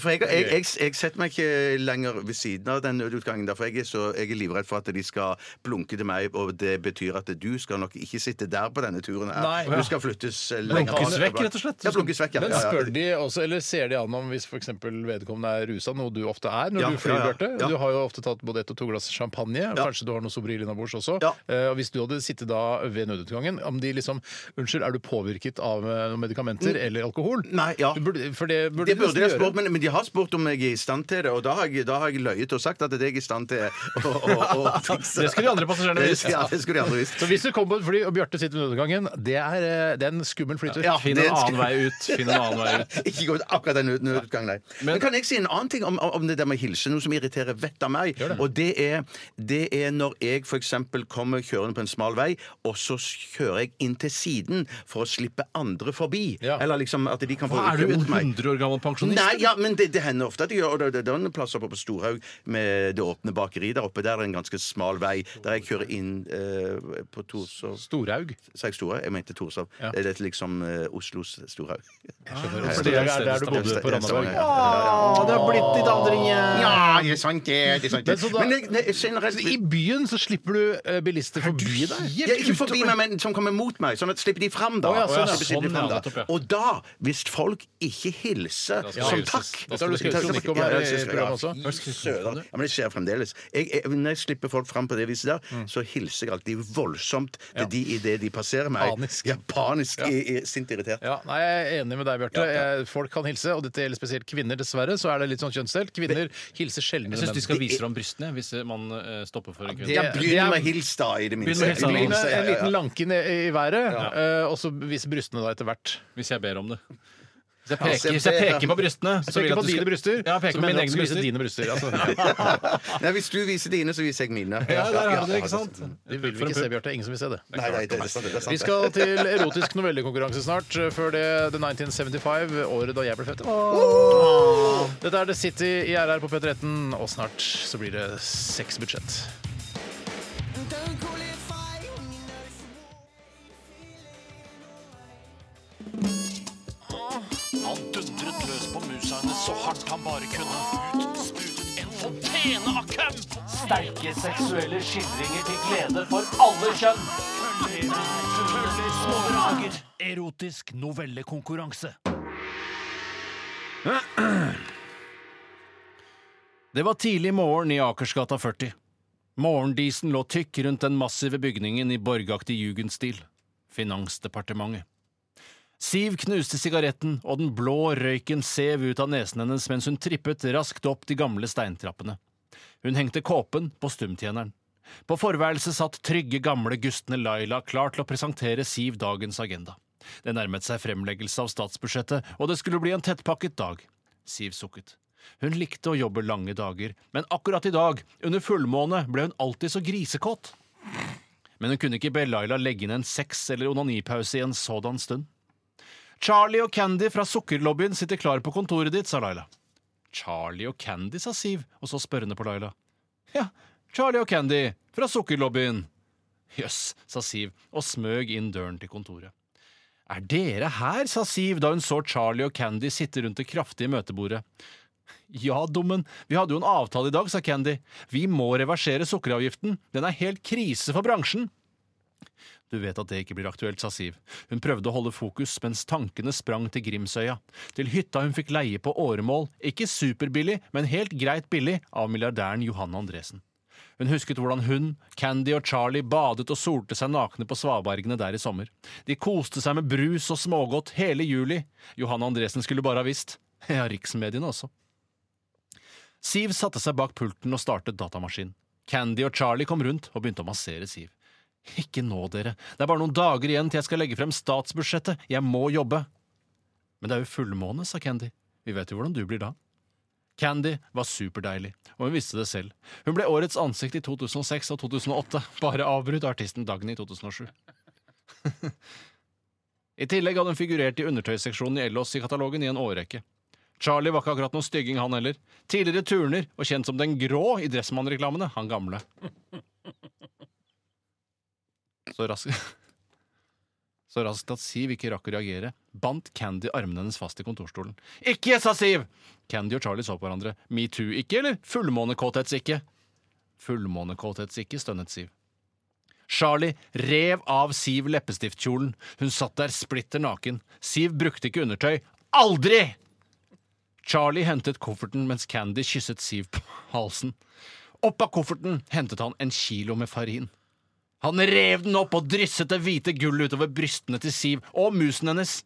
Speaker 4: For jeg, jeg, jeg, jeg setter meg ikke lenger ved siden av den nødutgangen. der, for jeg er, så, jeg er livredd for at de skal blunke til meg, og det betyr at du skal nok ikke sitte der på denne turen.
Speaker 2: Nei.
Speaker 4: her. Du skal flyttes lenger.
Speaker 3: Blunkes
Speaker 4: bak.
Speaker 3: vekk, rett og slett.
Speaker 4: Ja, blunkes vekk, ja.
Speaker 2: Men
Speaker 4: ja, ja.
Speaker 2: spør de også, eller ser de an om hvis for eksempel vedkommende er rusa, noe du ofte er når
Speaker 4: Ja,
Speaker 2: du flyr,
Speaker 4: ja, ja.
Speaker 2: Bjarte?
Speaker 4: Ja.
Speaker 2: Du har jo ofte tatt både ett og to glass champagne. Kanskje du har noe Sobril innabords også. Eh, og hvis du hadde sittet da ved nødutgangen, om de liksom Unnskyld, er du påvirket av eh, noen medikamenter
Speaker 4: Mm.
Speaker 2: eller alkohol?
Speaker 4: Nei, ja.
Speaker 2: Du burde, for det burde
Speaker 4: Det
Speaker 2: du
Speaker 4: burde
Speaker 2: nesten
Speaker 4: de ha
Speaker 2: gjøre.
Speaker 4: spurt, men, men de har spurt om jeg er i stand til det, og da har jeg, da har jeg løyet og sagt at det er jeg i stand til å, å, å fikse.
Speaker 2: Det skulle de andre passasjerene visst.
Speaker 4: Ja, det skulle de andre visst.
Speaker 2: Så hvis du kommer på et fly og Bjarte sitter ved nødutgangen, det er, eh, det er en skummel flytur.
Speaker 4: Ja, det skulle- Ikke gå ut akkurat den ut- utgangen, nei. Men, kan jeg si en annen ting om, om det der med å hilse? Noe som irriterer vettet av meg. Og det er, det er når jeg f.eks. kommer kjørende på en smal vei, og så kjører jeg inn til siden for å slippe andre forbi. Eller liksom at de kan få
Speaker 3: Hva, er du en
Speaker 4: rundt meg.
Speaker 3: 100 år gammel pensjonist?
Speaker 4: Nei, ja, men det, det hender ofte at jeg gjør og det. Det er den plasser på på Storhaug med det åpne bakeriet der oppe. Der er det en ganske smal vei der jeg kjører inn eh, på Torshov.
Speaker 2: Storhaug?
Speaker 4: Sa jeg Storhaug? Jeg mente Torshov.
Speaker 2: Ja.
Speaker 4: Det er liksom eh, Oslos Storhaug.
Speaker 2: skjønner. For det er der du bodde på Randaberg.
Speaker 4: Ja, det har blitt litt andre Ja, det er sant, det. det er sant, det.
Speaker 2: Men så da-
Speaker 4: Men jeg- jeg- generelt
Speaker 2: I byen så slipper du eh, bilister forbi deg.
Speaker 4: ja, ikke forbi meg, men som kommer mot meg. Sånn at slipper de fram, da.
Speaker 2: Å, ja, sånn, ja.
Speaker 4: Slipper
Speaker 2: Sånn,
Speaker 4: de
Speaker 2: ja,
Speaker 4: fram, da.
Speaker 2: nettopp, ja.
Speaker 4: Og da, hvis folk ikke hilser
Speaker 2: Da skal
Speaker 4: som
Speaker 2: det hilses.
Speaker 4: takk
Speaker 2: Da skal det skrives kronikk om
Speaker 4: Ja,
Speaker 2: her i
Speaker 4: ja, det skal- ja,
Speaker 2: programmet også.
Speaker 4: fy søren. Ja, men det skjer fremdeles. Jeg, jeg, når jeg slipper folk fram på det viset der,
Speaker 2: Mm.
Speaker 4: så hilser jeg alltid voldsomt til de idet de passerer meg.
Speaker 2: Panisk.
Speaker 4: Ja, panisk. i- i- Sint irritert.
Speaker 2: Ja, nei, Jeg er enig med deg, Bjarte. Eh, Folk kan hilse, og dette gjelder spesielt kvinner. Dessverre så er det litt sånn kjønnsdelt. Kvinner hilser sjeldnere
Speaker 3: Jeg syns de skal vise fram brystene hvis man eh, stopper for en kvinne.
Speaker 2: Ja, begynn Det er- med
Speaker 4: hils, da, i det
Speaker 3: minste.
Speaker 2: Begynn med en liten lanke ned i i været, eh, og så vis brystene da etter hvert.
Speaker 3: Hvis jeg ber om det. Hvis jeg
Speaker 2: Ja,
Speaker 3: peker, hvis jeg peker på brystene
Speaker 2: Hvis jeg
Speaker 3: vil jeg
Speaker 2: peker
Speaker 3: at
Speaker 2: på
Speaker 3: du
Speaker 2: dine
Speaker 3: skal-
Speaker 2: bryster,
Speaker 3: Ja, jeg peker
Speaker 2: så
Speaker 3: på
Speaker 2: mener
Speaker 3: mine
Speaker 2: jeg at du
Speaker 3: egne
Speaker 2: skal vise
Speaker 3: bryster.
Speaker 2: dine bryster. Altså.
Speaker 4: Nei, hvis du viser dine, så viser jeg mine.
Speaker 2: Ja, der har du det, ikke
Speaker 4: ja.
Speaker 2: sant? Det vil vi ikke se, Bjarte. Ingen som vil se det.
Speaker 4: Nei, nei, det er sant, det er sant.
Speaker 2: Vi skal til erotisk novellekonkurranse snart. eh, Før det The 1975, året da jeg ble født. Dette er The City i RR på P13, og snart så blir det sexbudsjett.
Speaker 8: Han dundret løs på muserne så hardt han bare kunne. Ut sprutet en fontene av køm! Sterke seksuelle skildringer til glede for alle kjønn. Køller, små drager. Erotisk novellekonkurranse.
Speaker 3: Det var tidlig morgen i Akersgata 40. Morgendisen lå tykk rundt den massive bygningen i borgaktig jugendstil. Finansdepartementet. Siv knuste sigaretten, og den blå røyken sev ut av nesen hennes mens hun trippet raskt opp de gamle steintrappene. Hun hengte kåpen på stumtjeneren. På forværelset satt trygge, gamle Gustne Laila klar til å presentere Siv dagens agenda. Det nærmet seg fremleggelse av statsbudsjettet, og det skulle bli en tettpakket dag. Siv sukket. Hun likte å jobbe lange dager, men akkurat i dag, under fullmåne, ble hun alltid så grisekåt. Men hun kunne ikke be Laila legge inn en sex- eller onanipause i en sådan stund. Charlie og Candy fra sukkerlobbyen sitter klar på kontoret ditt, sa Laila. Charlie og Candy, sa Siv, og så spørrende på Laila. Ja, Charlie og Candy, fra sukkerlobbyen. Jøss, sa Siv, og smøg inn døren til kontoret. Er dere her, sa Siv da hun så Charlie og Candy sitte rundt det kraftige møtebordet. Ja, dummen, vi hadde jo en avtale i dag, sa Candy. Vi må reversere sukkeravgiften, den er helt krise for bransjen. Du vet at det ikke blir aktuelt, sa Siv. Hun prøvde å holde fokus mens tankene sprang til Grimsøya, til hytta hun fikk leie på åremål, ikke superbillig, men helt greit billig, av milliardæren Johan Andresen. Hun husket hvordan hun, Candy og Charlie badet og solte seg nakne på svabergene der i sommer. De koste seg med brus og smågodt hele juli. Johan Andresen skulle bare ha visst. Ja, riksmediene også. Siv satte seg bak pulten og startet datamaskinen. Candy og Charlie kom rundt og begynte å massere Siv. Ikke nå, dere. Det er bare noen dager igjen til jeg skal legge frem statsbudsjettet. Jeg må jobbe. Men det er jo fullmåne, sa Candy. Vi vet jo hvordan du blir da. Candy var superdeilig, og hun visste det selv. Hun ble årets ansikt i 2006 og 2008, bare avbrutt av artisten Dagny i 2007. I tillegg hadde hun figurert i undertøyseksjonen i Ellos i katalogen i en årrekke. Charlie var ikke akkurat noen stygging, han heller. Tidligere turner og kjent som Den grå i Dressmann-reklamene, han gamle. Så raskt Så raskt at Siv ikke rakk å reagere, bandt Candy armene hennes fast i kontorstolen. Ikke, sa Siv! Candy og Charlie så på hverandre. Metoo ikke, eller fullmånekåthets ikke? Fullmånekåthets ikke, stønnet Siv. Charlie rev av Siv leppestiftkjolen. Hun satt der splitter naken. Siv brukte ikke undertøy. Aldri! Charlie hentet kofferten mens Candy kysset Siv på halsen. Opp av kofferten hentet han en kilo med farin. Han rev den opp og drysset det hvite gullet utover brystene til Siv og musen hennes.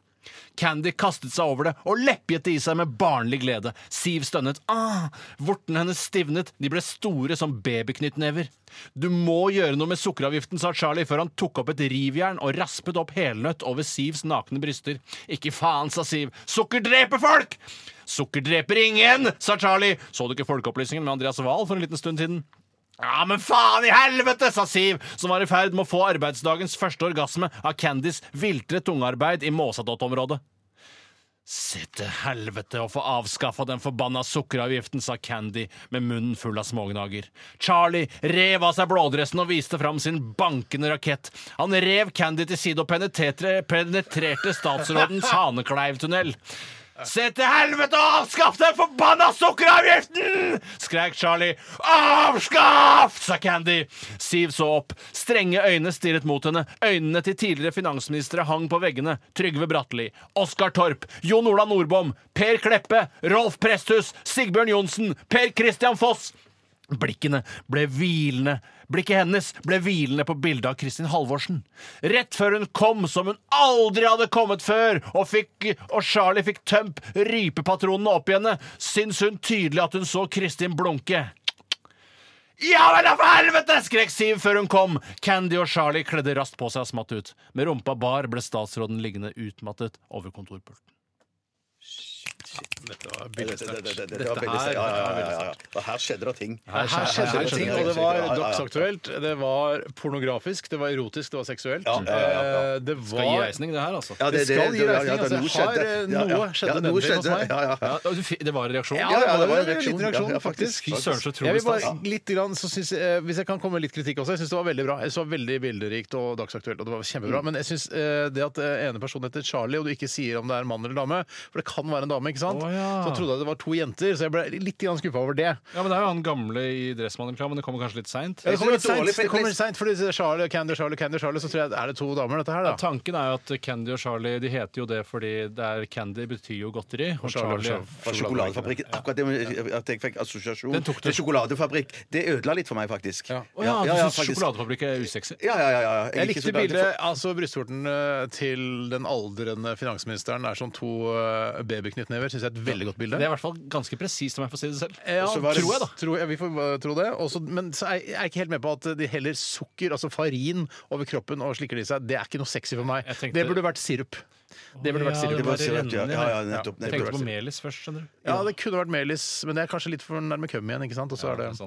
Speaker 3: Candy kastet seg over det og leppjet det i seg med barnlig glede. Siv stønnet. Ah! Vortene hennes stivnet, de ble store som babyknyttnever. Du må gjøre noe med sukkeravgiften, sa Charlie før han tok opp et rivjern og raspet opp helnøtt over Sivs nakne bryster. Ikke faen, sa Siv. Sukker dreper folk! Sukker dreper ingen, sa Charlie. Så du ikke Folkeopplysningen med Andreas Wahl for en liten stund siden? Ja, men faen i helvete, sa Siv, som var i ferd med å få arbeidsdagens første orgasme av Candys viltre tungarbeid i Måsadott-området. Se til helvete å få avskaffa den forbanna sukkeravgiften, sa Candy med munnen full av smågnager. Charlie rev av seg blådressen og viste fram sin bankende rakett. Han rev Candy til side og penetrerte, penetrerte statsrådens hanekleivtunnel. Se til helvete å avskaffe den forbanna sukkeravgiften! skrek Charlie. Avskaff! sa Candy. Siv så opp. Strenge øyne stirret mot henne. Øynene til tidligere finansministre hang på veggene. Trygve Bratteli, Oskar Torp, Jon Ola Nordbom, Per Kleppe, Rolf Presthus, Sigbjørn Johnsen, Per Christian Foss. Blikkene ble hvilende. Blikket hennes ble hvilende på bildet av Kristin Halvorsen. Rett før hun kom som hun aldri hadde kommet før, og, fikk, og Charlie fikk tømt rypepatronene opp i henne, syns hun tydelig at hun så Kristin blunke. Ja vel, da, for helvete! skrek Siv før hun kom. Candy og Charlie kledde raskt på seg og smatt ut. Med rumpa bar ble statsråden liggende utmattet over kontorpulten.
Speaker 2: Dette var
Speaker 11: Dette, dette, dette, dette,
Speaker 2: Dette
Speaker 11: var veldig
Speaker 2: her-
Speaker 11: sterkt. Ja, ja,
Speaker 2: dette var
Speaker 11: ja,
Speaker 2: veldig
Speaker 11: ja, ja. Her skjedde det ting.
Speaker 2: Her skjedde det ting, og det var dagsaktuelt, det var pornografisk, det var erotisk, det var seksuelt.
Speaker 11: Ja, ja, ja, ja.
Speaker 2: Eh, Det var
Speaker 11: Skal gi reisning,
Speaker 3: det her, altså.
Speaker 11: Ja, det-
Speaker 2: det, skal
Speaker 11: det- det-
Speaker 2: gi
Speaker 11: ja,
Speaker 2: reisning.
Speaker 11: ja, det-
Speaker 2: altså,
Speaker 11: noe
Speaker 2: har,
Speaker 3: eh,
Speaker 11: skjedde.
Speaker 2: noe
Speaker 11: Ja, ja.
Speaker 2: skjedde
Speaker 11: Ja, noe
Speaker 2: nedre hos
Speaker 11: skjedde,
Speaker 2: meg.
Speaker 11: ja, ja. Ja,
Speaker 3: og du fi- det var en reaksjon?
Speaker 11: Ja,
Speaker 2: Ja,
Speaker 11: ja,
Speaker 2: det var en liten reaksjon,
Speaker 11: ja, ja,
Speaker 2: faktisk.
Speaker 11: faktisk. Fy søren, så utrolig
Speaker 2: Jeg vil bare,
Speaker 11: stas.
Speaker 2: litt grann, så synes, eh, hvis jeg kan komme med litt kritikk også, jeg syns det var veldig bra. Jeg synes det var veldig bilderikt og dagsaktuelt, og det var kjempebra.
Speaker 11: Mm.
Speaker 2: Men jeg syns det at eh, ene personen heter Charlie, og du ikke sier om det er en mann eller dame, for det kan være en dame, ikke sant? Så trodde jeg det var to jenter, så jeg ble litt skuffa over det.
Speaker 3: Ja, men Det er jo han gamle i Dressmann-reklamen. Det kommer kanskje litt seint.
Speaker 2: Ja, det kommer litt seint, det kommer litt seint, fordi det er Charlie, Candy, Charlie, Candy, Charlie, så tror jeg er det to damer, dette her, da.
Speaker 3: Ja, tanken er jo at Candy og Charlie De heter jo det fordi det er Candy betyr jo godteri. Og
Speaker 2: Charlie-
Speaker 3: Charlie
Speaker 11: Fra sjokoladefabrikken. Akkurat det med at jeg fikk assosiasjon
Speaker 3: Den tok du.
Speaker 11: til sjokoladefabrikk. Det ødela litt for meg, faktisk. Ja,
Speaker 3: Å ja, altså, du syns
Speaker 11: faktisk.
Speaker 3: sjokoladefabrikk er usexy?
Speaker 11: Ja, ja, ja, ja.
Speaker 2: Jeg
Speaker 11: liker
Speaker 2: likte
Speaker 11: sjokolade-
Speaker 2: bildet, altså brystvorten eh, til den aldrende finansministeren er som to eh, babyknyttnever. Syns jeg er et veldig godt bilde.
Speaker 3: Det er i hvert fall ganske presist om jeg får si det selv.
Speaker 2: Ja,
Speaker 3: Og så var det-
Speaker 2: tror jeg, da. Tror jeg, vi får eh, tro det. Også, men så er jeg er ikke helt med på at de heller sukker, altså farin, over kroppen og slikker det i seg. Det er ikke noe sexy for meg.
Speaker 3: tenkte-
Speaker 2: Det burde vært sirup. Det burde vært
Speaker 3: Ja,
Speaker 2: sirup.
Speaker 3: det var sirup, ja. Ja, ja,
Speaker 11: nettopp,
Speaker 3: Jeg tenkte på melis først, skjønner du.
Speaker 2: Ja, det kunne vært melis, men det er kanskje litt for nærme køm igjen, ikke sant? Og så er det,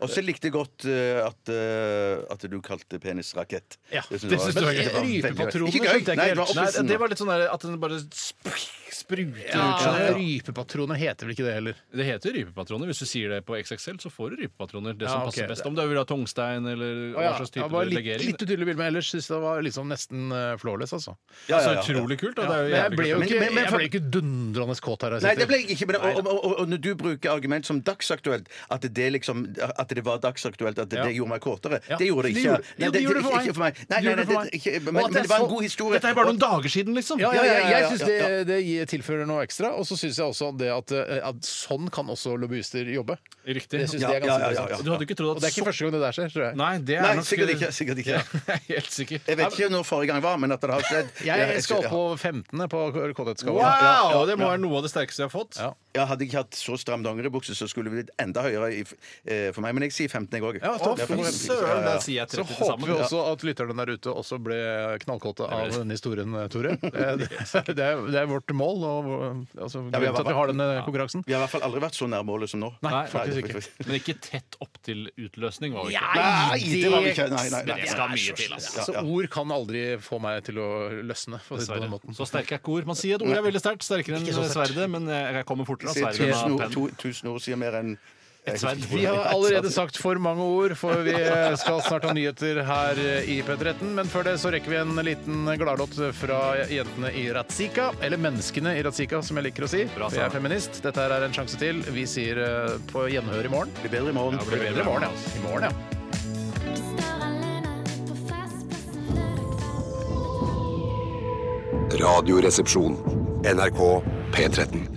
Speaker 11: Og så likte jeg godt eh, at, eh, at du kalte penis rakett.
Speaker 2: Ja,
Speaker 11: synes
Speaker 2: det
Speaker 11: var-
Speaker 2: synes du var
Speaker 11: det var
Speaker 2: gøy.
Speaker 11: veldig-
Speaker 2: Rypepatronene
Speaker 11: Ikke
Speaker 2: skjønte jeg
Speaker 11: gøy! Nei,
Speaker 2: ikke
Speaker 11: det var
Speaker 2: helt.
Speaker 11: oppelsen,
Speaker 3: Nei, det
Speaker 11: da.
Speaker 3: var litt sånn der at den bare sp- spruter ut.
Speaker 2: Ja,
Speaker 3: skjønner du.
Speaker 2: Rypepatroner heter vel ikke det heller?
Speaker 3: Det heter rypepatroner. Hvis du sier det på XXL, så får du rypepatroner. Det
Speaker 2: Ja,
Speaker 3: som
Speaker 2: ok.
Speaker 3: passer best. Om du vil ha tungstein eller
Speaker 2: Å, ja.
Speaker 3: hva slags
Speaker 2: Ja,
Speaker 3: type
Speaker 2: bare litt,
Speaker 3: legering.
Speaker 2: litt utydelig bilde, men ellers syns jeg det var liksom nesten uh, flawless, altså.
Speaker 11: Ja, ja, ja, ja.
Speaker 3: Så utrolig kult, da. Det er jo
Speaker 2: men jeg
Speaker 3: jævlig
Speaker 2: ble jo
Speaker 3: kult.
Speaker 2: ikke,
Speaker 3: Men- men-
Speaker 2: jeg ble jo ikke dundrende kåt her. jeg
Speaker 11: Nei,
Speaker 2: sitter.
Speaker 11: det ble jeg ikke. Men, og, og, og, og når du bruker argument som dagsaktuelt, at det, liksom, at det var dagsaktuelt, at det,
Speaker 2: Ja.
Speaker 11: gjorde meg kåtere,
Speaker 2: Ja.
Speaker 11: det gjorde det
Speaker 2: Det
Speaker 11: ikke.
Speaker 2: gjorde- jo, det gjorde det for
Speaker 11: ikke-
Speaker 2: meg.
Speaker 11: Ikke for meg. Nei,
Speaker 2: Det
Speaker 11: nei,
Speaker 2: gjorde
Speaker 11: nei,
Speaker 2: det
Speaker 11: det,
Speaker 2: for meg.
Speaker 11: ikke, men,
Speaker 2: Og at
Speaker 11: men
Speaker 2: jeg
Speaker 11: det var en
Speaker 2: så-
Speaker 11: god historie.
Speaker 3: Dette er bare noen dager siden, liksom.
Speaker 2: Ja, ja, ja,
Speaker 11: ja,
Speaker 2: jeg
Speaker 11: ja,
Speaker 2: syns
Speaker 11: ja, ja.
Speaker 2: det, det gir- tilfører noe ekstra. Og så syns jeg også det at, eh, at sånn kan også lobbyister jobbe.
Speaker 3: Riktig.
Speaker 2: Det syns
Speaker 3: Ja,
Speaker 2: jeg er ganske
Speaker 3: ja, ja, ja,
Speaker 2: interessant.
Speaker 3: ja. Du hadde ikke trodd
Speaker 2: Og
Speaker 3: at
Speaker 2: det er
Speaker 3: så-
Speaker 2: ikke første gang det der skjer, tror jeg.
Speaker 3: Nei, det er
Speaker 11: Nei,
Speaker 3: nok
Speaker 11: sikkert ikke. Sikkert ikke.
Speaker 3: Helt sikkert.
Speaker 11: Jeg vet ikke når forrige gang var, men at det har skjedd
Speaker 2: Jeg skal opp på 15. på
Speaker 3: Wow!
Speaker 2: kåthetsskala.
Speaker 3: Det må være noe av det sterkeste jeg har fått.
Speaker 2: Ja.
Speaker 11: Ja, hadde jeg ikke hatt så stram dongeribukse, så skulle det blitt enda høyere i, eh, for meg. Men jeg sier 15, jeg òg.
Speaker 2: Ja, topp.
Speaker 3: fy søren, der sier jeg
Speaker 2: Så
Speaker 3: 30 til
Speaker 2: håper vi
Speaker 3: sammen.
Speaker 2: også at lytterne der ute også ble knallkåte av
Speaker 3: Det blir-
Speaker 2: denne historien, eh, Tore. Det er, det er, det er vårt mål, og altså, grunnen
Speaker 11: vi har
Speaker 2: til at vi har denne konkurransen.
Speaker 11: Vi har i hvert fall aldri vært så nær målet som nå.
Speaker 2: Nei, faktisk ikke.
Speaker 3: Men ikke tett opp til utløsning, var det ikke?
Speaker 11: Nei, det var vi ikke. Nei, nei, nei.
Speaker 3: Det skal mye til, altså.
Speaker 2: Så ord kan aldri få meg til å løsne. For å si det på den måten.
Speaker 3: Så sterke er ikke ord. Man sier at ord er veldig sterkt. Sterkere enn
Speaker 2: Ikke så sterkt.
Speaker 3: sverdet, men
Speaker 2: eh,
Speaker 3: jeg kommer fortere av
Speaker 11: Si
Speaker 3: sverdet
Speaker 11: Tusen
Speaker 3: enn
Speaker 11: ord-
Speaker 3: av penn.
Speaker 11: to- tusen ord sier mer enn
Speaker 3: Et sverd.
Speaker 2: Vi har allerede sagt for mange ord, for vi eh, skal snart ha nyheter her i P13. Men før det så rekker vi en liten gladlåt fra jentene i Ratzika. Eller menneskene i Ratzika, som jeg liker å si.
Speaker 3: Bra,
Speaker 2: For jeg
Speaker 3: Sara.
Speaker 2: er feminist. Dette her er en sjanse til. Vi sier eh, på gjenhør i morgen.
Speaker 11: Blir bedre i morgen.
Speaker 2: Ja, det blir bedre i morgen, ja. I morgen, ja.
Speaker 12: Radioresepsjon. NRK P13.